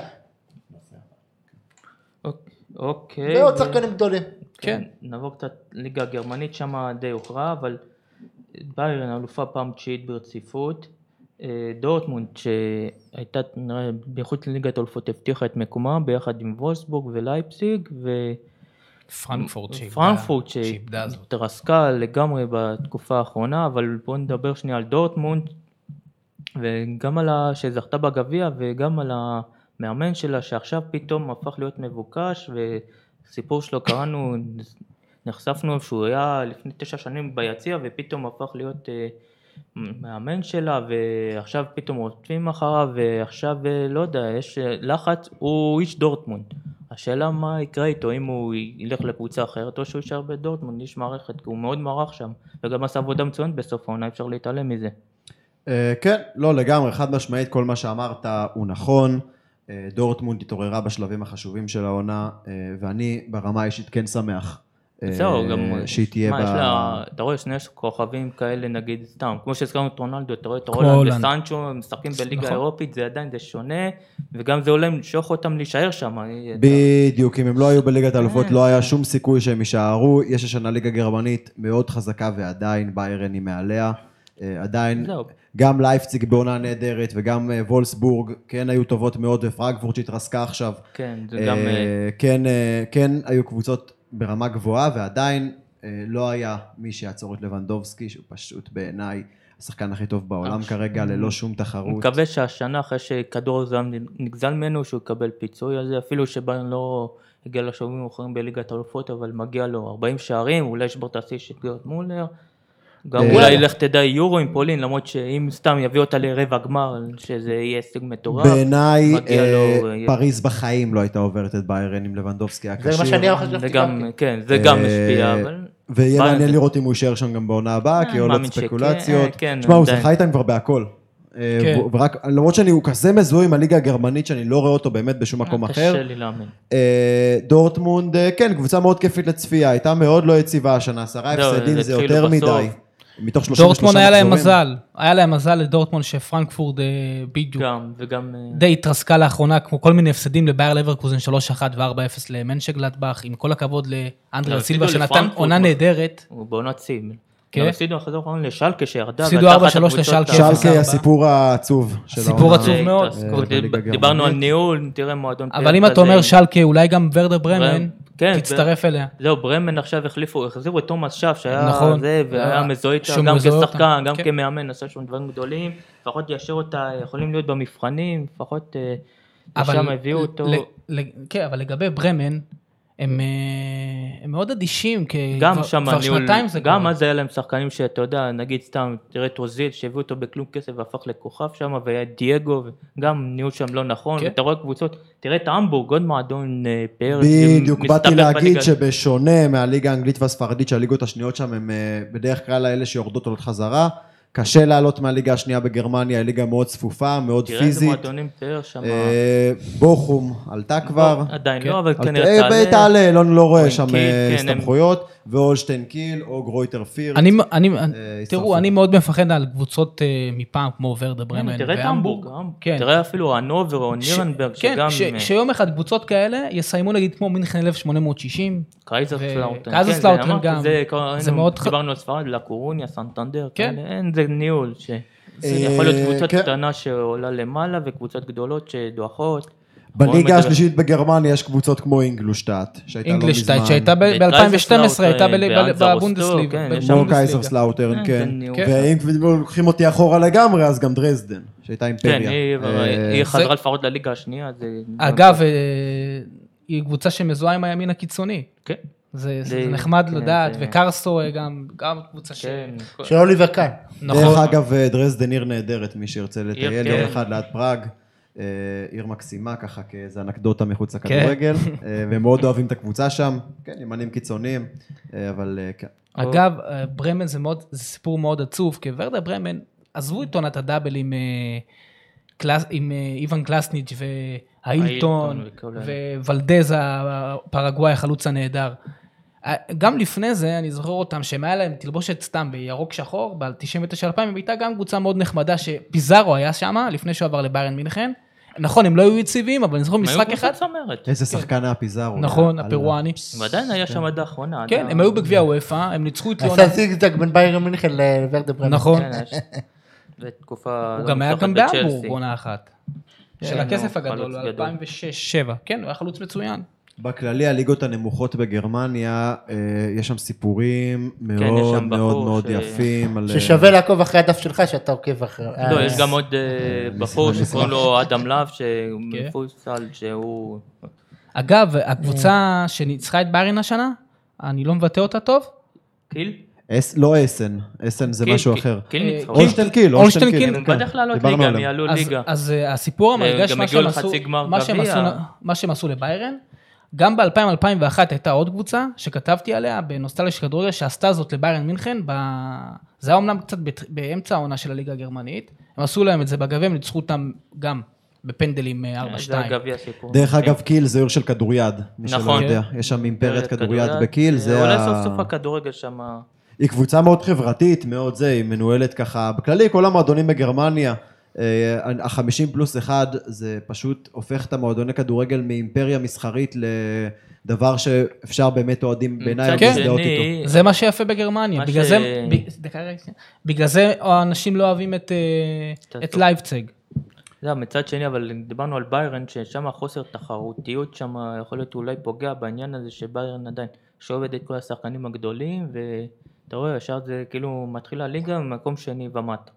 Speaker 3: אוק- אוקיי.
Speaker 1: ועוד
Speaker 3: ו-
Speaker 1: שחקנים גדולים.
Speaker 2: כן.
Speaker 3: נעבור קצת ליגה הגרמנית, שם די הוכרע, אבל ביירן אלופה פעם תשיעית ברציפות. אה, דורטמונד שהייתה כנראה מחוץ לליגת האלופות הבטיחה את מקומה ביחד עם וולסבורג ולייפסיג
Speaker 2: פרנקפורט שאיבדה.
Speaker 3: ופרנקפורט
Speaker 2: שאיבדה זאת.
Speaker 3: שהתרסקה לגמרי בתקופה האחרונה, אבל בואו נדבר שנייה על דורטמונד וגם על ה... שזכתה בגביע וגם על המאמן שלה שעכשיו פתאום הפך להיות מבוקש וסיפור שלו קראנו, נחשפנו שהוא היה לפני תשע שנים ביציע ופתאום הפך להיות אה, מאמן שלה ועכשיו פתאום רודפים אחריו ועכשיו אה, לא יודע, יש אה, לחץ, הוא איש דורטמונד. השאלה מה יקרה איתו, אם הוא ילך לקבוצה אחרת או שהוא יישאר בדורטמונד, איש מערכת, כי הוא מאוד מערך שם וגם עשה עבודה מצוינת בסוף העונה, אי אפשר להתעלם מזה.
Speaker 4: אה, כן, לא לגמרי, חד משמעית כל מה שאמרת הוא נכון. אה, דורטמונד התעוררה בשלבים החשובים של העונה, אה, ואני ברמה האישית כן שמח. אה,
Speaker 3: זהו, גם...
Speaker 4: שהיא תהיה
Speaker 3: מה, יש
Speaker 4: ב-
Speaker 3: לה... אתה רואה שני כוכבים כאלה, נגיד, סתם, כמו שהזכרנו את רונלדו, אתה רואה את
Speaker 2: כמו
Speaker 3: רולנד
Speaker 2: הולנד.
Speaker 3: וסנצ'ו, הם משחקים בליגה
Speaker 2: נכון.
Speaker 3: האירופית, זה עדיין, זה שונה, וגם זה עולה למשוך אותם להישאר שם. אה,
Speaker 4: בדיוק, אם הם לא היו בליגת האלופות לא היה שום סיכוי שהם יישארו. יש השנה ליגה גרמנית מאוד חזקה ועדיין ביירן היא מעליה. אה, עדיין,
Speaker 3: זהו.
Speaker 4: גם לייפציג בעונה נהדרת וגם אה, וולסבורג כן היו טובות מאוד ופרנקפורט שהתרסקה עכשיו.
Speaker 3: כן, זה גם...
Speaker 4: אה,
Speaker 3: אה,
Speaker 4: כן, אה, כן היו קבוצות ברמה גבוהה ועדיין אה, לא היה מי שיעצור את לבנדובסקי שהוא פשוט בעיניי השחקן הכי טוב בעולם
Speaker 3: אוקיי.
Speaker 4: כרגע ללא שום
Speaker 3: אני
Speaker 4: תחרות.
Speaker 3: מקווה שהשנה אחרי שכדור הזהב נגזל ממנו שהוא יקבל פיצוי על זה אפילו שבן לא הגיע לשלבים מאוחרים בליגת האלופות אבל מגיע לו 40 שערים אולי ישבור את השיא של גרד מולר גם
Speaker 4: אה,
Speaker 3: אולי לך תדע יורו עם פולין למרות שאם סתם יביא אותה לרבע גמר שזה יהיה הישג מטורף
Speaker 4: בעיניי
Speaker 3: מגיע
Speaker 4: אה,
Speaker 3: לו, אה,
Speaker 4: פריז בחיים לא הייתה עוברת את ביירן עם לבנדובסקי היה
Speaker 1: זה
Speaker 4: כשיר.
Speaker 1: מה שאני חשבתי
Speaker 3: זה
Speaker 1: גם.
Speaker 3: גם כן זה גם
Speaker 4: אה,
Speaker 3: משפיע אבל
Speaker 4: ויהיה
Speaker 3: ביירן-
Speaker 4: מעניין לראות אם הוא יישאר שם גם בעונה הבאה, כי
Speaker 3: אה, אני
Speaker 4: עולות
Speaker 3: מאמין שכן,
Speaker 4: ספקולציות.
Speaker 3: כן,
Speaker 4: תשמע, הוא
Speaker 3: עדיין.
Speaker 4: שחה איתם כבר בהכל. אה,
Speaker 2: כן.
Speaker 4: והוא- ורק, למרות שאני, הוא כזה מזוהה עם הליגה הגרמנית שאני לא רואה אותו באמת בשום מקום אחר.
Speaker 3: אה, קשה לי להאמין
Speaker 4: אה, דורטמונד, אה, כן, קבוצה מאוד כיפית לצפייה, הייתה מאוד לא יציבה השנה, עשרה
Speaker 3: זהו,
Speaker 4: הפסדים
Speaker 3: זה
Speaker 4: זה
Speaker 3: לא, אה, התחילו
Speaker 4: יותר
Speaker 3: בסוף.
Speaker 4: מדי. מתוך 33 מחזורים.
Speaker 2: דורטמונד היה להם מזל, היה להם מזל לדורטמונד שפרנקפורט אה, בדיוק
Speaker 3: גם וגם אה,
Speaker 2: די התרסקה לאחרונה, כמו כל מיני הפסדים לבייר לברקוזן 3-1 ו-4-0 למנצ'גלדבך, עם כל הכבוד לאנדריה
Speaker 3: לא, הפסידו
Speaker 2: סילבה שנתן
Speaker 3: לפרנקפורט.
Speaker 2: עונה נהדרת.
Speaker 3: הוא בעונת שיא.
Speaker 2: כן.
Speaker 3: גם הפסידו אחרי האחרון לשלקה שירדה.
Speaker 2: הפסידו
Speaker 3: והייתה אחת
Speaker 2: 4-3
Speaker 3: הקבוצות
Speaker 2: לשלקה.
Speaker 3: ה-
Speaker 4: שלקה היא הסיפור העצוב של העונה.
Speaker 2: סיפור עצוב
Speaker 3: זה
Speaker 2: מאוד.
Speaker 3: התרסקות.
Speaker 4: אה, בליגה
Speaker 3: דיברנו על
Speaker 4: הגרמנית.
Speaker 3: ניהול, תראה מועדון...
Speaker 2: אבל
Speaker 3: פרק
Speaker 2: אם אתה
Speaker 3: כזה
Speaker 2: אומר
Speaker 3: עם-
Speaker 2: שלקה, אולי גם ורדר ברמן
Speaker 3: ברמן, אה, כן,
Speaker 2: תצטרף אליה.
Speaker 3: זהו, ברמן עכשיו החליפו, החזירו את תומאס שף, שהיה
Speaker 2: נכון.
Speaker 3: זה, והיה
Speaker 2: היה-
Speaker 3: מזוהה איתה,
Speaker 2: שהוא
Speaker 3: גם
Speaker 2: מזוהה
Speaker 3: כשחקן,
Speaker 2: אותה,
Speaker 3: גם
Speaker 2: כן.
Speaker 3: כמאמן, עשה שם דברים גדולים, לפחות ישר אותה, יכולים להיות במבחנים, לפחות אה,
Speaker 2: אבל
Speaker 3: לשם הביאו אותו.
Speaker 2: ל- ל- כן, אבל לגבי ברמן, הם אה, הם מאוד אדישים, כי
Speaker 3: גם
Speaker 2: כבר-
Speaker 3: שם
Speaker 2: כבר
Speaker 3: הניהול,
Speaker 2: שנתיים זה
Speaker 3: גם
Speaker 2: קורה.
Speaker 3: אז היה להם שחקנים שאתה יודע, נגיד סתם, תראה את רוזיל שהביאו אותו בכלום כסף והפך לכוכב שם, והיה דייגו, גם ניהול שם לא נכון,
Speaker 2: כן.
Speaker 3: ואתה רואה קבוצות, תראה את המבורג, עוד מועדון אה, פאר,
Speaker 4: בדיוק,
Speaker 3: שמסתבך
Speaker 4: באתי
Speaker 3: בליגה.
Speaker 4: להגיד שבשונה מהליגה האנגלית והספרדית שהליגות השניות שם הם אה, בדרך כלל האלה שיורדות עולות חזרה, קשה לעלות מהליגה השנייה בגרמניה, היא ליגה מאוד צפופה, מאוד
Speaker 3: תראה איזה
Speaker 4: פיזית.
Speaker 3: מועדונים פאר שם,
Speaker 4: אה, בוכום עלתה כבר.
Speaker 3: עדיין
Speaker 2: כן.
Speaker 3: לא, אבל
Speaker 4: עלתה-
Speaker 3: כנראה
Speaker 4: אה,
Speaker 3: תעלה.
Speaker 4: תעלה, לא- לא רואה שם
Speaker 3: כן,
Speaker 4: אה,
Speaker 3: כן, הם-
Speaker 4: הסתבכויות, ואולשטיין קיל או גרויטר פירט.
Speaker 2: אני, אני,
Speaker 4: הצטרפו.
Speaker 2: תראו, אני מאוד מפחד על קבוצות אה, מפעם כמו ורדה ברמן
Speaker 3: הנה,
Speaker 2: והמבורג.
Speaker 3: תראה את המבורג,
Speaker 2: כן.
Speaker 3: תראה אפילו הנובר או
Speaker 2: ש-
Speaker 3: נירנברג,
Speaker 2: כן,
Speaker 3: שגם אה,
Speaker 2: ש- שיום אחד קבוצות כאלה יסיימו נגיד כמו מינכן 1860.
Speaker 4: לא
Speaker 3: קייזרסלאוטרן,
Speaker 2: קייזרסלאוטרן גם. זה
Speaker 3: זה
Speaker 2: מאוד
Speaker 3: מאוד
Speaker 2: ח-
Speaker 3: חשוב, דיברנו על ספרד, לקורוניה, סנטנדר,
Speaker 2: כן.
Speaker 3: כן, אין זה ניהול, ש- זה
Speaker 4: אה,
Speaker 3: יכול להיות קבוצה
Speaker 4: כן.
Speaker 3: קטנה שעולה למעלה וקבוצות גדולות שדועכות. רואים את
Speaker 4: בליגה
Speaker 3: זה-
Speaker 4: השלישית בגרמניה יש קבוצות כמו אינגלושטאט, שהייתה לא מזמן.
Speaker 2: אינגלישטייט שהייתה ב- ב-2012, הייתה ב- ב-
Speaker 3: ואנזרוסטו,
Speaker 2: בבונדסליג-
Speaker 3: אה, כן, יש שם בונדסליגה.
Speaker 4: כמו
Speaker 2: בבונדסליגה.
Speaker 4: קייזר סלאוטרן,
Speaker 3: כן, זה
Speaker 4: כן.
Speaker 3: ניהול.
Speaker 2: כן.
Speaker 4: ואם לוקחים אותי אחורה לגמרי, אז גם דרזדן, שהייתה
Speaker 3: כן,
Speaker 4: אימפריה.
Speaker 3: היא-
Speaker 4: אה,
Speaker 3: היא
Speaker 2: זה-
Speaker 3: חזרה לפחות לליגה השנייה, זה...
Speaker 2: אגב, אה, היא קבוצה שמזוהה עם הימין הקיצוני.
Speaker 3: כן,
Speaker 2: זה זה
Speaker 3: זה-
Speaker 2: נחמד
Speaker 3: כן,
Speaker 2: לדעת,
Speaker 3: זה-
Speaker 2: וקרסו אה, גם גם קבוצה ש...
Speaker 3: כן.
Speaker 1: של אוליבר קאן.
Speaker 4: דרך
Speaker 2: נכון.
Speaker 4: אגב, אה, דרזדן עיר נהדרת, מי שירצה לטייל
Speaker 3: כן.
Speaker 4: יום אחד ליד פראג. אה, עיר מקסימה, ככה כאיזה אנקדוטה מחוץ
Speaker 2: כן. <laughs>
Speaker 4: לכדורגל. אה, והם מאוד אוהבים את הקבוצה שם. כן, ימנים קיצוניים, אה, אבל אה, כן.
Speaker 2: אגב, אה, ברמן זה מאוד, זה סיפור מאוד עצוב, כי ורדה ברמן, עזבו את עונת הדאבל עם... אה, קלאס, עם אה, איוון קלסניץ' והאילטון
Speaker 3: וכל ה-
Speaker 2: ווולדז הפרגוואי החלוץ הנהדר. אה, גם לפני זה אני זוכר אותם שהם היה להם תלבושת סתם בירוק שחור ב-99-2000 הם הייתה גם קבוצה מאוד נחמדה שפיזארו היה שם לפני שהוא עבר לביירן מינכן. נכון הם לא היו יציבים אבל אני זוכר
Speaker 3: הם היו
Speaker 2: משחק אחד.
Speaker 3: קבוצה צמרת.
Speaker 4: איזה שחקן היה פיזארו.
Speaker 2: כן. נכון
Speaker 4: יאללה.
Speaker 2: הפירואני.
Speaker 3: ועדיין היה שם עד האחרונה. עד
Speaker 2: כן
Speaker 3: ה-
Speaker 2: הם היו בגביע וופא הם ניצחו את ליאון.
Speaker 1: עשה זיגזג בין ביירן מינכן לוורדה ברמן.
Speaker 2: נכון.
Speaker 3: כן, היה ש- זו תקופה...
Speaker 2: הוא
Speaker 3: לא
Speaker 2: גם היה
Speaker 3: מוצלחת
Speaker 2: גם
Speaker 3: בצ'לסי.
Speaker 2: בהמבורג עונה אחת. של
Speaker 3: כן,
Speaker 2: הכסף
Speaker 3: הוא
Speaker 2: הגדול,
Speaker 3: חלוץ גדול.
Speaker 2: 2006-2007. כן, הוא היה חלוץ מצוין.
Speaker 4: בכללי, הליגות הנמוכות בגרמניה, אה, יש שם סיפורים
Speaker 3: כן, יש שם
Speaker 4: מאוד מאוד
Speaker 3: בחור
Speaker 4: מאוד
Speaker 3: ש-
Speaker 4: יפים. על, אה,
Speaker 1: ששווה לעקוב אחרי הדף שלך שאתה עוקב אחרי.
Speaker 3: לא,
Speaker 1: אה,
Speaker 3: יש גם עוד אה, בחור שקוראים לו אדם להב, שהוא
Speaker 2: כן.
Speaker 3: מפוסל, שהוא...
Speaker 2: אגב, הקבוצה שניצחה את בארין השנה, אני לא מבטא אותה טוב,
Speaker 3: קיל?
Speaker 4: אס- לא אסן, אסן זה
Speaker 3: קיל,
Speaker 4: משהו
Speaker 3: קיל,
Speaker 4: אחר.
Speaker 3: אה, קיל ניצחון.
Speaker 4: אולשטיין קיל,
Speaker 2: אולשטיין קיל.
Speaker 3: הם
Speaker 4: כן.
Speaker 3: בדרך לעלות
Speaker 4: דיברנו
Speaker 3: ליגה, הם
Speaker 4: עליהם.
Speaker 3: יעלו
Speaker 2: אז-
Speaker 3: לא ליגה.
Speaker 2: אז אה, הסיפור המרגש,
Speaker 3: גם
Speaker 2: מה
Speaker 3: הגיעו
Speaker 2: שהם עשו,
Speaker 3: לחצי גמר
Speaker 2: מה שהם
Speaker 3: גביע.
Speaker 2: עשו- מה שהם עשו לביירן, גם ב-2000-2001 הייתה עוד קבוצה שכתבתי עליה בנוסטליה של כדורגל, שעשתה זאת לביירן מינכן, ב- זה היה אומנם קצת בת- באמצע העונה של הליגה הגרמנית, הם עשו להם את זה בגביע, הם ניצחו אותם גם בפנדלים אה, 4-2.
Speaker 3: זה הגביע סיפור.
Speaker 4: דרך אגב, קיל זה עיר של כדוריד. מי שלא
Speaker 3: כן. נכון.
Speaker 4: יודע. יש שם אימפריית כדוריד בקיל, זה
Speaker 3: אה, אולי
Speaker 4: ה-
Speaker 3: סוף סוף הכדורגל שם...
Speaker 4: היא קבוצה מאוד חברתית, מאוד זה, היא מנוהלת ככה, בכללי כל המועדונים בגרמניה, אה, החמישים פלוס אחד, זה פשוט הופך את המועדוני כדורגל מאימפריה מסחרית לדבר שאפשר באמת אוהדים בעיניי
Speaker 3: מצד
Speaker 2: כן.
Speaker 4: להזדהות
Speaker 3: שני,
Speaker 4: איתו.
Speaker 2: זה מה שיפה בגרמניה,
Speaker 3: מה
Speaker 2: בגלל
Speaker 3: ש-
Speaker 2: זה- ב- דקה, רגע, שנייה. בגלל זה האנשים לא אוהבים את, אה,
Speaker 3: את
Speaker 2: את
Speaker 3: הטוב.
Speaker 2: לייבצג.
Speaker 3: לא, מצד שני, אבל דיברנו על ביירן, ששם החוסר תחרותיות שם יכול להיות אולי פוגע בעניין הזה שביירן עדיין שאוהבת את כל השחקנים הגדולים, ואתה רואה, ישר זה כאילו מתחיל הליגה ממקום שני ומטה.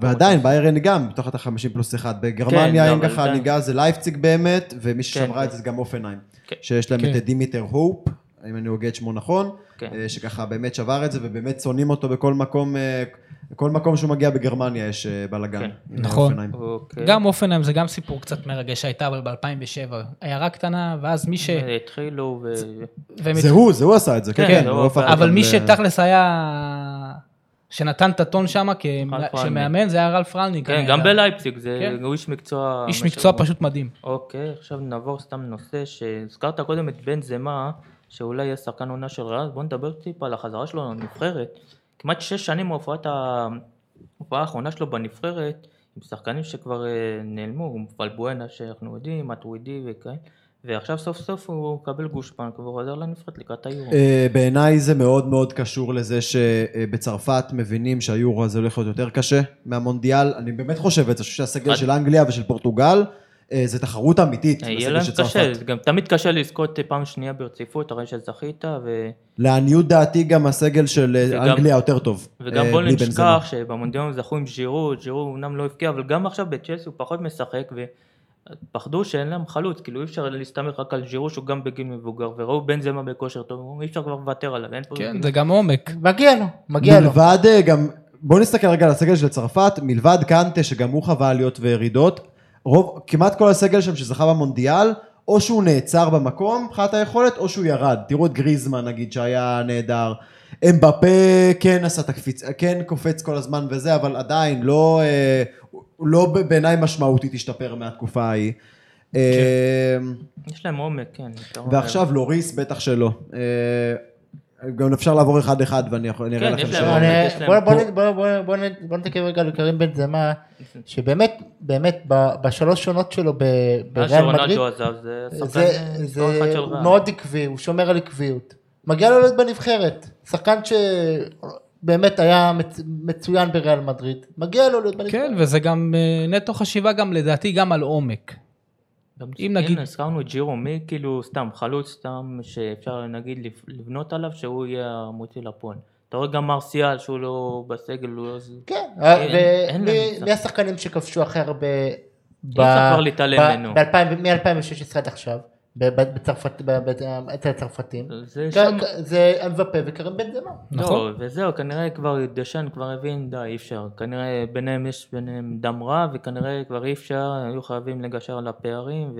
Speaker 4: ועדיין, ביירן גם, בתוך את החמישים פלוס אחד.
Speaker 3: כן,
Speaker 4: בגרמניה אין
Speaker 3: אבל
Speaker 4: ככה
Speaker 3: עדיין.
Speaker 4: ליגה, זה לייפציג באמת, ומי
Speaker 3: כן.
Speaker 4: ששמרה את זה זה גם אופנהיים.
Speaker 3: כן.
Speaker 4: שיש להם
Speaker 2: כן.
Speaker 4: את דימיטר הופ, אם אני הוגה את שמו נכון,
Speaker 3: כן.
Speaker 4: אה, שככה באמת שבר את זה, ובאמת שונאים אותו בכל מקום, אה, כל מקום שהוא מגיע בגרמניה יש אה, בלאגן.
Speaker 3: כן.
Speaker 4: עם
Speaker 2: נכון.
Speaker 4: האופנהיים.
Speaker 3: אוקיי.
Speaker 2: גם אופנהיים זה גם סיפור קצת מרגש שהייתה אבל ב-2007. עיירה קטנה, ואז מי ש...
Speaker 3: התחילו ו...
Speaker 2: והם
Speaker 4: זה הוא, זה הוא עשה את זה, כן,
Speaker 3: כן,
Speaker 4: כן.
Speaker 3: זה
Speaker 4: הוא
Speaker 3: הוא
Speaker 4: הפך
Speaker 3: עשה.
Speaker 4: אותם
Speaker 2: אבל מי
Speaker 4: ל-
Speaker 2: שתכלס היה... שנתן את הטון שם
Speaker 3: רלף
Speaker 2: כמאמן זה היה רלף רלניק.
Speaker 3: כן, גם בלייפציג, זה
Speaker 2: כן.
Speaker 3: הוא איש מקצוע...
Speaker 2: איש
Speaker 3: מה
Speaker 2: מקצוע
Speaker 3: שהוא-
Speaker 2: פשוט מדהים.
Speaker 3: אוקיי, עכשיו נעבור סתם נושא שהזכרת קודם את בן זמה, שאולי יהיה שחקן עונה של ריאל, בוא נדבר טיפה על החזרה שלו לנבחרת. כמעט שש שנים מהופעת ה- ההופעה האחרונה שלו בנבחרת, עם שחקנים שכבר אה, נעלמו, פלבואנה שאנחנו יודעים, מטווידי וכאלה, ועכשיו סוף סוף הוא מקבל גושפנק והוא עוזר לנבחרת לקראת היורו.
Speaker 4: אה, בעיניי זה מאוד מאוד קשור לזה שבצרפת מבינים שהיורו הזה הולך להיות יותר קשה מהמונדיאל. אני באמת חושב את זה, אני חושב שהסגל
Speaker 3: את-
Speaker 4: של אנגליה ושל פורטוגל, אה, זה תחרות אמיתית
Speaker 3: יהיה
Speaker 4: בסגל
Speaker 3: להם
Speaker 4: של צרפת.
Speaker 3: קשה, זה גם תמיד קשה לזכות אה, פעם שנייה ברציפות, הרי שזכית, ו...
Speaker 4: לעניות דעתי גם הסגל של אה,
Speaker 3: וגם-
Speaker 4: אנגליה יותר טוב.
Speaker 3: וגם
Speaker 4: אה,
Speaker 3: בוא
Speaker 4: בלי בנזמה.
Speaker 3: נשכח שבמונדיאל זכו עם ז'ירו, ז'ירו אמנם לא הבקיע, אבל גם עכשיו בצ'לסי הוא פחות משחק ופחדו שאין להם חלוץ, כאילו אי אפשר להסתמך רק על ז'ירו שהוא גם בגיל מבוגר, וראו בן זמה בכושר טוב, אמרו, אי אפשר כבר לוותר עליו, אין פה...
Speaker 2: כן,
Speaker 3: כאילו-
Speaker 2: זה גם עומק.
Speaker 1: מגיע לו, מגיע לו.
Speaker 4: מלבד אה, גם, בואו נסתכל רגע על הסגל של צרפת, מלבד קנטה שגם הוא חווה עליות וירידות, רוב, כמעט כל הסגל שם שזכה במונדיאל, או שהוא נעצר במקום מבחינת היכולת, או שהוא ירד. תראו את גריזמן נגיד שהיה נהדר. אמבפה כן עשה את הקפיץ, כן קופץ כל הזמן וזה, אבל עדיין לא, אה, הוא לא ב- בעיניי משמעותית השתפר מהתקופה ההיא. אה,
Speaker 3: יש להם עומק, כן. אתה רואה.
Speaker 4: ועכשיו לוריס בטח שלא. אה, גם אפשר לעבור אחד אחד ואני יכול- אני אראה
Speaker 3: כן,
Speaker 4: לכם
Speaker 3: יש
Speaker 4: ש...
Speaker 3: להם
Speaker 1: אבל,
Speaker 3: עומק,
Speaker 1: אה,
Speaker 3: יש להם
Speaker 1: בוא- בוא
Speaker 3: פה.
Speaker 1: נ- בוא- בוא- בוא נ- בוא נתקן רגע על קרים בן זמה, שבאמת, באמת, ב- בשלוש שונות שלו ב-
Speaker 3: מאז
Speaker 1: בריאל מדריד,
Speaker 3: שרונלדו עזב, זה שחקן
Speaker 1: זה,
Speaker 3: אה,
Speaker 1: זה
Speaker 3: מספר אחד של ריאל.
Speaker 1: מאוד עקבי, הוא שומר על עקביות. מגיע לו להיות בנבחרת. שחקן שבאמת היה מצ... מצוין בריאל מדריד, מגיע לו להיות בנבחרת.
Speaker 2: כן, וזה גם אה, נטו חשיבה גם לדעתי גם על עומק.
Speaker 3: גם
Speaker 2: אם
Speaker 3: הנה,
Speaker 2: נגיד-
Speaker 3: הזכרנו את ג'ירו, מי כאילו סתם חלוץ סתם שאפשר נגיד לב- לבנות עליו שהוא יהיה המוציא לפועל. אתה רואה גם מרסיאל שהוא לא בסגל, הוא לא...
Speaker 1: כן,
Speaker 3: אין- אין להם
Speaker 1: ומי
Speaker 3: מצב.
Speaker 1: מי השחקנים שכבשו הכי הרבה ב...
Speaker 3: כבר להתעלם ממנו.
Speaker 1: מ-2016 עד עכשיו, ב- ב- בצרפת, ב- ב- אצל הצרפתים.
Speaker 3: זה
Speaker 1: כ-
Speaker 3: שם...
Speaker 1: כ- זה אמבפה וקרים בן זמה.
Speaker 2: נכון.
Speaker 3: נכון. לא, וזהו, כנראה כבר דשן כבר הבין, די, אי אפשר. כנראה ביניהם יש ביניהם דם רע, וכנראה כבר אי אפשר, היו חייבים לגשר על הפערים,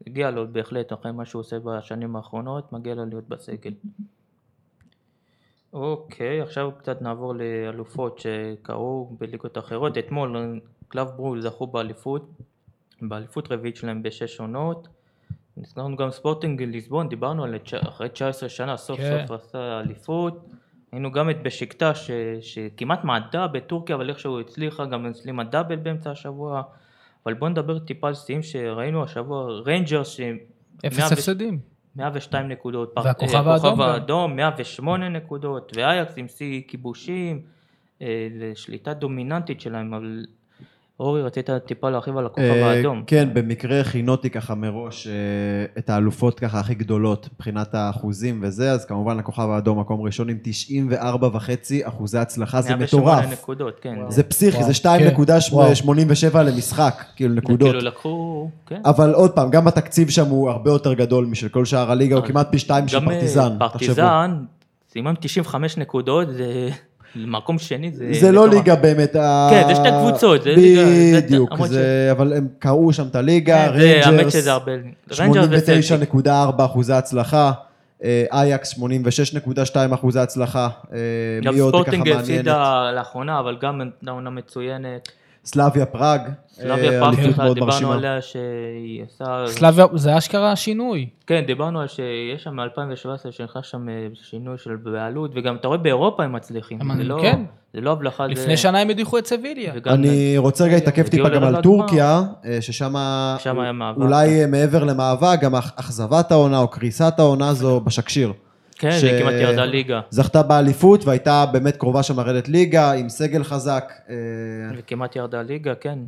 Speaker 3: והגיע לו בהחלט, אחרי מה שהוא עושה בשנים האחרונות, מגיע לו להיות בסגל. אוקיי, עכשיו קצת נעבור לאלופות שקרו בליגות אחרות. אתמול קלף ברול זכו באליפות, באליפות רביעית שלהם בשש עונות. נזכרנו גם ספורטינג ליסבון, דיברנו על תש- אחרי 19 שנה סוף
Speaker 2: כן.
Speaker 3: סוף עשה אליפות. היינו גם את בשקטש שכמעט מעדה בטורקיה, אבל איכשהו הצליחה, גם הצלימה דאבל באמצע השבוע. אבל בואו נדבר טיפה על שיאים שראינו השבוע, ריינג'רס ש...
Speaker 2: אפס הפסדים.
Speaker 3: 102 נקודות,
Speaker 2: והכוכב
Speaker 3: אה,
Speaker 2: האדום גם.
Speaker 3: האדום, 108 נקודות, ואייקס עם שיא כיבושים, אה, לשליטה דומיננטית שלהם, אבל אורי רצית טיפה להרחיב על הכוכב
Speaker 4: אה,
Speaker 3: האדום.
Speaker 4: כן, במקרה הכינותי ככה מראש אה, את האלופות ככה הכי גדולות מבחינת האחוזים וזה, אז כמובן הכוכב האדום מקום ראשון עם 94.5 אחוזי הצלחה, זה
Speaker 3: 108
Speaker 4: מטורף.
Speaker 3: נקודות, כן.
Speaker 4: זה פסיכי, זה
Speaker 1: וואו,
Speaker 4: 2.87 למשחק, כאילו נקודות. אה,
Speaker 3: כאילו לקחו, כן.
Speaker 4: אבל עוד פעם, גם התקציב שם הוא הרבה יותר גדול משל כל שאר הליגה, הוא
Speaker 3: אה,
Speaker 4: כמעט פי שתיים של
Speaker 3: גם אה,
Speaker 4: פרטיזן. תחשבו.
Speaker 3: פרטיזן, סיימן 95 נקודות, זה <laughs> מקום שני, זה...
Speaker 4: זה לא
Speaker 3: מטורף.
Speaker 4: ליגה באמת. אה,
Speaker 3: כן, זה שתי קבוצות, זה ליגה- זה-
Speaker 4: בדיוק,
Speaker 3: למרות
Speaker 4: זה- אבל הם קרעו שם את הליגה,
Speaker 3: כן, זה- האמת
Speaker 4: ריינג'רס,
Speaker 3: שזה הרבה... ריינג'רס וסלטיק.
Speaker 4: 89.4 אחוזי הצלחה, אה, אייקס 86.2 אחוזי הצלחה, אה,
Speaker 3: גם
Speaker 4: מי עוד ככה
Speaker 3: ספורטינג
Speaker 4: מעניינת.
Speaker 3: הפסידה לאחרונה, אבל גם עונה מצוינת.
Speaker 4: סלאביה פראג.
Speaker 3: סלאביה
Speaker 4: אה,
Speaker 3: פארק,
Speaker 4: אליפות מאוד
Speaker 3: דיברנו
Speaker 4: מרשימה.
Speaker 3: עליה שהיא עושה...
Speaker 2: סלאביה, זה אשכרה שינוי.
Speaker 3: כן, דיברנו על שיש שם מ-2017 שנכנס שם אה, שינוי של בעלות, וגם אתה רואה באירופה הם מצליחים.
Speaker 2: הם-
Speaker 3: זה לא-
Speaker 2: כן.
Speaker 3: זה לא הבלחה.
Speaker 2: לפני שנה הם הדיחו את סביליה.
Speaker 4: אני רוצה רגע להתעכב
Speaker 3: הגיעו
Speaker 4: טיפה גם על
Speaker 3: לרבע
Speaker 4: טורקיה, אה, ששם
Speaker 3: שם היה מאבק.
Speaker 4: אולי אה, מעבר למאבק, גם אכ- אכזבת העונה או קריסת העונה זו בשקשיר.
Speaker 3: כן,
Speaker 4: ש-
Speaker 3: היא כמעט ירדה ליגה.
Speaker 4: זכתה באליפות והייתה באמת קרובה שם לרדת ליגה, עם סגל חזק. אה,
Speaker 3: וכמעט ירדה ליגה, כן.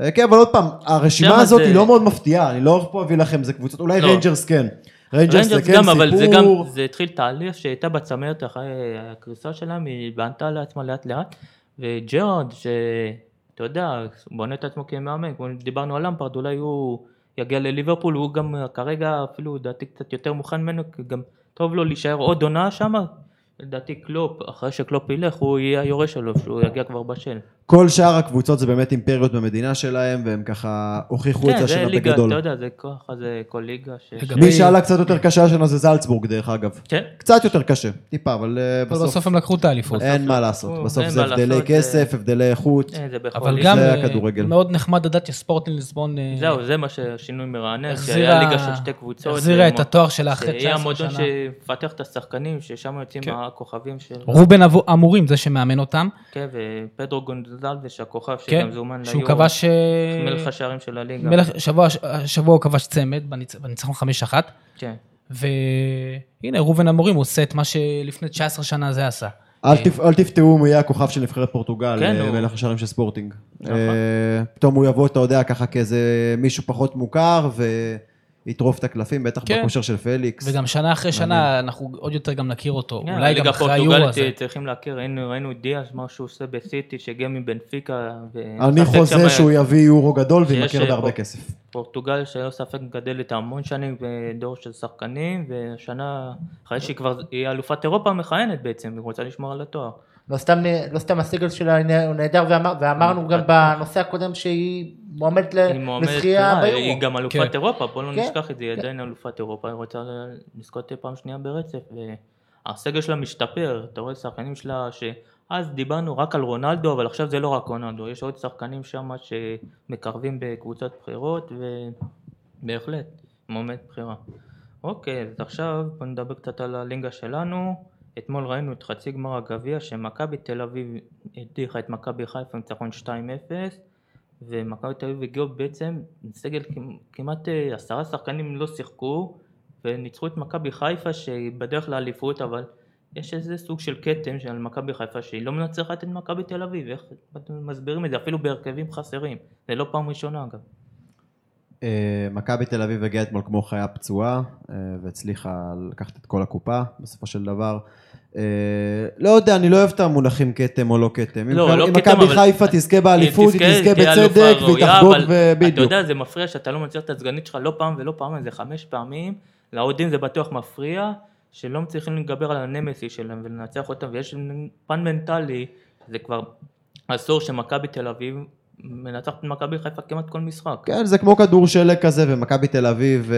Speaker 4: אה, כן, אבל עוד פעם, הרשימה
Speaker 3: שמה
Speaker 4: הזאת
Speaker 3: זה-
Speaker 4: היא לא מאוד מפתיעה, אני לא הולך פה להביא לכם, זה קבוצות, אולי
Speaker 3: לא.
Speaker 4: ריינג'רס כן. ריינג'רס זה
Speaker 3: ריינג'רס
Speaker 4: כן
Speaker 3: גם, אבל זה גם,
Speaker 4: סיפור.
Speaker 3: זה התחיל תהליך שהייתה בצמרת אחרי הקריסה שלהם, היא בנתה לעצמה לאט לאט, וג'רארד, שאתה יודע, בונה את עצמו כמאמן, כמו שדיברנו על למפרד, אולי הוא יגיע לליברפול, הוא גם כרגע אפילו, לדעתי, קצת יותר מוכן ממנו, כי גם טוב לו להישאר עוד עונה שמה. לדעתי קלופ, אחרי שקלופ ילך, הוא יהיה היורש שלו, שהוא יגיע כבר בשל.
Speaker 4: כל שאר הקבוצות זה באמת אימפריות במדינה שלהם, והם ככה הוכיחו את זה
Speaker 3: כן, זה
Speaker 4: השנה
Speaker 3: ליגה, אתה
Speaker 4: בגדול.
Speaker 3: יודע, זה ככה, זה כל ליגה. ש-
Speaker 2: לגבי-
Speaker 4: מי שעלה קצת יותר קשה השנה זה זלצבורג, דרך אגב.
Speaker 3: כן.
Speaker 4: קצת יותר קשה, טיפה, אבל אה,
Speaker 2: אבל
Speaker 4: בסוף אה,
Speaker 2: בסוף הם לקחו את האליפות.
Speaker 4: אין מה לעשות.
Speaker 3: לקחו,
Speaker 4: בסוף
Speaker 3: אין
Speaker 4: זה
Speaker 3: מה
Speaker 4: הבדלי
Speaker 3: לעשות,
Speaker 4: כסף, הבדלי איכות.
Speaker 3: אה, זה בכל
Speaker 2: אבל
Speaker 3: ליגה.
Speaker 2: גם
Speaker 4: זה
Speaker 2: אה,
Speaker 4: הכדורגל.
Speaker 2: מאוד נחמד לדעת שספורטינג ליסבון אה,
Speaker 3: זהו, זה מה ששינוי מרענן,
Speaker 2: החזירה-
Speaker 3: שהיה ליגה של שתי קבוצות.
Speaker 2: החזירה את
Speaker 3: ומו-
Speaker 2: התואר שלה אחרי 19
Speaker 3: שיהיה
Speaker 2: שנה.
Speaker 3: המועדון שמפתח את השחקנים, ששם יוצאים
Speaker 2: כן.
Speaker 3: הכוכבים של...
Speaker 2: רובן אבו- אמורים זה שמאמן אותם,
Speaker 3: כן, ופדרו גונזלדש, הכוכב
Speaker 2: כן,
Speaker 3: שגם זומן
Speaker 2: שהוא
Speaker 3: ליורו.
Speaker 2: כבש... אה,
Speaker 3: מלך השערים של הליגה.
Speaker 2: מלך- שבוע- השבוע הוא כבש צמד בניצ- בניצחון 5-1,
Speaker 3: כן.
Speaker 2: והנה ראובן אמורים עושה את מה שלפני 19 שנה זה עשה.
Speaker 4: אל תפ- אל תפתעו אם הוא יהיה הכוכב של נבחרת פורטוגל,
Speaker 3: כן,
Speaker 4: אה,
Speaker 3: הוא-
Speaker 4: מלך השערים של ספורטינג.
Speaker 3: נכון.
Speaker 4: אה, פתאום הוא יבוא, אתה יודע, ככה כאיזה מישהו פחות מוכר, ויטרוף את הקלפים, בטח
Speaker 2: כן.
Speaker 4: בכושר של פליקס.
Speaker 2: וגם שנה אחרי שנה אנחנו עוד יותר גם נכיר אותו,
Speaker 3: כן,
Speaker 2: אולי גם
Speaker 3: הליגה
Speaker 2: אחרי היורו הזה.
Speaker 3: הפורטוגלית צריכים להכיר, ראינו ראינו את דיאס, מה שהוא עושה בסיטי, שהגיע מבנפיקה. ו-
Speaker 4: אני
Speaker 3: משחק שם אה,
Speaker 4: חוזה שהוא יביא יורו גדול
Speaker 3: שיש,
Speaker 4: וימכר
Speaker 3: אה,
Speaker 4: בהרבה
Speaker 3: פה-
Speaker 4: כסף.
Speaker 3: פורטוגל שללא ספק מגדלת המון שנים בדור של שחקנים, והשנה, אחרי שהיא כבר היא אלופת אירופה מכהנת בעצם, היא רוצה לשמור על התואר.
Speaker 1: לא סתם, לא סתם הסגל שלה הוא נהדר, ואמר, ואמרנו גם בנושא הקודם שהיא מועמדת ל-
Speaker 3: אה, היא מועמדת,
Speaker 1: לזכייה
Speaker 3: אה,
Speaker 1: ביורו.
Speaker 3: היא גם אלופת
Speaker 2: כן.
Speaker 3: אירופה, בוא לא
Speaker 1: כן,
Speaker 3: נשכח את זה, היא עדיין אלופת אירופה, היא רוצה ל- לזכות פעם שנייה ברצף. והסגל שלה משתפר, אתה רואה שחקנים שלה שאז דיברנו רק על רונלדו, אבל עכשיו זה לא רק רונלדו, יש עוד שחקנים שם שמקרבים בקבוצת בחירות, ובהחלט, מועמדת בחירה. אוקיי, אז עכשיו בוא נדבר קצת על הלינגה שלנו. אתמול ראינו את חצי גמר הגביע שמכבי תל אביב הדיחה את מכבי חיפה עם ניצחון 2-0 ומכבי תל אביב הגיעו בעצם עם סגל כמ- כמעט אה, עשרה שחקנים לא שיחקו וניצחו את מכבי חיפה שהיא בדרך לאליפות אבל יש איזה סוג של כתם של מכבי חיפה שהיא לא מנצחת את מכבי תל אביב איך אתם מסבירים את זה אפילו בהרכבים חסרים זה לא פעם ראשונה אגב
Speaker 4: אה, מכבי תל אביב הגיעה אתמול כמו חיה פצועה, אה, והצליחה לקחת את כל הקופה בסופו של דבר. אה, לא יודע, אני לא אוהב את המונחים כתם או לא כתם. אם
Speaker 3: לא,
Speaker 4: מכבי-
Speaker 3: לא
Speaker 4: אם
Speaker 3: כתם,
Speaker 4: מכבי
Speaker 3: אבל-
Speaker 4: חיפה תזכה באליפות, היא תזכה
Speaker 3: תהיה אלופה
Speaker 4: בצדק, והיא
Speaker 3: ראויה,
Speaker 4: תחגוג,
Speaker 3: אבל אתה
Speaker 4: ובדיוק.
Speaker 3: יודע, זה מפריע שאתה לא מצליח את הסגנית שלך לא פעם ולא פעמיים, זה חמש פעמים. לאוהדים זה בטוח מפריע, שלא מצליחים להתגבר על הנמסי שלהם ולנצח אותם, ויש פן מנטלי, זה כבר עשור שמכבי תל אביב מנצחת את מכבי חיפה כמעט כל משחק.
Speaker 4: כן, זה כמו כדור שלג כזה, ומכבי תל אביב, אה,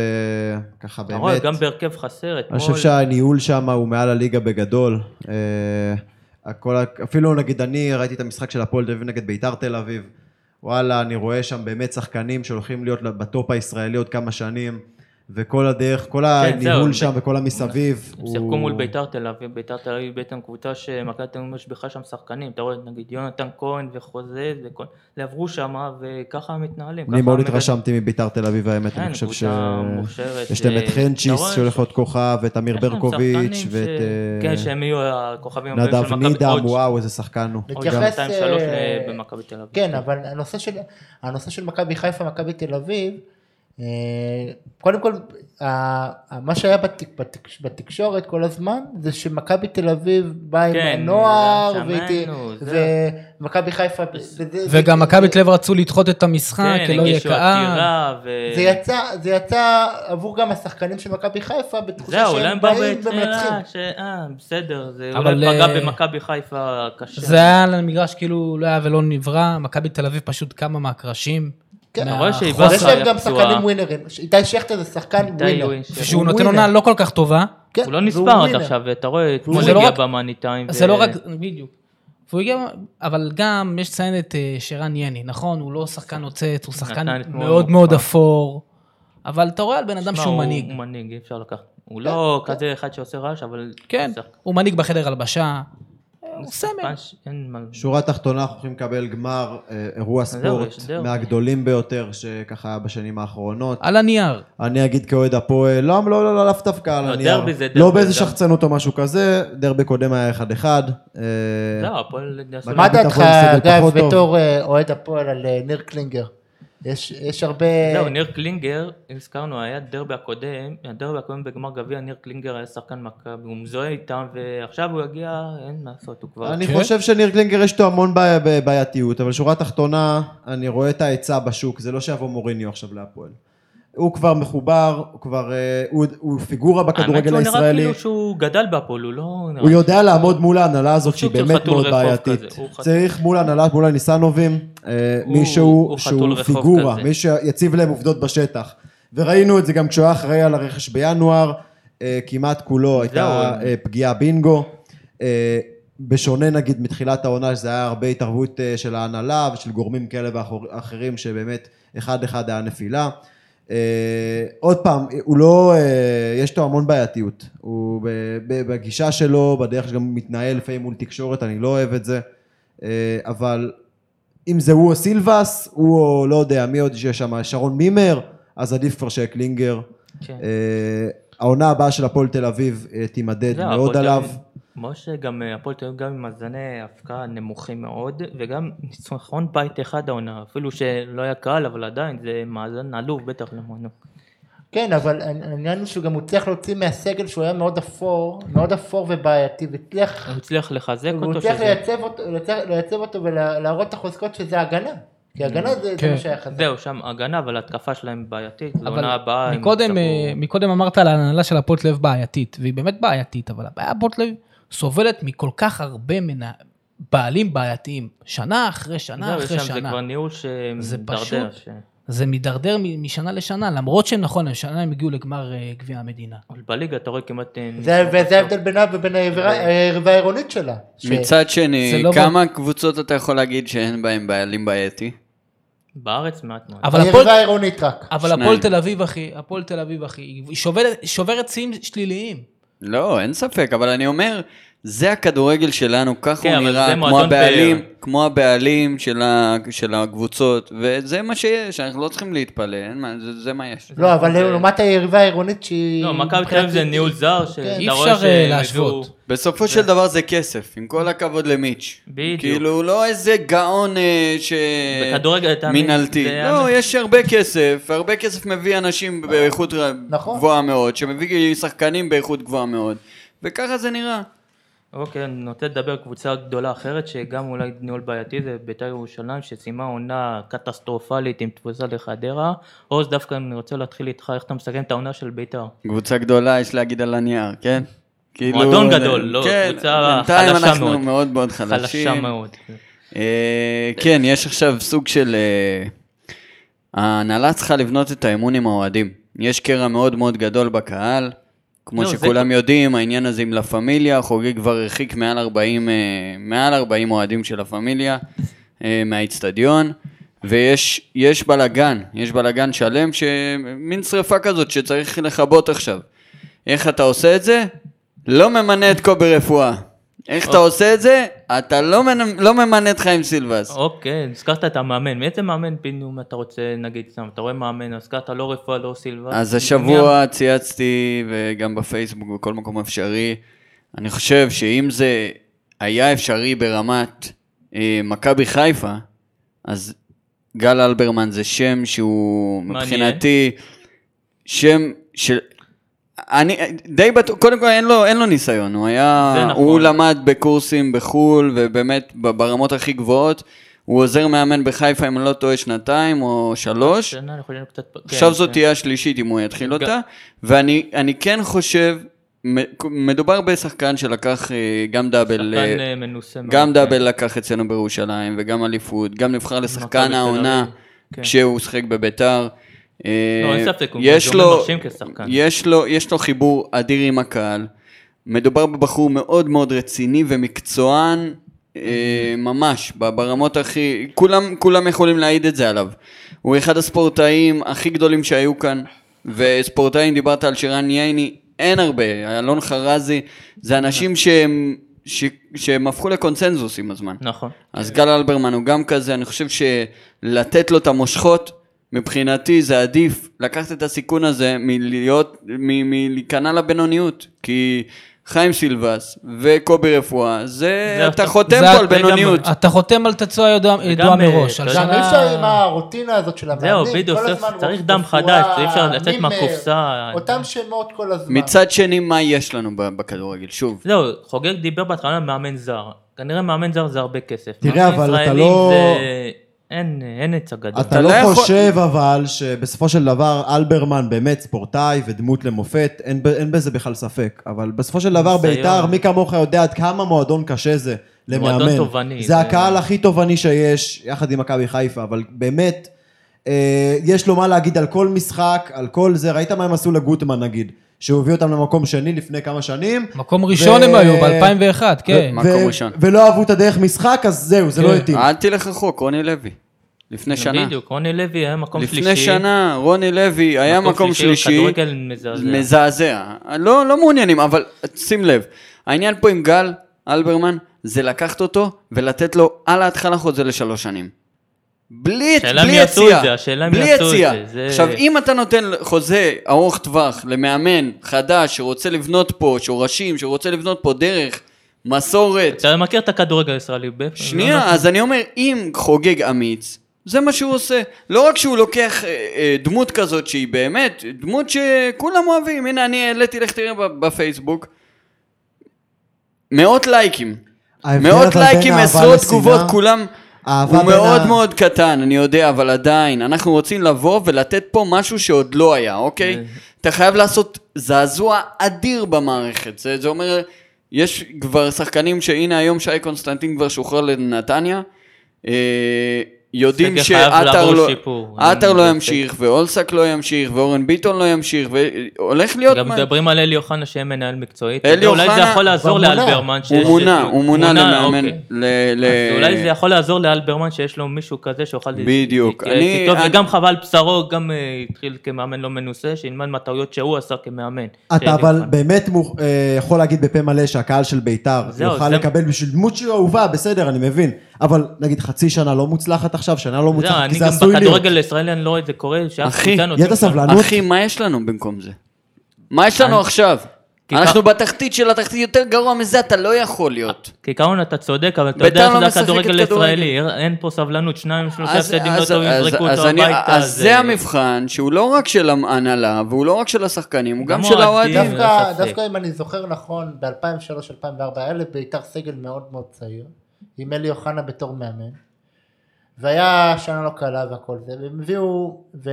Speaker 4: ככה
Speaker 3: אתה רואה,
Speaker 4: באמת.
Speaker 3: גם בהרכב חסר,
Speaker 4: אני
Speaker 3: אתמול...
Speaker 4: חושב שהניהול שם הוא מעל הליגה בגדול. אה, הכל, אפילו נגיד אני ראיתי את המשחק של הפועל תל אביב נגד ביתר תל אביב. וואלה, אני רואה שם באמת שחקנים שהולכים להיות בטופ הישראלי עוד כמה שנים, וכל הדרך, כל הניהול
Speaker 3: כן, זהו,
Speaker 4: שם
Speaker 3: ב-
Speaker 4: וכל המסביב.
Speaker 3: הם שיחקו
Speaker 4: הוא-
Speaker 3: מול ביתר תל אביב, ביתר תל אביב בעצם קבוצה שמכבי תל אביב משביחה שם שחקנים, אתה רואה נגיד יונתן כהן וחוזה וכל, זה עברו שמה וככה הם מתנהלים.
Speaker 4: אני
Speaker 3: ככה
Speaker 4: מאוד
Speaker 3: המגד-
Speaker 4: התרשמתי מביתר תל אביב, האמת,
Speaker 3: כן,
Speaker 4: אני חושב ש...
Speaker 3: קבוצה מוכשרת,
Speaker 4: יש להם
Speaker 3: אה,
Speaker 4: את חנצ'יס
Speaker 3: אתה רואה
Speaker 4: שהולך
Speaker 3: ש-
Speaker 4: להיות כוכב, ואת אמיר
Speaker 3: יש להם
Speaker 4: ברקוביץ',
Speaker 3: שחקנים ש-
Speaker 4: ואת אה,
Speaker 3: כן, שהם יהיו הכוכבים הבאים
Speaker 4: נדב
Speaker 3: של מכבי
Speaker 4: נידם,
Speaker 3: עוד-
Speaker 4: וואו, איזה שחקן הוא.
Speaker 3: עוד
Speaker 1: נתייחס,
Speaker 4: גם-
Speaker 3: שנתיים שלוש
Speaker 1: אה,
Speaker 3: ל- במכבי תל אביב.
Speaker 1: כן, אבל הנושא של, הנושא של מכבי חיפה, מכבי תל אביב, אה, קודם כל, ה- ה- מה שהיה בתק, בתק, בתקשורת כל הזמן, זה שמכבי תל אביב באה עם
Speaker 3: כן,
Speaker 1: הנוער,
Speaker 3: שמענו,
Speaker 1: והייתי-
Speaker 3: זה.
Speaker 1: ומכבי חיפה, וזה-
Speaker 2: וגם
Speaker 1: זה-
Speaker 2: מכבי
Speaker 1: זה-
Speaker 2: תל אביב רצו לדחות את המשחק,
Speaker 3: כן,
Speaker 2: כי לא יהיה
Speaker 3: הגישו
Speaker 2: קהל.
Speaker 3: עתירה ו...
Speaker 1: זה יצא, זה יצא עבור גם השחקנים של מכבי חיפה בתחושה
Speaker 3: זהו, אולי
Speaker 1: שהם
Speaker 3: הם באו
Speaker 1: באים ומנצחים.
Speaker 3: בעצם, אה, בסדר, זה
Speaker 2: אבל,
Speaker 3: אולי פגע
Speaker 2: אה,
Speaker 3: במכבי חיפה קשה.
Speaker 2: זה היה על המגרש כאילו לא היה ולא נברא, מכבי תל אביב פשוט קמה מהקרשים.
Speaker 1: כן,
Speaker 2: מה-
Speaker 3: אתה רואה שהיא
Speaker 2: החוסר-
Speaker 1: אבל יש להם
Speaker 3: היה
Speaker 1: גם
Speaker 3: פצוע.
Speaker 1: שחקנים ווינרים, איתי שכטר זה שחקן
Speaker 3: איתי הוא
Speaker 1: ווינר.
Speaker 3: איש-
Speaker 2: שהוא
Speaker 1: הוא
Speaker 2: נותן
Speaker 1: ווינר.
Speaker 2: עונה לא כל כך טובה,
Speaker 1: כן,
Speaker 3: הוא לא
Speaker 1: והוא
Speaker 3: נספר עד
Speaker 1: ווינר.
Speaker 3: עכשיו, אתה רואה, אתמול
Speaker 2: זה לא
Speaker 3: הגיע
Speaker 2: רק-
Speaker 3: במאני טיים.
Speaker 2: זה לא רק, בדיוק. והוא הגיע, אבל גם יש לציין את אה, שרן יני, נכון? הוא לא שחקן עוצץ, הוא
Speaker 3: נתן
Speaker 2: שחקן
Speaker 3: אתמול
Speaker 2: מאוד
Speaker 3: מופע.
Speaker 2: מאוד אפור, אבל אתה רואה על בן אדם
Speaker 3: שמע,
Speaker 2: שהוא
Speaker 3: הוא-
Speaker 2: מנהיג.
Speaker 3: הוא מנהיג, אי אפשר לקחת. הוא
Speaker 1: כן.
Speaker 3: לא כזה אחד שעושה רעש, אבל...
Speaker 2: כן,
Speaker 3: הוא שחקן
Speaker 2: הוא מנהיג בחדר הלבשה, אה, הוא סמל.
Speaker 3: ש- אין מה-
Speaker 4: שורה תחתונה, אנחנו הולכים לקבל גמר אה, אירוע
Speaker 3: זהו,
Speaker 4: ספורט
Speaker 3: יש דרבי.
Speaker 4: מהגדולים ביותר שככה היה בשנים האחרונות.
Speaker 2: על הנייר.
Speaker 4: אני אגיד כאוהד הפועל, לא, לא, לא, לא, לאו דווקא על
Speaker 3: לא,
Speaker 4: הנייר.
Speaker 3: דרבי זה דרבי,
Speaker 4: לא באיזה
Speaker 3: דרבי.
Speaker 4: שחצנות או משהו כזה, דרבי קודם היה 1-1. אה,
Speaker 3: לא, הפועל... עשו
Speaker 4: מה
Speaker 3: להם-
Speaker 4: אתה
Speaker 1: מה דעתך,
Speaker 4: הפועל סגל
Speaker 1: אגב,
Speaker 4: פחות טוב.
Speaker 1: בתור אה, אוהד הפועל על אה, ניר קלינגר? יש יש הרבה...
Speaker 3: זהו, ניר קלינגר, הזכרנו, היה דרבי הקודם, הדרבי הקודם בגמר גביע, ניר קלינגר היה שחקן מכבי, הוא מזוהה איתם, ועכשיו הוא יגיע, אין מה לעשות, הוא כבר...
Speaker 4: אני חושב שניר קלינגר יש לו המון בעיה- בעייתיות, אבל שורה תחתונה, אני רואה את ההיצע בשוק, זה לא שיבוא מוריניו עכשיו להפועל. הוא כבר מחובר, הוא כבר... אה, הוא- הוא פיגורה בכדורגל
Speaker 3: האמת שהוא נראה
Speaker 4: הישראלי.
Speaker 3: כאילו שהוא גדל בהפועל, הוא לא... נראה-
Speaker 4: הוא יודע לעמוד מול ההנהלה הזאת
Speaker 3: הוא
Speaker 4: שהיא
Speaker 3: סוג של
Speaker 4: באמת
Speaker 3: חתול
Speaker 4: מאוד
Speaker 3: רחוב
Speaker 4: בעייתית.
Speaker 3: כזה, הוא חתול.
Speaker 4: צריך מול ההנהלה, מול הניסנובים, אה,
Speaker 3: הוא-
Speaker 4: מישהו
Speaker 3: הוא חתול
Speaker 4: שהוא
Speaker 3: רחוב
Speaker 4: פיגורה,
Speaker 3: כזה.
Speaker 4: מי שיציב להם עובדות בשטח. וראינו את זה גם כשהוא היה אחראי על הרכש בינואר, אה, כמעט כולו הייתה
Speaker 3: הוא.
Speaker 4: אה, פגיעה בינגו. אה, בשונה נגיד מתחילת העונה, שזה היה הרבה התערבות אה, של ההנהלה ושל גורמים כאלה ואחרים, שבאמת אחד אחד היה נפילה. אה, עוד פעם, הוא לא, אה, יש לו המון בעייתיות. הוא ב, ב, בגישה שלו, בדרך שגם מתנהל לפעמים מול תקשורת, אני לא אוהב את זה. אה, אבל אם זה הוא או סילבס, הוא או לא יודע, מי עוד שיש שם, שרון מימר, אז עדיף כבר שקלינגר.
Speaker 3: כן.
Speaker 4: אה, העונה הבאה של הפועל תל אביב אה, תימדד
Speaker 3: זהו,
Speaker 4: מאוד
Speaker 3: הפועל תל
Speaker 4: עליו.
Speaker 3: אביב- משה, גם אה, הפועל תל אביב גם עם מאזני הפקעה נמוכים מאוד, וגם ניצחון בית אחד העונה, אפילו שלא היה קהל, אבל עדיין זה מאזן עלוב, בטח למוענו.
Speaker 1: כן, אבל העניין הוא שהוא גם הצליח להוציא מהסגל שהוא היה מאוד אפור, מאוד אפור ובעייתי, והצליח...
Speaker 3: הוא הצליח לחזק
Speaker 1: הוא
Speaker 3: אותו,
Speaker 1: הצליח
Speaker 3: שזה...
Speaker 1: לייצב אותו, לייצב- לייצב אותו ולהראות את החוזקות שזה הגנה. כי הגנה זה זה
Speaker 2: כן.
Speaker 1: מה שהיה חזק.
Speaker 3: זהו, שם הגנה, אבל התקפה שלהם בעייתית,
Speaker 2: אבל
Speaker 3: לעונה הבאה... הם
Speaker 2: מקודם,
Speaker 3: יצטרכו-
Speaker 2: אה, מקודם אמרת על ההנהלה של הפועל תל אביב בעייתית, והיא באמת בעייתית, אבל הבעיה הפועל תל אביב סובלת מכל כך הרבה מנה... בעלים בעייתיים, שנה אחרי שנה
Speaker 3: זהו,
Speaker 2: אחרי
Speaker 3: שם זה
Speaker 2: שנה.
Speaker 3: כבר ניהול שמדרדר.
Speaker 2: פשוט-
Speaker 3: ש-
Speaker 2: זה מידרדר מ- משנה לשנה, למרות שהם נכון, השנה הם הגיעו לגמר אה, גביע המדינה.
Speaker 3: אבל בליגה אתה רואה כמעט... אה,
Speaker 1: זה- וזה ההבדל בינה ובין היריבה היריבה העירונית שלה. ש-
Speaker 6: מצד שני,
Speaker 2: זה לא
Speaker 6: כמה קבוצות אתה יכול להגיד שאין בהן בעלים בעייתי?
Speaker 3: בארץ מעט מאוד.
Speaker 2: אבל הפועל,
Speaker 1: היריבה העירונית רק.
Speaker 2: אבל
Speaker 6: שניים.
Speaker 2: הפועל תל אביב, אחי, הפועל תל אביב, אחי, היא שוברת, שוברת שיאים שליליים.
Speaker 6: לא, אין ספק, אבל אני אומר, זה הכדורגל שלנו, ככה
Speaker 3: כן,
Speaker 6: הוא
Speaker 3: אבל
Speaker 6: נראה,
Speaker 3: זה
Speaker 6: כמו
Speaker 3: מועדון
Speaker 6: הבעלים,
Speaker 3: באר.
Speaker 6: כמו הבעלים של ה- של הקבוצות, וזה מה שיש, אנחנו לא צריכים להתפלא, אין מה, זה- זה מה יש.
Speaker 1: לא, אבל לעומת היריבה העירונית שהיא...
Speaker 3: אה, לא, מכבי תל אביב זה ניהול זר, שאתה
Speaker 2: אי
Speaker 3: רואה
Speaker 2: אפשר, אה,
Speaker 3: שהם
Speaker 2: להשוות.
Speaker 3: הביאו-
Speaker 6: בסופו של דבר זה כסף, עם כל הכבוד למיץ'.
Speaker 3: בדיוק.
Speaker 6: כאילו, הוא לא איזה גאון אה, ש...
Speaker 3: בכדורגל הייתה...
Speaker 6: מינהלתי.
Speaker 3: זה היה-
Speaker 6: לא, יש הרבה כסף, הרבה כסף מביא אנשים באיכות ר-
Speaker 1: נכון.
Speaker 6: גבוהה מאוד, שמביא שחקנים באיכות גבוהה מאוד, וככה זה נראה.
Speaker 3: אוקיי, אני רוצה לדבר על קבוצה גדולה אחרת, שגם אולי ניהול בעייתי, זה בית"ר ירושלים, שסיימה עונה קטסטרופלית עם תבוסה לחדרה. עוז, דווקא אני רוצה להתחיל איתך, איך אתה מסכם את העונה של בית"ר?
Speaker 6: קבוצה גדולה, יש להגיד על הנייר, כן? כאילו...
Speaker 3: מועדון גדול, לא,
Speaker 6: כן,
Speaker 3: קבוצה
Speaker 6: בינתיים
Speaker 3: חלשה
Speaker 6: אנחנו
Speaker 3: מאוד.
Speaker 6: מאוד מאוד חלשים.
Speaker 3: חלשה מאוד. כן.
Speaker 6: אה, כן, יש עכשיו סוג של... אה, ההנהלה צריכה לבנות את האמון עם האוהדים. יש קרע מאוד מאוד גדול בקהל. כמו
Speaker 3: לא, זה-
Speaker 6: שכולם יודעים, העניין הזה עם לה פמיליה, חוגג כבר הרחיק מעל 40, אה, מעל 40 אוהדים של לה פמיליה אה, מהאיצטדיון, ויש יש בלאגן, יש בלאגן שלם, ש- מין שריפה כזאת שצריך לכבות עכשיו. איך אתה עושה את זה? לא ממנה את קובי רפואה. איך אתה עושה את זה? אתה לא, מנ... לא ממנה את חיים סילבס.
Speaker 3: אוקיי, הזכרת את המאמן. מאיזה מאמן פתאום אתה רוצה, נגיד, סתם, אתה רואה מאמן, הזכרת לא רפואה, לא סילבה.
Speaker 6: אז
Speaker 3: מי-
Speaker 6: השבוע צייצתי, וגם בפייסבוק, בכל מקום אפשרי, אני חושב שאם זה היה אפשרי ברמת אה, מכבי חיפה, אז גל אלברמן זה שם שהוא
Speaker 3: מעניין.
Speaker 6: מבחינתי שם של... אני די בטוח, קודם כל אין לו, אין לו ניסיון, הוא היה,
Speaker 3: זה נכון.
Speaker 6: הוא למד בקורסים בחו"ל ובאמת ב- ברמות הכי גבוהות, הוא עוזר מאמן בחיפה אם אני לא טועה שנתיים או שלוש,
Speaker 3: שנה, אני חושב קצת... כן,
Speaker 6: עכשיו זאת
Speaker 3: כן.
Speaker 6: תהיה השלישית אם הוא יתחיל
Speaker 3: גם-
Speaker 6: אותה, ואני אני כן חושב, מ- מדובר בשחקן שלקח אה, גם דאבל, אה,
Speaker 3: שחקן אה, מנוסה.
Speaker 6: גם
Speaker 3: מאוד,
Speaker 6: דאבל
Speaker 3: כן.
Speaker 6: לקח אצלנו בירושלים, וגם אליפות, גם נבחר
Speaker 3: מכבי
Speaker 6: לשחקן
Speaker 3: תל
Speaker 6: העונה
Speaker 3: אביב, כן.
Speaker 6: כשהוא שיחק בביתר. אה,
Speaker 3: לא, אין ספק, הוא
Speaker 6: יש
Speaker 3: דומה
Speaker 6: לו-
Speaker 3: מרשים כשחקן.
Speaker 6: יש לו- יש לו חיבור אדיר עם הקהל. מדובר בבחור מאוד מאוד רציני ומקצוען אה, ממש, ב- ברמות הכי... כולם, כולם יכולים להעיד את זה עליו. הוא אחד הספורטאים הכי גדולים שהיו כאן, וספורטאים, דיברת על שירן ייני, אין הרבה, אלון חרזי, זה אנשים שהם, ש, שהם הפכו לקונצנזוס עם הזמן.
Speaker 3: נכון.
Speaker 6: אז גל אלברמן הוא גם כזה, אני חושב שלתת לו את המושכות, מבחינתי זה עדיף לקחת את הסיכון הזה מלהיות, מ- מלהיכנע לבינוניות, כי חיים סילבס וקובי רפואה, זה,
Speaker 3: זה
Speaker 6: אתה
Speaker 3: אתה-
Speaker 6: חותם
Speaker 2: זה
Speaker 6: פה על
Speaker 3: אתה-
Speaker 6: בינוניות.
Speaker 2: אתה חותם על תצועה ידוע- ידועה
Speaker 3: אה,
Speaker 2: מראש. על
Speaker 3: אתה
Speaker 1: גם
Speaker 2: שנה-
Speaker 1: אי אפשר עם הרוטינה הזאת של המאמנים,
Speaker 3: זהו, בדיוק,
Speaker 1: כל
Speaker 3: צריך-
Speaker 1: הזמן
Speaker 3: צריך
Speaker 1: רופ-
Speaker 3: דם
Speaker 1: רפואה,
Speaker 3: חדש, אי אפשר לצאת
Speaker 1: מימר,
Speaker 3: מהקופסה.
Speaker 1: אותם שמות כל הזמן.
Speaker 6: מצד שני, מה יש לנו ב- בכדורגל? שוב,
Speaker 3: זהו, חוגג דיבר בהתחלה על מאמן זר. כנראה מאמן זר זה הרבה כסף.
Speaker 4: תראה,
Speaker 3: מאמן
Speaker 4: אבל אתה
Speaker 3: ישראלים
Speaker 4: לא-
Speaker 3: זה- אין, אין עצה גדול.
Speaker 4: אתה
Speaker 6: לא
Speaker 4: לא
Speaker 6: יכול-
Speaker 4: חושב אבל שבסופו של דבר אלברמן באמת ספורטאי ודמות למופת, אין ב- אין בזה בכלל ספק, אבל בסופו של דבר
Speaker 3: ניסיון.
Speaker 4: בית"ר, מי כמוך יודע עד כמה מועדון קשה זה למאמן.
Speaker 3: מועדון תובעני,
Speaker 4: זה
Speaker 3: זה-
Speaker 4: הקהל הכי תובעני שיש, יחד עם מכבי חיפה, אבל באמת, אה, יש לו מה להגיד על כל משחק, על כל זה, ראית מה הם עשו לגוטמן נגיד, שהוא הביא אותם למקום שני לפני כמה שנים.
Speaker 2: מקום ראשון הם היו, ב-2001, כן.
Speaker 6: מקום
Speaker 4: ו-
Speaker 6: ראשון. אה,
Speaker 4: ולא אהבו את הדרך משחק, אז זהו, זה לא
Speaker 2: כן.
Speaker 4: התאים.
Speaker 6: אל תלך רחוק, רוני לוי. לפני שנה.
Speaker 3: בדיוק, רוני לוי היה מקום שלישי.
Speaker 6: לפני שנה, רוני לוי היה מקום שלישי.
Speaker 3: כדורגל מזעזע.
Speaker 6: מזעזע. לא, לא מעוניינים, אבל שים לב, העניין פה עם גל אלברמן, זה לקחת אותו ולתת לו על ההתחלה חוזה לשלוש שנים. בלי
Speaker 3: השאלה
Speaker 6: בלי
Speaker 3: אם יעשו
Speaker 6: יציאה.
Speaker 3: את זה, השאלה אם
Speaker 6: בלי
Speaker 3: יעשו את
Speaker 6: יציאה.
Speaker 3: זה, זה-
Speaker 6: עכשיו, אם אתה נותן חוזה ארוך טווח למאמן חדש שרוצה לבנות פה שורשים, שרוצה לבנות פה דרך, מסורת,
Speaker 3: אתה מכיר את הכדורגל הישראלי? ב- לא
Speaker 6: שנייה,
Speaker 3: נכון.
Speaker 6: אז אני אומר, אם חוגג אמיץ, זה מה שהוא עושה. לא רק שהוא לוקח אה, אה, דמות כזאת שהיא באמת דמות שכולם אוהבים. הנה, אני העליתי, לך תראה ב- בפייסבוק. מאות לייקים.
Speaker 4: ההבדל אבל
Speaker 6: מאות
Speaker 4: בין
Speaker 6: לייקים,
Speaker 4: אהבה
Speaker 6: עשרות
Speaker 4: לשנאה-
Speaker 6: תגובות, כולם...
Speaker 4: אהבה
Speaker 6: הוא
Speaker 4: בין
Speaker 6: מאוד
Speaker 4: ה-
Speaker 6: מאוד קטן, אני יודע, אבל עדיין, אנחנו רוצים לבוא ולתת פה משהו שעוד לא היה, אוקיי? אתה חייב לעשות זעזוע אדיר במערכת. זה, זה אומר, יש כבר שחקנים שהנה היום שי קונסטנטין כבר שוחרר לנתניה, אה, יודעים
Speaker 3: זה חייב
Speaker 6: שעטר
Speaker 3: לעבור
Speaker 6: לא,
Speaker 3: שיפור.
Speaker 6: עטר לא
Speaker 3: זה-
Speaker 6: ימשיך, ואולסק לא ימשיך, ואורן ביטון לא ימשיך, והולך להיות...
Speaker 3: גם
Speaker 6: מה-
Speaker 3: מדברים על אלי אוחנה שיהיה מנהל מקצועי. אתה
Speaker 6: אלי
Speaker 3: יודע, אולי זה
Speaker 6: אוחנה-
Speaker 3: יכול לעזור
Speaker 1: הוא מונה.
Speaker 3: לאלברמן.
Speaker 6: הוא
Speaker 3: שיש-
Speaker 6: מונה, הוא מונה למאמן, אה,
Speaker 3: אוקיי.
Speaker 6: ל... ל...
Speaker 3: אז אולי זה יכול לעזור לאלברמן שיש לו מישהו כזה שיוכל
Speaker 6: בדיוק.
Speaker 3: להתייעץ
Speaker 6: אני-
Speaker 3: איתו,
Speaker 6: אני-
Speaker 3: וגם חבל בשרו, גם אה, התחיל כמאמן לא מנוסה, שילמד מהטעויות שהוא עשה כמאמן.
Speaker 4: אתה
Speaker 3: שאלי
Speaker 4: אבל
Speaker 3: אוחנה.
Speaker 4: באמת מוכ- אה, יכול להגיד בפה מלא שהקהל של ביתר
Speaker 3: זהו,
Speaker 4: יוכל
Speaker 3: זה-
Speaker 4: לקבל בשביל דמות שהיא אהובה, בסדר, אני מבין. אבל נגיד חצי שנה לא מוצלחת עכשיו, שנה לא
Speaker 3: זהו,
Speaker 4: מוצלחת, כי
Speaker 3: אני
Speaker 4: זה
Speaker 3: גם
Speaker 4: עשוי להיות.
Speaker 3: בכדורגל הישראלי אני לא רואה את זה קורה, שאף
Speaker 6: אחי,
Speaker 3: קבוצה
Speaker 6: ידע
Speaker 3: נותנת-
Speaker 4: סבלנות.
Speaker 6: אחי, מה יש לנו במקום זה? מה יש לנו עכשיו?
Speaker 3: כי
Speaker 6: אנחנו בתחתית של התחתית, יותר גרוע מזה אתה לא יכול להיות.
Speaker 3: כעיקרון אתה צודק, אבל אתה
Speaker 6: ביתר
Speaker 3: יודע
Speaker 6: לא
Speaker 3: שזה
Speaker 6: משחקת
Speaker 3: הכדורגל
Speaker 6: כדורגל.
Speaker 3: הישראלי, אין פה סבלנות, שניים שלושה
Speaker 6: אז-
Speaker 3: הפסדים לא
Speaker 6: אז-
Speaker 3: טובים,
Speaker 6: אז-
Speaker 3: יזרקו
Speaker 6: אז
Speaker 3: אותו
Speaker 6: אני-
Speaker 3: הביתה. אה,
Speaker 6: אז זה המבחן שהוא לא רק של ההנהלה, והוא לא רק של השחקנים, הוא
Speaker 3: גם
Speaker 6: גם של
Speaker 3: אוהדים.
Speaker 6: האוהדים.
Speaker 3: אין
Speaker 1: דווקא,
Speaker 3: ספק.
Speaker 1: דווקא אם אני זוכר נכון, ב-2003-2004 היה לביתר סגל מאוד מאוד צעיר, עם אלי אוחנה בתור מאמן, והיה שנה לא קלה והכל זה, והם הביאו, ו...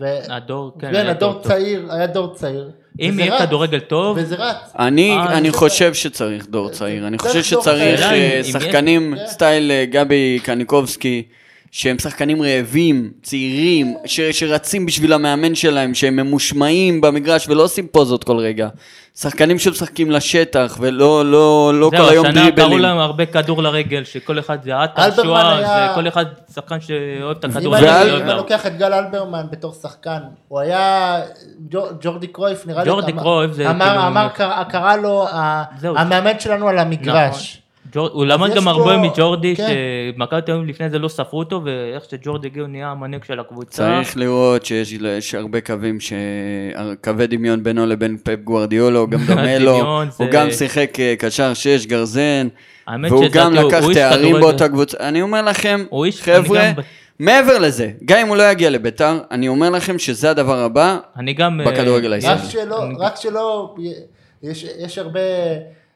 Speaker 1: ו...
Speaker 3: הדור, כן,
Speaker 1: כן,
Speaker 3: היה
Speaker 1: הדור
Speaker 3: טוב, טוב.
Speaker 1: צעיר, היה דור צעיר.
Speaker 3: אם
Speaker 1: וזה
Speaker 3: יהיה
Speaker 1: רץ,
Speaker 3: כדורגל טוב,
Speaker 1: וזה רץ.
Speaker 6: אני
Speaker 3: אה,
Speaker 6: אני
Speaker 1: זה-
Speaker 6: חושב שצריך דור צעיר, אני חושב
Speaker 1: דור
Speaker 6: שצריך
Speaker 3: צעיר.
Speaker 6: אה,
Speaker 3: אם יש- כן.
Speaker 6: שחקנים סטייל אה, גבי קניקובסקי, שהם שחקנים רעבים, צעירים, ש- שרצים בשביל המאמן שלהם, שהם ממושמעים במגרש ולא עושים פוזות כל רגע. שחקנים שמשחקים לשטח ולא לא- לא כל היום
Speaker 3: השנה קראו
Speaker 6: דריבלים.
Speaker 3: להם הרבה כדור לרגל, שכל אחד זה עטר,
Speaker 1: אלברמן
Speaker 3: שואה,
Speaker 1: היה-
Speaker 3: וכל אחד שחקן שאוהב את
Speaker 1: אם
Speaker 3: הכדור.
Speaker 6: ואל-
Speaker 1: אני-
Speaker 3: ואוהב
Speaker 1: אם אני
Speaker 3: את ה-
Speaker 1: לוקח את גל אלברמן בתור שחקן, הוא היה ג'ור- ג'ורדי קרויף, נראה לי,
Speaker 3: ג'ורדי
Speaker 1: אמר-
Speaker 3: קרויף זה כאילו-
Speaker 1: אמר, אמר, קרא- קרא לו, ה-
Speaker 3: זהו.
Speaker 1: המאמן שלנו על המגרש.
Speaker 3: נכון. ג'ור- הוא למד
Speaker 1: יש
Speaker 3: גם הרבה
Speaker 1: פה-
Speaker 3: מג'ורדי,
Speaker 1: כן.
Speaker 3: שמכבי תל אביב לפני זה לא ספרו אותו, ואיך שג'ורדי הגיע הוא נהיה המנהיג של הקבוצה.
Speaker 6: צריך לראות שיש יש הרבה קווים, ש... אה, קווי דמיון בינו לבין פפ גוורדיאולו, הוא גם דומה לו,
Speaker 3: הדמיון
Speaker 6: הוא
Speaker 3: זה-
Speaker 6: גם שיחק אה, קשר שש, גרזן,
Speaker 3: האמת
Speaker 6: והוא
Speaker 3: שלדעתי
Speaker 6: גם
Speaker 3: הוא-
Speaker 6: לקח
Speaker 3: הוא איש
Speaker 6: תארים
Speaker 3: כדורגל.
Speaker 6: באותה קבוצה. אני אומר לכם,
Speaker 3: הוא איש- אני
Speaker 6: חבר'ה,
Speaker 3: גם ב-
Speaker 6: מעבר לזה, גם אם הוא לא יגיע לביתר, אני אומר לכם שזה הדבר הבא
Speaker 3: אני גם... אה,
Speaker 6: בכדורגל
Speaker 1: רק
Speaker 6: הישראלי.
Speaker 1: שלא, רק שלא, יש, יש הרבה,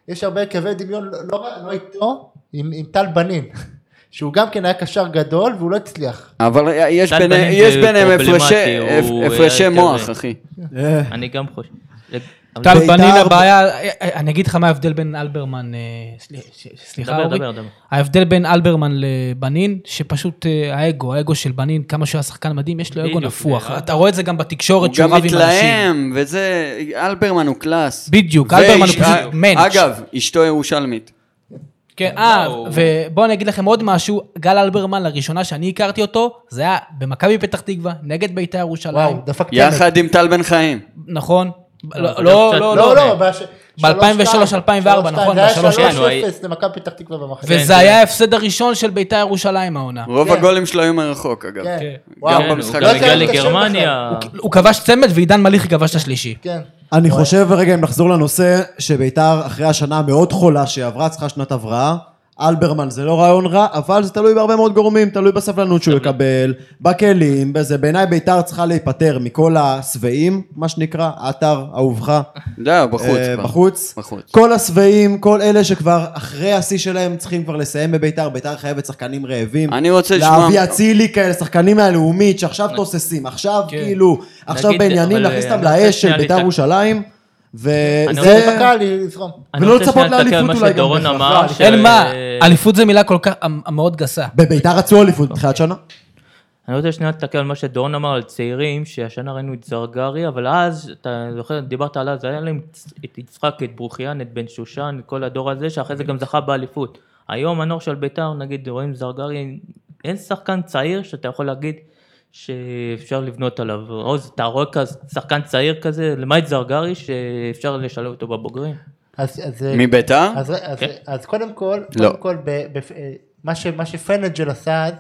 Speaker 1: יש הרבה קווי דמיון, לא, לא, לא איתו, עם, עם טל בנין, <laughs> שהוא גם כן היה קשר גדול והוא לא הצליח.
Speaker 6: אבל יש
Speaker 3: דן
Speaker 6: ביניהם-
Speaker 3: בנין
Speaker 6: יש
Speaker 3: זה
Speaker 6: ביניהם
Speaker 3: פרובלמטי,
Speaker 6: הפרשי-
Speaker 3: הוא,
Speaker 6: הפ- הפרשי
Speaker 3: אה,
Speaker 6: מוח,
Speaker 3: כזה.
Speaker 6: אחי.
Speaker 4: אה,
Speaker 3: אני גם אה, חושב.
Speaker 2: טל
Speaker 4: בית"ר-
Speaker 2: בנין הבעיה, אה, אה, אני אגיד לך מה ההבדל בין אלברמן, אה, סלי- ש- סליחה
Speaker 3: דבר,
Speaker 2: אורי,
Speaker 3: דבר, דבר.
Speaker 2: ההבדל בין אלברמן לבנין, שפשוט אה, האגו, האגו של בנין, כמה שהוא היה שחקן מדהים, יש לו אגו
Speaker 3: בדיוק,
Speaker 2: נפוח,
Speaker 3: אה.
Speaker 2: אתה רואה את זה גם בתקשורת
Speaker 6: הוא
Speaker 2: שהוא
Speaker 6: גם
Speaker 2: רב עם אנשים.
Speaker 6: מתלהם, וזה... אלברמן הוא קלאס.
Speaker 2: בדיוק,
Speaker 6: ואיש-
Speaker 2: אלברמן הוא פשוט
Speaker 6: אה,
Speaker 2: מענץ'.
Speaker 6: אגב, אשתו ירושלמית.
Speaker 2: כן, אה,
Speaker 3: וואו.
Speaker 2: ובואו אני אגיד לכם עוד משהו, גל אלברמן, לראשונה שאני הכרתי אותו, זה היה במכבי פתח תקווה, נגד בית"ר ירושלים,
Speaker 1: וואו, דפק צמד.
Speaker 6: יחד עם טל בן חיים.
Speaker 2: נכון?
Speaker 3: אה, זה
Speaker 2: לא, לא,
Speaker 3: קצת-
Speaker 2: לא,
Speaker 1: לא,
Speaker 2: לא.
Speaker 1: לא, בש-
Speaker 2: ב-
Speaker 1: 3-2,
Speaker 2: 2003, נכון,
Speaker 1: זה כן, היה
Speaker 2: ב-
Speaker 1: 3-0
Speaker 2: 3-2,
Speaker 1: למכבי פתח תקווה
Speaker 3: כן,
Speaker 1: במחצית.
Speaker 2: וזה היה ההפסד הראשון של בית"ר ירושלים העונה.
Speaker 6: רוב
Speaker 1: כן.
Speaker 6: הגולים שלו היו מרחוק, אגב.
Speaker 1: כן.
Speaker 2: כן.
Speaker 1: וואו.
Speaker 6: גם במשחק
Speaker 3: הוא גם
Speaker 6: הזה.
Speaker 3: הגיע
Speaker 1: לא צריך
Speaker 3: לגרמניה.
Speaker 2: הוא כבש צמד ועידן מליך כבש את השלישי.
Speaker 1: כן.
Speaker 4: אני חושב, רגע, אם נחזור לנושא, שביתר אחרי השנה המאוד חולה שעברה, צריכה שנת הבראה. אלברמן זה לא רעיון רע, אבל זה תלוי בהרבה מאוד גורמים, תלוי בסבלנות
Speaker 3: כן.
Speaker 4: שהוא יקבל, בכלים, בזה. בעיניי ביתר צריכה להיפטר מכל השבעים, מה שנקרא, עטר, אהובך.
Speaker 6: זהו, בחוץ.
Speaker 4: אה,
Speaker 6: כבר.
Speaker 4: בחוץ.
Speaker 6: בחוץ.
Speaker 4: כל השבעים, כל אלה שכבר אחרי השיא שלהם צריכים כבר לסיים בביתר, ביתר חייבת שחקנים רעבים.
Speaker 6: אני רוצה לשמוע-
Speaker 4: להביא אצילי כאלה, שחקנים מהלאומית שעכשיו תוססים, עכשיו
Speaker 2: כן.
Speaker 4: כאילו, עכשיו
Speaker 3: נגיד,
Speaker 4: בעניינים
Speaker 3: אבל,
Speaker 4: להכניס
Speaker 3: אה,
Speaker 4: אותם
Speaker 3: אני רוצה
Speaker 4: לאש של
Speaker 3: שנייה
Speaker 4: ביתר
Speaker 3: להתעכב.
Speaker 4: ירושלים,
Speaker 3: אני
Speaker 4: וזה...
Speaker 1: זה בקהל לזרום.
Speaker 3: אני
Speaker 4: ולא
Speaker 3: רוצה
Speaker 4: לצפות
Speaker 3: שנייה להתעכב על
Speaker 4: לאליפות
Speaker 3: מה
Speaker 4: אולי גם
Speaker 3: שדורון
Speaker 4: בהכרח,
Speaker 3: אמר.
Speaker 4: לא,
Speaker 3: ש-
Speaker 2: אין מה,
Speaker 3: אה,
Speaker 2: אליפות זו מילה כל כך מאוד גסה.
Speaker 4: בביתר רצו אליפות בתחילת שנה.
Speaker 3: אני רוצה שנייה להתעכב על מה שדורון אמר על צעירים, שהשנה ראינו את זרגרי, אבל אז, אתה זוכר, דיברת על אז, היה להם את יצחק, את ברוכיאן, את בן שושן, את כל הדור הזה, שאחרי זה גם זכה באליפות. היום הנוער של ביתר, נגיד, רואים זרגרי, אין שחקן צעיר שאתה יכול להגיד שאפשר לבנות עליו. עוז, אתה רואה כזה, שחקן צעיר כזה, למעט זרגרי, שאפשר לשלב אותו בבוגרים.
Speaker 1: אז- אז, אה,
Speaker 6: מביתר?
Speaker 1: אז- אז-
Speaker 3: כן.
Speaker 1: אז קודם כל,
Speaker 6: לא.
Speaker 1: קודם כל, ב- בפ- אה, מה ש- מה שפנג'ל עשה אז,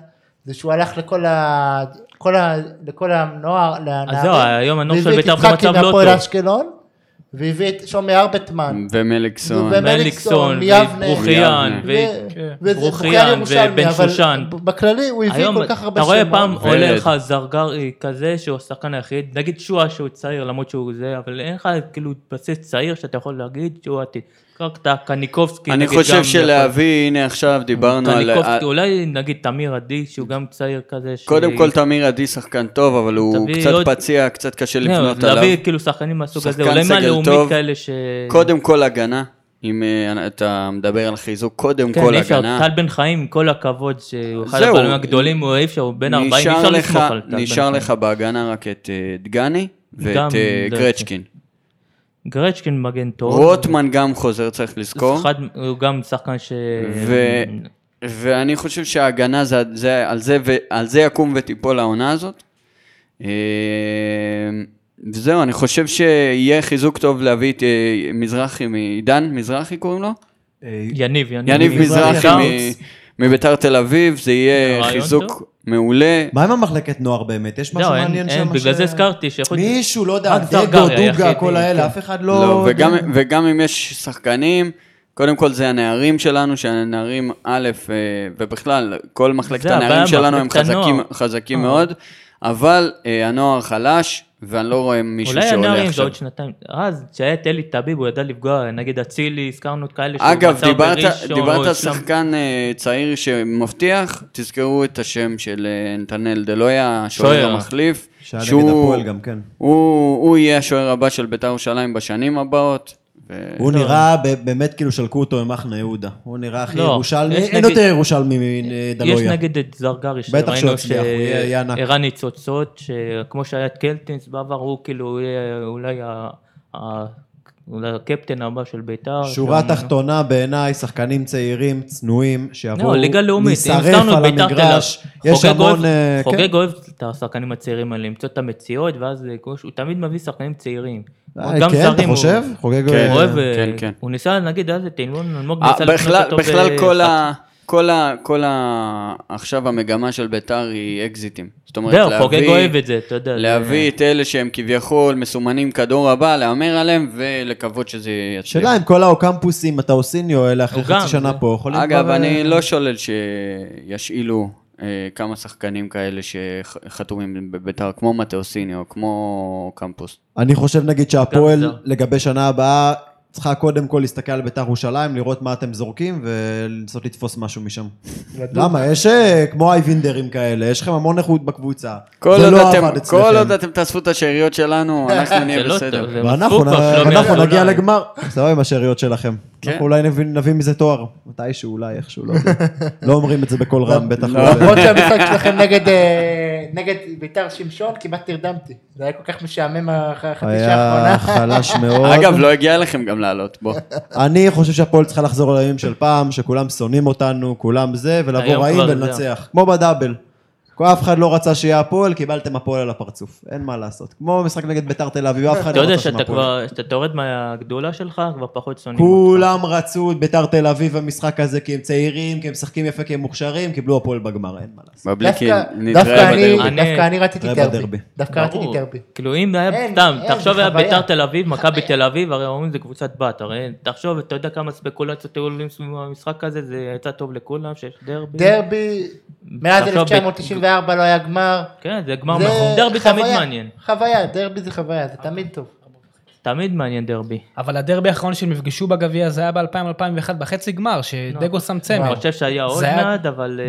Speaker 1: זה שהוא הלך לכל ה... כל ה... לכל הנוער, לנערים.
Speaker 3: זהו, היום הנוער של
Speaker 1: והביא את
Speaker 3: בית"ר
Speaker 1: יצחקי
Speaker 3: במצב לא
Speaker 1: מהפועל
Speaker 3: טוב.
Speaker 1: אשקלון, והביא את שומי ארבטמן.
Speaker 6: ומליקסון.
Speaker 1: נו, באמת.
Speaker 3: מליקסון,
Speaker 1: מליקסון, מיבנה.
Speaker 3: ברוכיאן,
Speaker 6: מיבנה.
Speaker 3: ו- ברוכיאן
Speaker 1: ברוכיאן
Speaker 3: ובן שושן.
Speaker 1: בכללי הוא הביא כל כך הרבה
Speaker 3: אתה רואה פעם
Speaker 6: ורד.
Speaker 3: עולה לך זרגרי כזה שהוא השחקן היחיד, נגיד שואה שהוא צעיר למרות שהוא זה, אבל אין לך כאילו בסיס צעיר שאתה יכול להגיד שהוא עתיד. רק את הקניקובסקי.
Speaker 6: אני
Speaker 3: נגיד,
Speaker 6: חושב
Speaker 3: גם
Speaker 6: שלהביא, הנה עכשיו דיברנו
Speaker 3: יכול-
Speaker 6: על...
Speaker 3: קניקובסקי,
Speaker 6: על-
Speaker 3: אולי נגיד תמיר עדי שהוא גם צעיר כזה. ש-
Speaker 6: קודם כל תמיר עדי שחקן טוב, אבל הוא
Speaker 3: תביא
Speaker 6: קצת
Speaker 3: עוד-
Speaker 6: פציע, קצת קשה
Speaker 3: כן,
Speaker 6: לבנות עליו.
Speaker 3: להביא כאילו שחקנים מהסוג הזה,
Speaker 6: שחקן
Speaker 3: אולי
Speaker 6: סגל טוב.
Speaker 3: מהלאומית כאלה ש...
Speaker 6: קודם כל הגנה, אם אה, אתה מדבר על חיזוק, קודם
Speaker 3: כן,
Speaker 6: כל
Speaker 3: אי אפשר,
Speaker 6: הגנה.
Speaker 3: טל בן חיים, עם כל הכבוד, שהוא אחד
Speaker 6: זהו.
Speaker 3: הפעמים הגדולים, הוא אי אפשר, הוא בן 40, אי אפשר
Speaker 6: נשאר
Speaker 3: לסמוך
Speaker 6: לך,
Speaker 3: על טל בן
Speaker 6: נשאר
Speaker 3: חיים.
Speaker 6: לך בהגנה רק את אה, דגני
Speaker 3: גם
Speaker 6: ואת אה,
Speaker 3: דרצ'קין.
Speaker 6: גרצ'קין.
Speaker 3: גרצ'קין מגן טוב.
Speaker 6: רוטמן גם חוזר, צריך לזכור.
Speaker 3: אחד, הוא גם שחקן ש...
Speaker 6: ו- ואני חושב שההגנה, זה, זה, על, זה, ו- על זה יקום ותיפול העונה הזאת. אה, וזהו, אני חושב שיהיה חיזוק טוב להביא את אה, מזרחי, מ- עידן מזרחי קוראים לו?
Speaker 3: יניב, יניב.
Speaker 6: יניב מזרחי
Speaker 3: גם.
Speaker 6: מ- מביתר תל אביב, זה יהיה
Speaker 3: רעיון טוב.
Speaker 6: חיזוק מעולה.
Speaker 4: מה עם המחלקת נוער באמת? יש משהו
Speaker 3: לא, אין,
Speaker 4: מעניין שם?
Speaker 3: אין, בגלל
Speaker 4: ש-
Speaker 3: זה הזכרתי שיכול להיות...
Speaker 4: מישהו, לא יודע,
Speaker 3: רק
Speaker 4: דגו,
Speaker 3: זרגרי
Speaker 4: דוגה,
Speaker 3: היחיד,
Speaker 4: כל
Speaker 3: כן.
Speaker 4: האלה, אף אחד
Speaker 6: לא,
Speaker 4: לא...
Speaker 6: וגם, וגם אם יש שחקנים, קודם כל זה הנערים שלנו, שהנערים א', אה, ובכלל, כל מחלקת
Speaker 3: זה הבעיה,
Speaker 6: הנערים שלנו הם
Speaker 3: מחלקת
Speaker 6: חזקים,
Speaker 3: הנוער. אה.
Speaker 6: חזקים מאוד, אבל אה, הנוער חלש, ואני לא רואה מישהו
Speaker 3: אולי
Speaker 6: שעולה
Speaker 3: הנערים זה
Speaker 6: עכשיו.
Speaker 3: עוד שנתיים. אז, כשהיה את אלי טביב, הוא ידע לפגוע, נגיד אצילי, הזכרנו את כאלה שהוא
Speaker 6: אגב,
Speaker 3: מצא
Speaker 6: דיברת,
Speaker 3: בראשון, או
Speaker 6: דיברת על
Speaker 3: שם.
Speaker 6: שחקן אה, צעיר שמבטיח, תזכרו את השם של אה, נתנאל דלויה, השוער
Speaker 3: שוער.
Speaker 6: המחליף,
Speaker 4: שהיה נגד הפועל גם, כן.
Speaker 6: הוא, הוא יהיה השוער הבא של בית"ר ירושלים בשנים הבאות. ו...
Speaker 4: הוא נראה ב- באמת כאילו שלקו אותו עם אחנה יהודה. הוא נראה הכי
Speaker 3: לא,
Speaker 4: ירושלמי,
Speaker 3: יש
Speaker 4: אין
Speaker 3: נגיד- אה,
Speaker 4: יותר ירושלמי
Speaker 3: יש
Speaker 4: מדלויה.
Speaker 3: נגיד את זרגרי,
Speaker 4: לא שהוא
Speaker 3: שראינו
Speaker 4: יצליח, הוא יהיה ענק.
Speaker 3: שהראה ניצוצות, שכמו שהיה את קלטינס בעבר, הוא כאילו יהיה אולי ה- ה- אולי הקפטן הבא של בית"ר.
Speaker 4: שורה
Speaker 3: שם-
Speaker 4: תחתונה בעיניי, שחקנים צעירים, צנועים, שיבואו,
Speaker 3: לא, ליגה לאומית, אם
Speaker 4: להישרף
Speaker 3: הזכרנו את
Speaker 4: על
Speaker 3: ביתר תל אביב.
Speaker 4: המגרש, יש
Speaker 3: חוגג
Speaker 4: המון...
Speaker 3: אוהב-
Speaker 4: אה, כן.
Speaker 3: חוגג אוהב את השחקנים הצעירים האלה, למצוא את המציאות, ואז זה כמו שהוא תמיד מביא שחקנים צעירים.
Speaker 4: אה,
Speaker 3: גם
Speaker 4: כן,
Speaker 3: זרים
Speaker 4: אתה
Speaker 3: הוא-
Speaker 4: חושב? חוגג...
Speaker 6: כן.
Speaker 3: הוא אוהב, אה,
Speaker 6: כן, כן.
Speaker 3: הוא ניסה נגיד אז את אילון אלמוג,
Speaker 6: אה,
Speaker 3: ניסה לקנות
Speaker 6: בכלל,
Speaker 3: אותו
Speaker 6: בכלל כל,
Speaker 3: בחצי-
Speaker 6: ה, כל, ה, כל ה... עכשיו המגמה של ביתר היא אקזיטים. זאת אומרת,
Speaker 3: זהו, חוגג אוהב את זה, אתה יודע. זה-
Speaker 6: להביא את אלה שהם כביכול מסומנים כדור הבא, להמר עליהם ולקוות שזה יצליח.
Speaker 4: שאלה אם כל האוקמפוסים, הטאוסיניו האלה, אחרי
Speaker 3: הוא גם,
Speaker 4: חצי שנה
Speaker 3: זה-
Speaker 4: פה, יכולים...
Speaker 6: אגב,
Speaker 4: כבר, אה,
Speaker 6: אני לא שולל שישאילו אה, כמה שחקנים כאלה שחתומים בביתר, כמו מתאוסיניו, כמו קמפוס.
Speaker 4: אני חושב נגיד שהפועל,
Speaker 3: גם זה.
Speaker 4: לגבי שנה הבאה, צריכה קודם כל להסתכל על בית"ר ירושלים, לראות מה אתם זורקים ולנסות לתפוס משהו משם. למה? יש אה, כמו אייבינדרים כאלה, יש לכם המון איכות בקבוצה.
Speaker 6: כל
Speaker 4: זה
Speaker 6: עוד
Speaker 4: לא
Speaker 6: אתם-
Speaker 4: עבד
Speaker 6: כל עוד
Speaker 4: אצלכם.
Speaker 6: אתם תאספו את השאריות שלנו,
Speaker 4: <laughs>
Speaker 6: אנחנו
Speaker 3: זה
Speaker 6: נהיה
Speaker 3: לא טוב,
Speaker 6: בסדר.
Speaker 3: זה לא
Speaker 4: ואנחנו
Speaker 3: מסרוק כבר, שלומי
Speaker 4: אנחנו נגיע
Speaker 3: אזולאי.
Speaker 4: לגמר, סבבה עם השאריות שלכם.
Speaker 6: כן.
Speaker 4: אנחנו אולי נביא- נביא מזה תואר, מתישהו אולי, איכשהו, לא יודע. לא אומרים את זה בקול רם, בטח לא.
Speaker 1: למרות שהמשחק שלכם נגד אה, נגד ביתר שמשון כמעט נרדמתי. זה היה כל כך משעמם החצי שעה
Speaker 4: היה
Speaker 1: האחרונה.
Speaker 4: חלש מאוד.
Speaker 6: אגב, לא הגיע אליכם גם לעלות, בוא.
Speaker 4: אני חושב שהפועל צריכה לחזור לימים של פעם, שכולם שונאים אותנו, כולם זה, ולבוא
Speaker 3: היום
Speaker 4: רעים
Speaker 3: כבר יודע.
Speaker 4: ולנצח. כמו בדאבל. כל אף אחד לא רצה שיהיה הפועל, קיבלתם הפועל על הפרצוף. אין מה לעשות. כמו משחק נגד ביתר תל אביב, אף אחד
Speaker 3: אתה
Speaker 4: לא
Speaker 3: יודע
Speaker 4: רצה שם
Speaker 3: שאתה
Speaker 4: הפועל.
Speaker 3: כבר, שאתה יורד מהגדולה שלך, כבר פחות שונאים אותך.
Speaker 4: כולם רצו את ביתר תל אביב במשחק הזה, כי הם צעירים, כי הם משחקים יפה, כי הם מוכשרים, קיבלו הפועל בגמר, אין מה לעשות.
Speaker 6: בבליקין,
Speaker 1: דווקא
Speaker 6: נתראה
Speaker 1: דווקא אני-
Speaker 6: בדרבי.
Speaker 1: דווקא אני רציתי
Speaker 4: נתראה
Speaker 1: דרבי.
Speaker 4: בדרבי.
Speaker 1: דווקא רציתי
Speaker 3: ברור.
Speaker 1: דרבי.
Speaker 3: כאילו אם היה,
Speaker 1: אין,
Speaker 3: סתם,
Speaker 1: אין,
Speaker 3: תחשוב
Speaker 1: זה
Speaker 3: היה
Speaker 1: חוויה.
Speaker 3: ביתר תל אביב, מכבי תל אביב, הרי אומרים זה קבוצת בת, הרי תחשוב, אתה יודע כמה ספקולציות היו עולים סביב המשחק הזה, זה יצא טוב לכולם, שיש דרבי.
Speaker 1: דרבי, מאז
Speaker 3: עכשיו ב-
Speaker 1: 1994 לא היה גמר.
Speaker 3: כן, זה גמר,
Speaker 1: זה
Speaker 3: מחזור. דרבי תמיד
Speaker 1: חוויה.
Speaker 3: מעניין,
Speaker 1: חוויה, דרבי זה חוויה, זה תמיד טוב.
Speaker 3: תמיד מעניין דרבי.
Speaker 2: אבל הדרבי האחרון שהם נפגשו בגביע זה היה ב-2000-2001 בחצי גמר, שדגו שם
Speaker 3: לא. אני
Speaker 2: צמר.
Speaker 3: חושב שהיה עוד
Speaker 2: זה היה-
Speaker 3: מעד, אבל אה,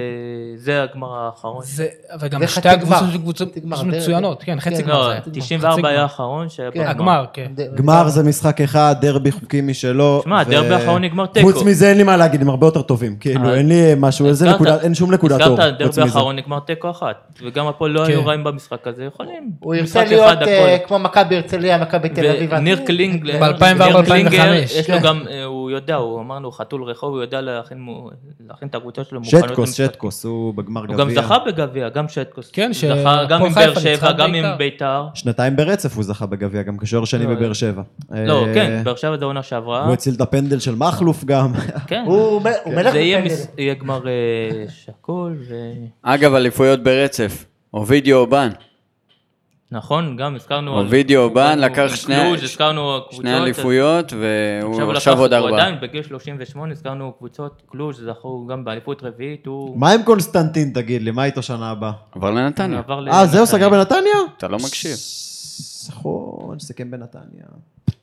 Speaker 3: זה הגמר האחרון.
Speaker 2: זה, וגם
Speaker 1: זה
Speaker 2: שתי
Speaker 1: חצי גמר.
Speaker 2: הקבוצות של קבוצות
Speaker 1: חצי גמר,
Speaker 2: פשוט
Speaker 1: דרבי.
Speaker 2: מצוינות, כן, חצי
Speaker 1: כן,
Speaker 2: גמר זה
Speaker 3: לא,
Speaker 2: היה. חצי
Speaker 3: 94
Speaker 2: גמר.
Speaker 3: היה האחרון שהיה
Speaker 1: כן.
Speaker 3: בגמר.
Speaker 2: הגמר, כן.
Speaker 4: גמר זה משחק אחד, דרבי חוקים משלו.
Speaker 3: שמע,
Speaker 4: ו-
Speaker 3: הדרבי האחרון נגמר תיקו.
Speaker 4: חוץ מזה אין לי מה להגיד, הם הרבה יותר טובים. כאילו,
Speaker 3: אה.
Speaker 4: אין לי משהו, איזה
Speaker 3: הזכרת-
Speaker 4: נקודה- אין שום נקודת אור.
Speaker 3: הזכרת,
Speaker 4: חוץ
Speaker 3: הדרבי
Speaker 4: מזה.
Speaker 3: האחרון נגמר תיקו אחת, וגם הפועל לא
Speaker 2: כן.
Speaker 3: היו רעים במשחק הזה, יכולים.
Speaker 1: הוא
Speaker 3: משחק
Speaker 1: ירצה
Speaker 3: אחד,
Speaker 1: להיות
Speaker 3: הכל.
Speaker 1: אה, כמו מכבי הרצליה, מכבי תל אביב.
Speaker 3: וניר
Speaker 1: אז-
Speaker 3: קלינגלר,
Speaker 2: ב-2004,
Speaker 3: ניר קלינגר,
Speaker 2: 2005,
Speaker 3: יש לו
Speaker 1: כן.
Speaker 3: גם, אה, הוא יודע, הוא אמר לו חתול רחוב, הוא יודע להכין מו- להכין את הקבוצה שלו. מוכנות
Speaker 4: שטקוס,
Speaker 3: למשחק.
Speaker 4: שטקוס, הוא בגמר
Speaker 3: הוא גם
Speaker 4: גביע.
Speaker 3: זכה בגביע, גם שטקוס.
Speaker 2: כן, ש-
Speaker 3: זכה גם
Speaker 2: הפועל
Speaker 3: עם
Speaker 2: חיפה
Speaker 3: באר שבע,
Speaker 2: ניצחה
Speaker 3: גם
Speaker 2: בית"ר.
Speaker 3: עם ביתר.
Speaker 4: שנתיים ברצף הוא זכה בגביע, גם כשוער שני
Speaker 3: לא,
Speaker 4: בבאר שבע.
Speaker 3: לא,
Speaker 4: אה,
Speaker 3: כן, באר שבע זה עונה שעברה.
Speaker 4: הוא הציל את הפנדל של מכלוף
Speaker 3: <laughs>
Speaker 4: גם.
Speaker 3: כן,
Speaker 1: הוא מ- הוא מלך
Speaker 3: זה יהיה
Speaker 1: בפנדלים.
Speaker 3: מס- יהיה גמר אה, שקול, ו-
Speaker 6: אגב, אליפויות ברצף. אובידיו אובן.
Speaker 3: נכון, גם הזכרנו... על-
Speaker 6: אובידיו אובן
Speaker 3: הזכרנו
Speaker 6: לקח שני-
Speaker 3: קלוז', הזכרנו לא, קבוצות. אה,
Speaker 6: שני אליפויות, והוא
Speaker 3: הוא
Speaker 6: עכשיו עוד
Speaker 3: הוא
Speaker 6: ארבעה.
Speaker 3: עדיין בגיל 38, הזכרנו קבוצות קלוז' זכו גם באליפות רביעית, הוא
Speaker 4: מה עם קונסטנטין, תגיד לי? מה איתו שנה הבאה?
Speaker 6: עבר לנתניה.
Speaker 3: עבר ל...
Speaker 4: אה, זהו, סגר בנתניה?
Speaker 6: לא אתה לא מקשיב.
Speaker 4: נכון, סיכם בנתניה.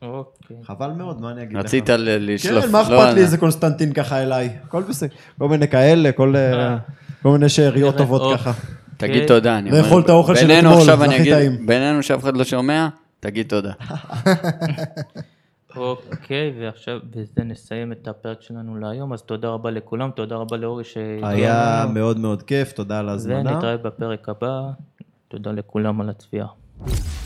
Speaker 3: אוקיי.
Speaker 4: חבל מאוד, מה אני אגיד לך?
Speaker 6: רצית ל- לשלוף.
Speaker 4: כן, מה
Speaker 6: לא,
Speaker 4: אכפת לי
Speaker 6: אני-
Speaker 4: איזה קונסטנטין ככה אליי? הכל בסדר. כל מיני כאלה, כל אה, כל מיני שאריות
Speaker 3: נראה,
Speaker 4: טובות
Speaker 3: אוף.
Speaker 4: ככה.
Speaker 6: תגיד
Speaker 3: כן.
Speaker 6: תודה. אני אומר.
Speaker 4: לאכול את האוכל של
Speaker 6: בינינו
Speaker 4: אתמול,
Speaker 6: עכשיו
Speaker 4: זה
Speaker 6: אני
Speaker 4: הכי
Speaker 6: אגיד-
Speaker 4: טעים.
Speaker 6: בינינו שאף אחד לא שומע, תגיד תודה.
Speaker 3: אוקיי, ועכשיו בזה נסיים את הפרק שלנו להיום, אז תודה רבה לכולם, תודה רבה לאורי ש...
Speaker 4: היה
Speaker 3: אה.
Speaker 4: מאוד מאוד כיף, תודה על ההזמנה.
Speaker 3: ונתראה בפרק הבא, תודה לכולם על הצפייה.